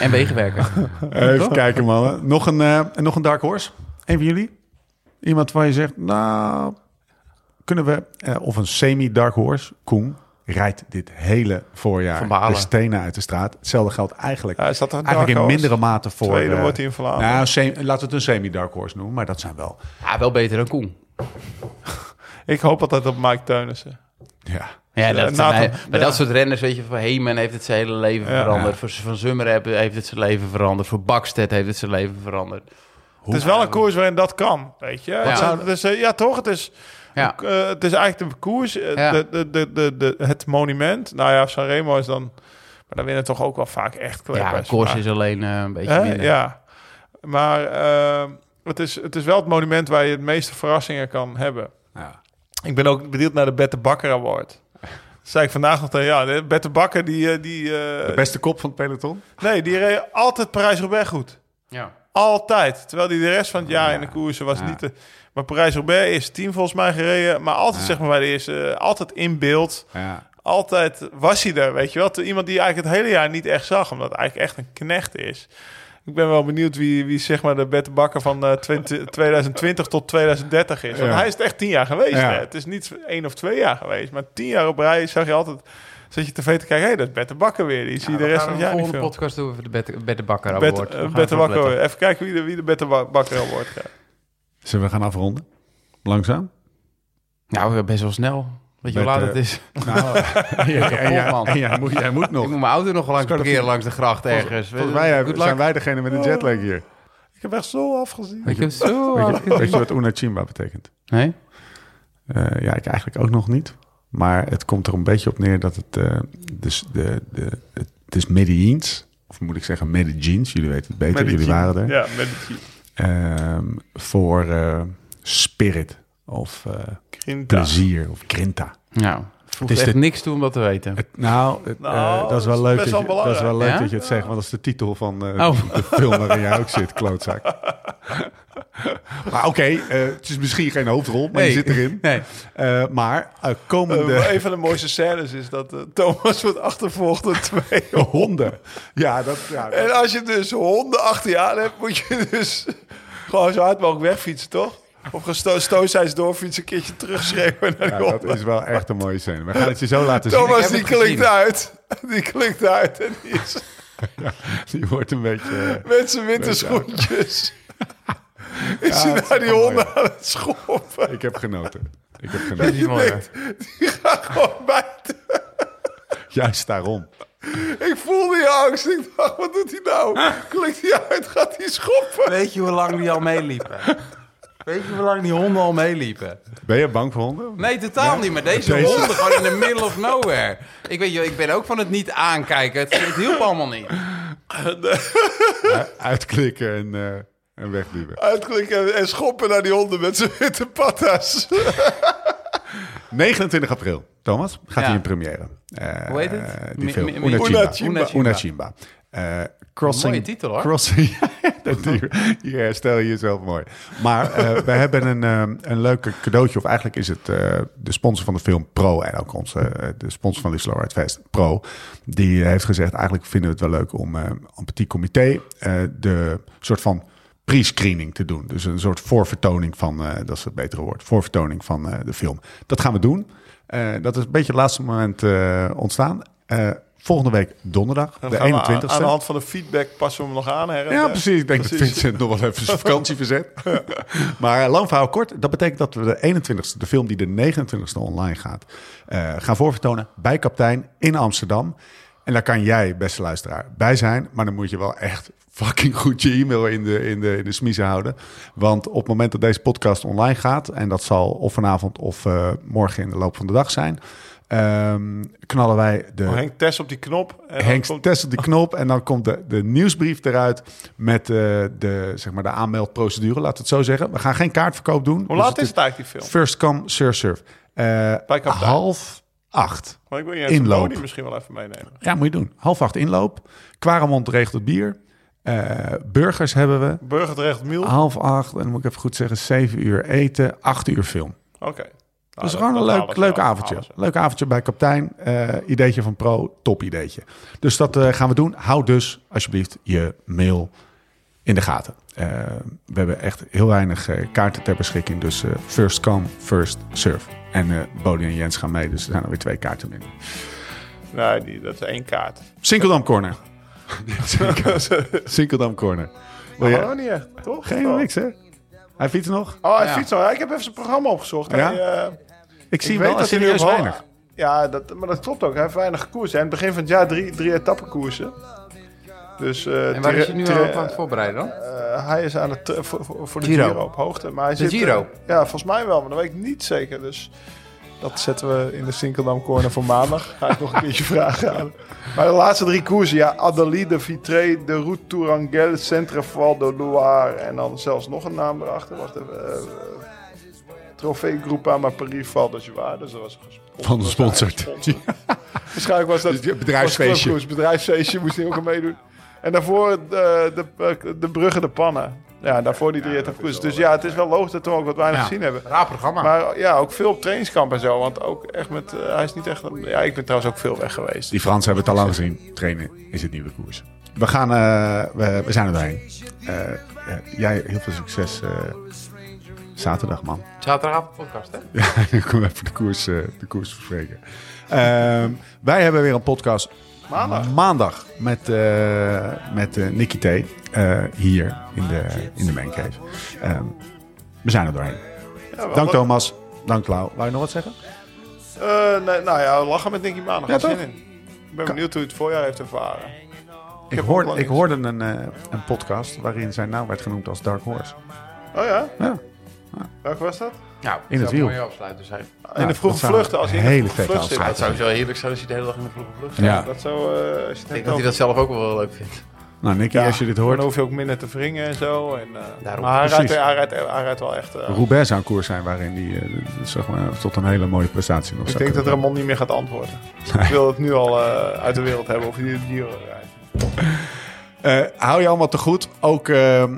En wegenwerken.
Even kijken, mannen. Nog een, eh, nog een dark horse? Een van jullie? Iemand waar je zegt, nou... Kunnen we... eh, of een semi-dark horse. Koen rijdt dit hele
Van
voorjaar
Baalen.
de stenen uit de straat. Hetzelfde geldt eigenlijk,
Ja, is dat een
eigenlijk in
dark horse?
mindere mate voor...
Tweede
eh,
wordt hij in Vlaanderen.
nou, semi- laten we het een semi-dark horse noemen, maar dat zijn wel...
Ja, Ah, wel beter dan Koen.
Ik hoop altijd op Mike Teunissen.
Ja,
Ja,
Ja,
dat, zijn
Nathan-
wij- bij
ja.
dat soort renners, weet je, voor Heyman heeft het zijn hele leven
Ja.
veranderd. Voor Van Zummer heeft het zijn leven veranderd. Voor Bakstedt heeft het zijn leven veranderd.
Het is wel een koers waarin dat kan, weet je. Ja,
zou-
dus, eh, ja toch? Het is,
Ja.
eh, het is eigenlijk een koers. eh,
Ja.
de, de, de, de, de- het monument. Nou ja, Sanremo is dan... Maar dan winnen toch ook wel vaak echt
Ja,
kleppers.
Kors
Maar-
is alleen eh, een beetje
Hè?
minder.
Ja, maar eh, het, is, het is wel het monument waar je het meeste verrassingen kan hebben.
Ja.
Ik ben ook benieuwd naar de Bette Bakker Award. Dat zei ik vandaag nog tegen ja, de Bette Bakker die... eh, die eh,
De beste kop van het peloton?
nee, die reed altijd Parijs-Roubaix goed.
Ja.
Altijd. Terwijl die de rest van het jaar in de koersen was niet... De, maar Parijs-Roubaix is tien volgens mij gereden. Maar altijd zeg maar bij de eerste... eh, altijd in beeld.
Ja.
Altijd was hij er, weet je wel. Toen Iemand die je eigenlijk het hele jaar niet echt zag. Omdat hij eigenlijk echt een knecht is. Ik ben wel benieuwd wie, wie zeg maar de Bette Bakker van eh, 20 2020 tot 2030 is. Want
Ja.
hij is het echt tien jaar geweest.
Ja.
Hè? Het is niet één of twee jaar geweest. Maar tien jaar op rij zag je altijd... Zat je tv te kijken, hé, dat is Bette Bakker weer. Die zie je de rest van het
de
jaar niet
volgende
veel.
podcast doen we voor de Bette- Bette Bakker
Bet-
Award. We
eh,
gaan
Bette
erop
Bakker.
letten.
Even kijken wie de, wie de Bette Ba- Bakker Award krijgt.
Zullen we gaan afronden? Langzaam?
Nou, best wel snel. Weet je hoe
Bette-
laat het is?
Nou, ja,
kapot, man.
jij moet, jij moet nog.
Ik moet mijn auto nog langs parkeren langs de gracht ergens.
Volgens mij hebben-
Goed
zijn
luck.
wij degene met een jetlag hier.
Ik heb echt zo afgezien.
Ik heb zo hard
Weet je, weet
gezien.
je wat Una Chimba betekent?
Nee?
Eh, ja, ik eigenlijk ook nog niet. Maar het komt er een beetje op neer dat het... eh, dus de, de, het is Medellins Of moet ik zeggen, mede jeans. Jullie weten het beter.
Met de
Jullie
team.
waren er.
Ja, met de team.
Ehm, voor eh, Spirit of eh,
Grinta.
Plezier of Grinta.
Nou, voegt
is
echt
de-
niks toe om dat te weten.
Het- nou, het, eh,
Nou,
dat is
dat
wel
is
leuk,
best
dat
wel
je, dat is wel leuk
belangrijk.
dat je het zegt, want dat is de titel van eh,
Oh.
de film waarin jij ook zit, klootzak. maar oké, eh, het is misschien geen hoofdrol, maar je
Nee.
zit erin.
Nee.
Eh, maar eh, komende
Eh, een van de mooiste scènes is dat eh, Thomas wordt achtervolgd door twee
honden. Ja, dat... Ja, dat-
En als je dus honden achter je aan hebt, moet je dus gewoon zo hard mogelijk wegfietsen, toch? Of gesto- stootzijds doorfietsen, een keertje terugschreeuwen naar die
ja,
honden.
dat is wel echt een mooie scène. We gaan het je zo laten zien.
Thomas,
Ik
die
heb het
klinkt
gezien.
uit. Die klinkt uit en die is
Die wordt een beetje... eh,
met zijn winterschoentjes. Is hij
dat is
naar die
wel
honden
mooi.
aan het schoppen?
eh, ik heb genoten. Ik heb
Dat is
genoten.
mooi.
Gewoon bijten.
Juist daarom.
Ik voelde je angst. Ik dacht, wat doet hij nou? Klikt hij uit, gaat hij schoppen?
Weet je hoe lang die al meeliepen? Weet je hoe lang die honden al meeliepen?
Ben je bang voor honden?
Nee, totaal niet. Maar deze,
Deze-
honden gewoon in the middle of nowhere. Ik weet je, ik ben ook van het niet aankijken. Het, het hielp allemaal niet.
U- Eh, Uitklikken en, eh en wegduwen.
Uitklikken en schoppen naar die honden met zijn witte patas.
29 april. Thomas, gaat
Ja.
hij in première. Eh,
Hoe heet het?
Die
Mi-
film.
mi- mi-
Una
Una
Chimba.
Chimba.
Una Chimba. Una Chimba. Eh, crossing,
Mooie titel, hoor.
Crossing, dat hier, hier herstel je jezelf mooi. Maar eh, we hebben een, eh, een leuke cadeautje. Of eigenlijk is het eh, de sponsor van de film Pro. En ook onze, eh, de sponsor van Liefst Lowright Fest, Pro. Die heeft gezegd, eigenlijk vinden we het wel leuk om eh een petit comité... eh, de soort van pre-screening te doen. Dus een soort voorvertoning van, eh, dat is het betere woord, voorvertoning van eh, de film. Dat gaan we doen. Eh, dat is een beetje het laatste moment eh, ontstaan. Eh, volgende week donderdag, de 21ste.
Aan de hand van de feedback passen we hem nog aan. Her en
Ja,
der.
precies. Ik denk dat
eh, Precies.
Vincent nog wel even zijn vakantie verzet. maar eh, lang verhaal kort. Dat betekent dat we de 21ste, de film die de 29ste online gaat, eh, gaan voorvertonen bij Kaptein in Amsterdam. En daar kan jij, beste luisteraar, bij zijn. Maar dan moet je wel echt fucking goed je e-mail in de, in de, in de smiezen houden. Want op het moment dat deze podcast online gaat... en dat zal of vanavond of eh, morgen in de loop van de dag zijn... ehm, knallen wij de...
Oh, Henk Tess op die knop. En dan
Henk dus
komt-
test op die knop en dan komt de, de nieuwsbrief eruit met eh, de, zeg maar de aanmeldprocedure, laten we het zo zeggen. We gaan geen kaartverkoop doen.
Hoe
Dus
laat is het eigenlijk, die film?
First come, sir serve. Eh,
Bij Kaptein.
half acht.
Maar ik wil niet eens
Inloop.
die misschien wel even meenemen.
Ja, moet je doen. Half acht inloop. Quaremont regelt het bier. Eh, burgers hebben we.
Burgerrecht Miel.
Half acht, en dan moet ik even goed zeggen, zeven uur eten, acht uur film.
Oké.
Ah.
Nou,
Dat is Dus gewoon een leuk, leuk avondje. Leuk avondje bij kaptein. Eh, ideetje van Pro, top ideetje. Dus dat eh, gaan we doen. Hou dus alsjeblieft je mail in de gaten. Eh, we hebben echt heel weinig eh, kaarten ter beschikking. Dus eh, first come, first serve. En eh Bodie en Jens gaan mee, dus er zijn alweer twee kaarten minder.
Nee, die, dat is één kaart.
Sinkeldam Corner. Sinkeldam Corner. Wil
Oh,
je?
niet echt, toch?
Geen
Oh.
niks, hè? Hij fietst nog?
Oh, hij
Ja.
fietst al. Ja, ik heb even zijn programma opgezocht. Hij,
Ja?
eh,
Ik zie
ik
wel
weet dat hij nu
serieus
op
weinig.
weinig. Ja, dat, maar dat klopt ook. Hij heeft weinig koersen. Aan het begin van het jaar drie, drie etappekoersen. Dus, eh,
En waar
Tere-
is je nu
Tere-
al op aan het voorbereiden dan?
eh, hij is aan het eh, voor, voor voor de Giro.
Giro.
op hoogte. Maar hij
De
zit,
Giro.
eh, ja, volgens mij wel, maar dat weet ik niet zeker. Dus dat zetten we in de Sinkeldam Corner voor maandag. Ga ik nog een keertje vragen aan. Maar de laatste drie koersen, ja, Adelaide, Vitré, de Route Tourangelle, Centreval de Loire en dan zelfs nog een naam erachter. Wacht even. eh, eh, Trofee Groupama Paris Val de Joie. Dus dat was gesponsord.
Van de sponsor.
Waarschijnlijk was dat
Dus die bedrijfsfeestje.
was clubkoers, bedrijfsfeestje moest hij ook aan meedoen. En daarvoor eh, de, eh, de, bruggen, de pannen. Ja, daarvoor die drie etapes. Dus ja, het is wel logisch dat we ook wat weinig
Ja.
gezien hebben.
Raar programma.
Maar ja, ook veel op trainingskamp en zo. Want ook echt met, eh, hij is niet echt... een- ja, ik ben trouwens ook veel weg geweest.
Die Fransen hebben het al lang gezien. Trainen is het nieuwe koers. We, gaan, eh, we, we zijn er doorheen. Eh, eh, jij, heel veel succes eh, zaterdag, man.
Zaterdagavond podcast, hè?
Ja, ik kom even de koers, eh, de koers bespreken. Ehm, wij hebben weer een podcast
Maandag.
maandag met, eh met eh, Nicky T. eh, hier in de, in de Mancave. Ehm, we zijn er doorheen.
Ja, wel
Dank
wat-
Thomas. Dank Lau. Wou je nog wat zeggen?
Eh, nee, nou ja, lachen met Nicky Maandag.
Ja,
Ga zin
toch?
in. Ik ben benieuwd hoe hij het voorjaar heeft ervaren.
Ik,
heb ook
hoorde,
wel
ik
iets.
hoorde een, eh, een podcast waarin zijn naam werd genoemd als Dark Horse.
Oh ja?
Ja.
Welke was dat?
Nou,
In het
zou
wiel.
mooi afsluiten zijn.
in de vroege
dat zou
vluchten. Als je in de
hele
vroege
vette
vlucht zit,
Maar
afsluiting
het
dat
zou zo heerlijk zijn als je de hele dag in de vroege vlucht zit.
Ja.
zou, dat zou eh, als je het
Ik denk
hebt
dat hij
over-
dat zelf ook wel leuk vindt.
Nou, Nicky,
Ja.
als je dit
dan
hoort,
hoef je ook minder te wringen en zo. En, eh,
Daarom.
maar hij rijdt,
Precies.
hij, rijdt, hij rijdt wel echt... eh,
Roubaix zou een koers zijn waarin die eh, zeg maar, tot een hele mooie prestatie nog
ik
zou
denk dat
kunnen
Ramon niet meer gaat antwoorden. Ik wil het nu al eh, uit de wereld hebben of hij de Giro rijdt.
Eh, hou je allemaal te goed. Ook eh, eh,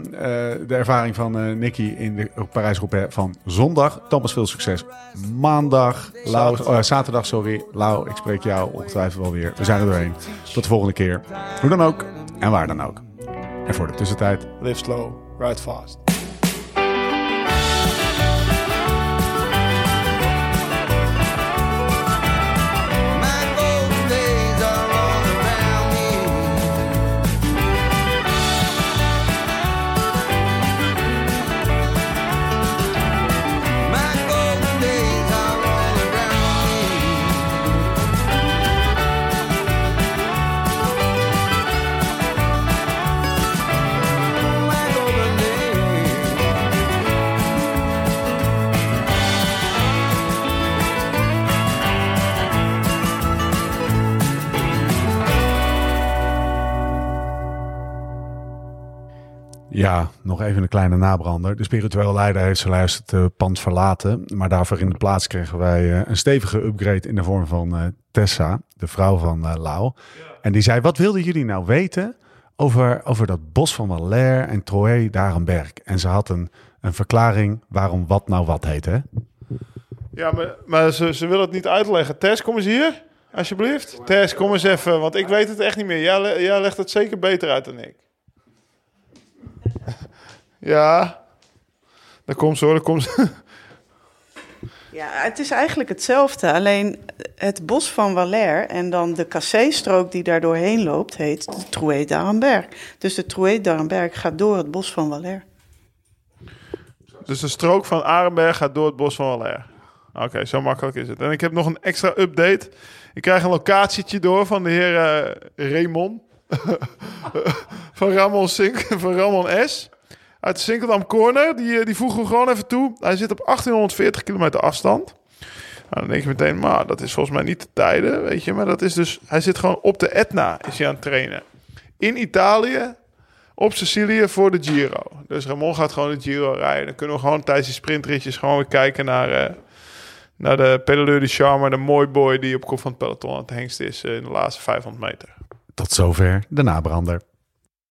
de ervaring van eh, Nicky in de Parijs-Roubaix van zondag. Thomas, veel succes. Maandag, Lau, eh, zaterdag, sorry. Lau, ik spreek jou ongetwijfeld wel weer. We zijn er doorheen. Tot de volgende keer. Hoe dan ook en waar dan ook. En voor de tussentijd,
Live slow, ride fast.
My golden days are all around me. My golden days are all around me. My golden days.
Ja,
nog even een kleine nabrander. De spirituele leider heeft zijn lijst het eh, pand verlaten. Maar daarvoor in de plaats kregen wij eh, een stevige upgrade in de vorm van eh, Tessa, de vrouw van eh Lau. En die zei, wat wilden jullie nou weten over, over dat bos van Valère en Troé Darenberg? En ze had een, een verklaring waarom wat nou wat heet, hè?
Ja, maar, maar ze, ze wil het niet uitleggen. Tess, kom eens hier. Alsjeblieft. Tess, kom eens even, want ik weet het echt niet meer. Jij, le- jij legt het zeker beter uit dan ik. Ja. Daar komt ze hoor, daar komt ze.
Ja, het is eigenlijk hetzelfde. Alleen het bos van Valère en dan de cassé-strook die daar doorheen loopt, heet de Troué d'Arenberg. Dus de Troué d'Arenberg gaat door het bos van Valère.
Dus de strook van Arenberg gaat door het bos van Waller. Oké, zo makkelijk is het. En ik heb nog een extra update. Ik krijg een locatietje door van de heer eh, Raymond. van, Ramon Sink, van Ramon S. Uit de Sinkeldam Corner. Die, eh, die voegen we gewoon even toe. Hij zit op 1840 kilometer afstand. Nou, dan denk je meteen, maar dat is volgens mij niet de tijden, weet je. Maar dat is dus... Hij zit gewoon op de Etna, is hij aan het trainen. In Italië, op Sicilië voor de Giro. Dus Ramon gaat gewoon de Giro rijden. Dan kunnen we gewoon tijdens die sprintritjes gewoon weer kijken naar, eh, naar de pedaleur de Charme, de mooi boy die op kop van het peloton aan het hengst is eh, in de laatste 500 meter.
tot zover de nabrander.